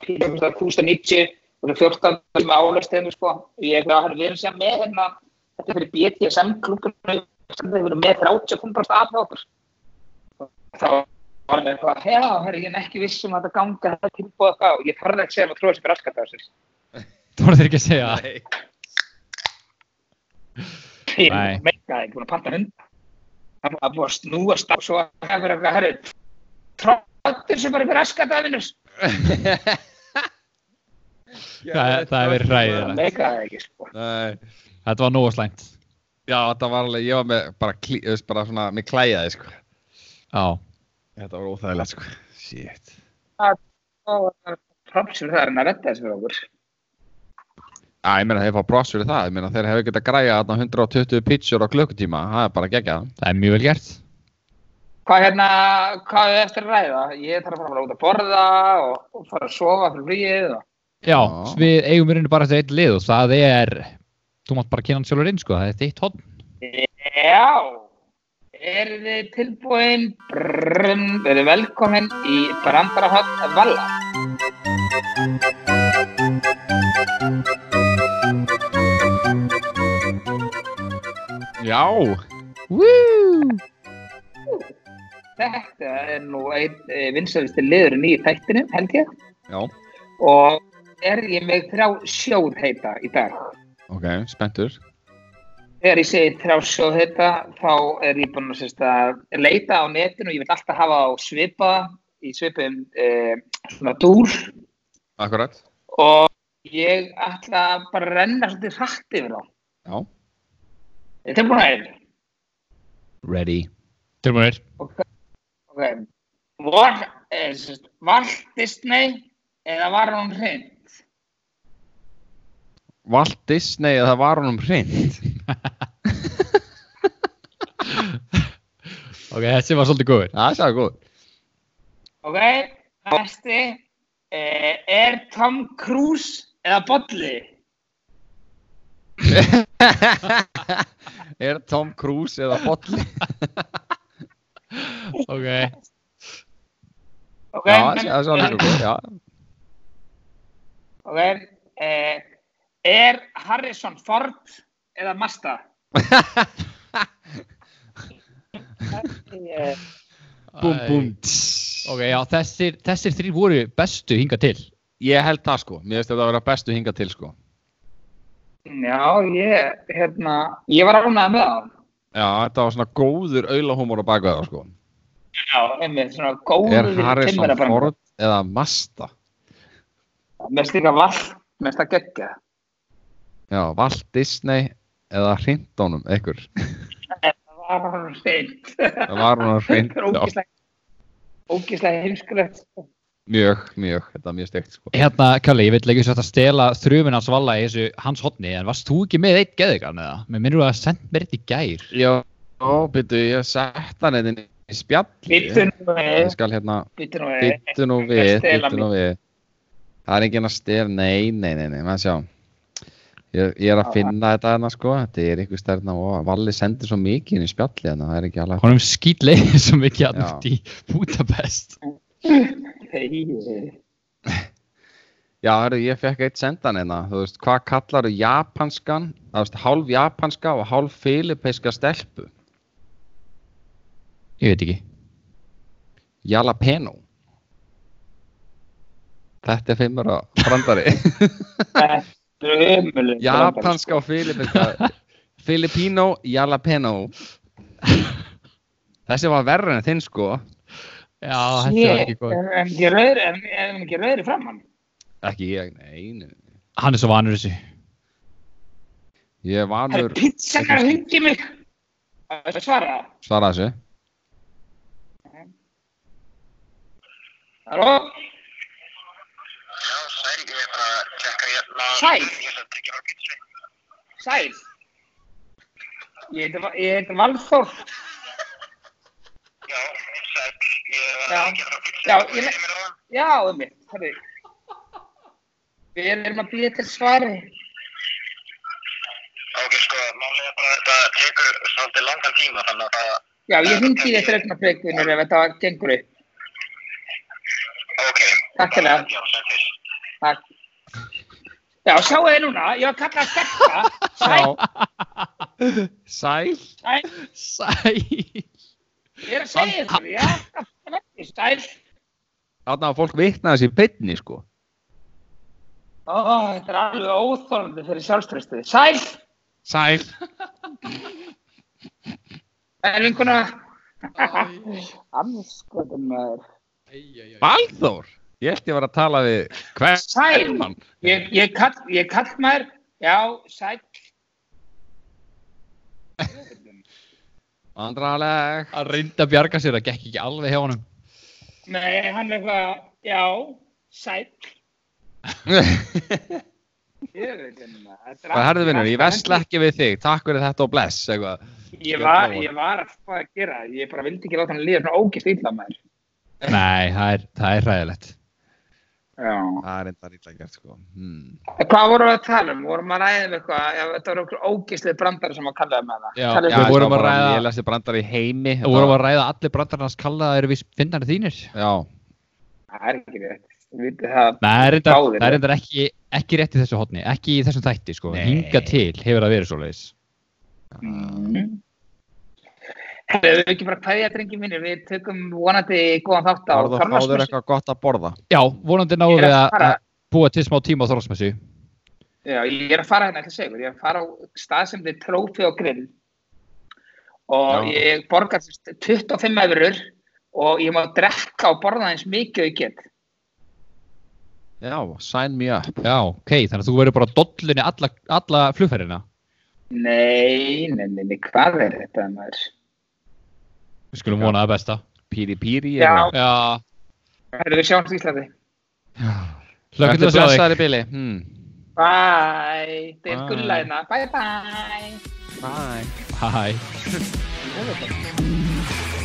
[SPEAKER 4] Pílum það 1090 og það 14 sem álausteginu sko. Ég er að hann verið sem með hérna þetta er fyrir BTSM klúkurinn það hefur verið með 30 og 5 átt af hjá okkur. Þá var með eitthvað, já, herri, ég er ekki viss um að þetta ganga, þetta tilbúið eitthvað, og ég þarf ekki að segja að maður tróði sem er raskat á þessu.
[SPEAKER 3] Þú voru þeir ekki að segja það.
[SPEAKER 1] Nei.
[SPEAKER 4] Ég
[SPEAKER 3] Nei.
[SPEAKER 4] meikaði ekki, búin að panta hund. Það var búin að snúa stað, svo að það verið eitthvað, herri, tróttir sem bara er raskat á vinnus.
[SPEAKER 3] Það, það hefur verið
[SPEAKER 4] Það
[SPEAKER 3] hræðilegt.
[SPEAKER 4] meikaði ekki, sko.
[SPEAKER 1] Nei.
[SPEAKER 3] Þetta var nógu slæmt.
[SPEAKER 1] Já, þetta var alveg, ég var með bara, klí, þú veist, bara svona, með klæjaði, sko.
[SPEAKER 3] Já.
[SPEAKER 1] Þetta var óþægilegt, sko. Shit.
[SPEAKER 4] Og það Trump sem er það er að redda þessu fyrir okkur.
[SPEAKER 1] Já, ég meina, þeir fá bross fyrir það. Ég meina, þeir hefur getað græjað þarna 120 pitchur á klukkutíma. Það er bara geggjað.
[SPEAKER 3] Það er mjög vel gert.
[SPEAKER 4] Hvað hérna, hvað er eftir að ræða? Ég þarf að fara bara út að borða og, og fara að sofa fyrir flýið og
[SPEAKER 3] Já,
[SPEAKER 1] Já.
[SPEAKER 3] við eigum í rauninu bara eftir eitt lið og það er, þú mátt bara kynna hann sjálfur inn sko, það er þitt hotn.
[SPEAKER 4] Já, eru þið tilbúin, brrrrum, verið velkomin í Brandarahot Valla.
[SPEAKER 1] Já.
[SPEAKER 4] Þetta er nú einn vinsalisti liðurinn í þættinum, held ég,
[SPEAKER 1] Já.
[SPEAKER 4] og er ég með þrjá sjóðheita í dag.
[SPEAKER 1] Ok, spenntur.
[SPEAKER 4] Þegar ég segi þrjá sjóðheita, þá er ég búin að, sérst, að leita á netinu, ég vil alltaf hafa á svipa, í svipum eh, svona dúr,
[SPEAKER 1] Akkurat.
[SPEAKER 4] og ég ætla bara að renna svolítið hratt yfir þá.
[SPEAKER 1] Já.
[SPEAKER 4] Þetta er búin að einu.
[SPEAKER 1] Ready.
[SPEAKER 3] Tilbúinir.
[SPEAKER 4] Ok, ok. Vor, eh, sérst, Walt Disney eða var hún hreint?
[SPEAKER 1] Walt Disney eða var honum hreint?
[SPEAKER 3] Ok, þessi var svolítið góður.
[SPEAKER 1] Það sagði góð.
[SPEAKER 4] Ok, næsti. Eh, er Tom Cruise eða Bolli?
[SPEAKER 1] er Tom Cruise eða Bolli?
[SPEAKER 3] Ok,
[SPEAKER 4] Ok,
[SPEAKER 1] Já, það það sagði alveg góð. Já.
[SPEAKER 4] ok. Eh, er Harrison Ford eða Mazda? Eh,
[SPEAKER 1] Búm, búm.
[SPEAKER 3] ok, já, þessir, þessir þrýr voru bestu hinga til.
[SPEAKER 1] Ég held það sko. Mér finnst þetta að vera bestu hinga til sko.
[SPEAKER 4] Já, ég, hérna, ég var ánað með það.
[SPEAKER 1] Já, þetta var svona góður aulahúmor á baka það sko.
[SPEAKER 4] Já, einmitt, svona góður
[SPEAKER 1] Er Harrison Ford eða Mazda?
[SPEAKER 4] Mest líka vall, mest að gegja.
[SPEAKER 1] Já, Walt Disney eða hreindónum, ekkur.
[SPEAKER 4] Það var hann hreint.
[SPEAKER 1] Það var hún að
[SPEAKER 4] Þetta er
[SPEAKER 1] hreindónum.
[SPEAKER 4] ógislega, ógislega heimskulegt. sko.
[SPEAKER 1] Mjög, mjög. Þetta er mjög steikt sko.
[SPEAKER 3] Hérna, Kalli, ég veit ekki svo að stela þrjumin hans valla í þessu hans hotni, en varst þú ekki með eitt geðigan eða? Mér minnur þú að senda mér eitt í gær.
[SPEAKER 1] Já, býttu, ég sett hann einn í spjall.
[SPEAKER 4] Bíddu nú
[SPEAKER 1] Ég
[SPEAKER 4] við,
[SPEAKER 1] skal hérna,
[SPEAKER 4] bíddu nú við.
[SPEAKER 1] byttu nú
[SPEAKER 4] Ekki
[SPEAKER 1] við,
[SPEAKER 4] að stela
[SPEAKER 1] byttu nú við. Það er enginn að stela, nei, nei, nei, nei, maður sjá. Ég, ég er að
[SPEAKER 4] Já,
[SPEAKER 1] finna þetta hérna sko, þetta er ykkur stærna og Valli sendir svo mikið inn í spjalli hérna, það er ekki alveg.
[SPEAKER 3] Honum skýtleiði svo mikið að
[SPEAKER 1] Já.
[SPEAKER 3] út í Budapest.
[SPEAKER 4] Hey.
[SPEAKER 1] Já, heru, ég fekk eitt sendan hérna, þú veist, hvað kallar þú japanskan, það veist, hálf japanska og hálf filipeiska stelpu,
[SPEAKER 3] Ég veit ekki.
[SPEAKER 1] jalapeno. Þetta er fimmur að brandari.
[SPEAKER 4] Þetta er ömuleg.
[SPEAKER 1] Japanska og filipinska Filipino jalapeno Þessi var verri en þinn sko
[SPEAKER 3] Já,
[SPEAKER 4] Shit,
[SPEAKER 3] þetta var ekki góð.
[SPEAKER 4] er hann ekki rauður, er hann- er hann ekki rauður í framann?
[SPEAKER 1] Ekki ég, nei, nei nei.
[SPEAKER 3] Hann er svo vanur þessu.
[SPEAKER 1] Ég er
[SPEAKER 4] Það er
[SPEAKER 1] vanur
[SPEAKER 4] pizzan að hringi mig. Það er svara.
[SPEAKER 1] svara þessu
[SPEAKER 4] Halló?
[SPEAKER 5] Já, sæl, ég er bara að tjekka hérna.
[SPEAKER 4] Sæl?
[SPEAKER 5] Ég ætla að tekja frá pítsu.
[SPEAKER 4] Sæl. Ég heiti Va- ég heiti Valþór.
[SPEAKER 5] Já, sæl, ég var
[SPEAKER 4] Já.
[SPEAKER 5] að tekja frá pítsu.
[SPEAKER 4] Já, ég-
[SPEAKER 5] er með það.
[SPEAKER 4] Já, um mitt, herri. Við erum að býja til svari.
[SPEAKER 5] Ok, sko, málið er bara að þetta tekur svolítið langan tíma, þannig að það...
[SPEAKER 4] Já, ég hringi í þér fyrir eitthvað frekvinur ef þetta gengur upp.
[SPEAKER 5] Ok.
[SPEAKER 4] Takk fyrir það.
[SPEAKER 5] Já, sæl, fyrst.
[SPEAKER 4] Takk. Já, sjáu þið núna, ég var kallað stelpa. Sæl,
[SPEAKER 1] Sæl
[SPEAKER 4] sæl,
[SPEAKER 3] Sæl.
[SPEAKER 4] ég er að segja ykkur, já. í stæl
[SPEAKER 1] Þannig að fólk vitnaði sér beinni sko.
[SPEAKER 4] Ó, þetta er alveg óþólandi fyrir sjálfströstuði. Sæl,
[SPEAKER 1] Sæl.
[SPEAKER 4] er vinkuna
[SPEAKER 6] Æ,
[SPEAKER 4] anskotum maður.
[SPEAKER 6] æ, æ, æ.
[SPEAKER 1] Valþór. Ég held ég var að tala við hvern
[SPEAKER 4] Sæl.
[SPEAKER 1] mann.
[SPEAKER 4] Ég, ég, kall, ég kall maður, já, sæl.
[SPEAKER 1] Andraleg.
[SPEAKER 3] Hann reyndi að bjarga sér, það gekk ekki alveg hjá honum.
[SPEAKER 4] Nei, hann er eitthvað, já, sæl. Ég veit hérna, þetta er
[SPEAKER 1] Hvað herðu
[SPEAKER 4] allt-
[SPEAKER 1] vinnur, ég
[SPEAKER 4] allt-
[SPEAKER 1] vesla ekki við þig. Takk fyrir þetta og bless. Eitthvað.
[SPEAKER 4] Ég var, ég var að fá að gera, það. ég bara vildi ekki láta hann líða svona ógist illa maður.
[SPEAKER 3] Nei, það er, það er ræðilegt.
[SPEAKER 4] Já.
[SPEAKER 1] Það er enda ítla gert sko. Hmm.
[SPEAKER 4] En Hvað vorum við að tala um? Vorum við að ræða um eitthvað? Já, þetta voru okkur ógislið brandari sem að um kallaði með það.
[SPEAKER 3] Já,
[SPEAKER 4] Kallaði
[SPEAKER 1] Já,
[SPEAKER 3] Við
[SPEAKER 1] við
[SPEAKER 3] vorum
[SPEAKER 1] vorum
[SPEAKER 3] að ræða-
[SPEAKER 1] Ég lesi brandar í heimi.
[SPEAKER 3] Þú vorum að ræða allir brandarnas kalla það eru við finnarnir þínir.
[SPEAKER 1] Já.
[SPEAKER 4] Það er ekki rétt. Þú vitið það.
[SPEAKER 3] Nei, það er reyndar-
[SPEAKER 4] Báðir,
[SPEAKER 3] það er
[SPEAKER 4] já.
[SPEAKER 3] reyndar ekki, ekki rétt í þessu hotni, ekki í þessum þætti sko.
[SPEAKER 1] Nei.
[SPEAKER 3] Hinga til hefur það verið svoleiðis.
[SPEAKER 4] Mm. Hefur við ekki bara kveðja, drengi mínir? Við tökum vonandi góðan þátt á
[SPEAKER 1] Farðu og fáður
[SPEAKER 4] Þorláksmessu.
[SPEAKER 1] eitthvað gott að borða.
[SPEAKER 3] Já, vonandi
[SPEAKER 4] Ég
[SPEAKER 3] náðum
[SPEAKER 4] er
[SPEAKER 3] við
[SPEAKER 4] að
[SPEAKER 3] að
[SPEAKER 4] fara,
[SPEAKER 3] að búa til smá tíma á þorlsmessu.
[SPEAKER 4] já, ég er að fara hérna, ætla að segja ykkur. Ég er að fara á stað sem þið trófi og grill og
[SPEAKER 1] Já.
[SPEAKER 4] ég borgar sem sagt 25 eurur og ég má drekka og borða eins mikið og ég get.
[SPEAKER 1] Já, sign me up.
[SPEAKER 3] Já, ok, þannig að þú verður bara á dollunni alla, alla flugferðina.
[SPEAKER 4] Nei, nei, nei, nei, hvað er þetta maður?
[SPEAKER 3] Við skulum vona það besta.
[SPEAKER 1] Píri píri.
[SPEAKER 4] Já.
[SPEAKER 1] eða-
[SPEAKER 3] Já,
[SPEAKER 4] Herðu, við sjáumst í Íslandi.
[SPEAKER 3] hlökkum til
[SPEAKER 1] Vertu
[SPEAKER 3] að sjá þig.
[SPEAKER 1] blessaður í bili. Hmm.
[SPEAKER 4] Bye. Þetta er
[SPEAKER 1] Bye.
[SPEAKER 4] gulla hérna. Bye, bye.
[SPEAKER 1] Bye.
[SPEAKER 3] Hæ.
[SPEAKER 4] Þetta er þetta.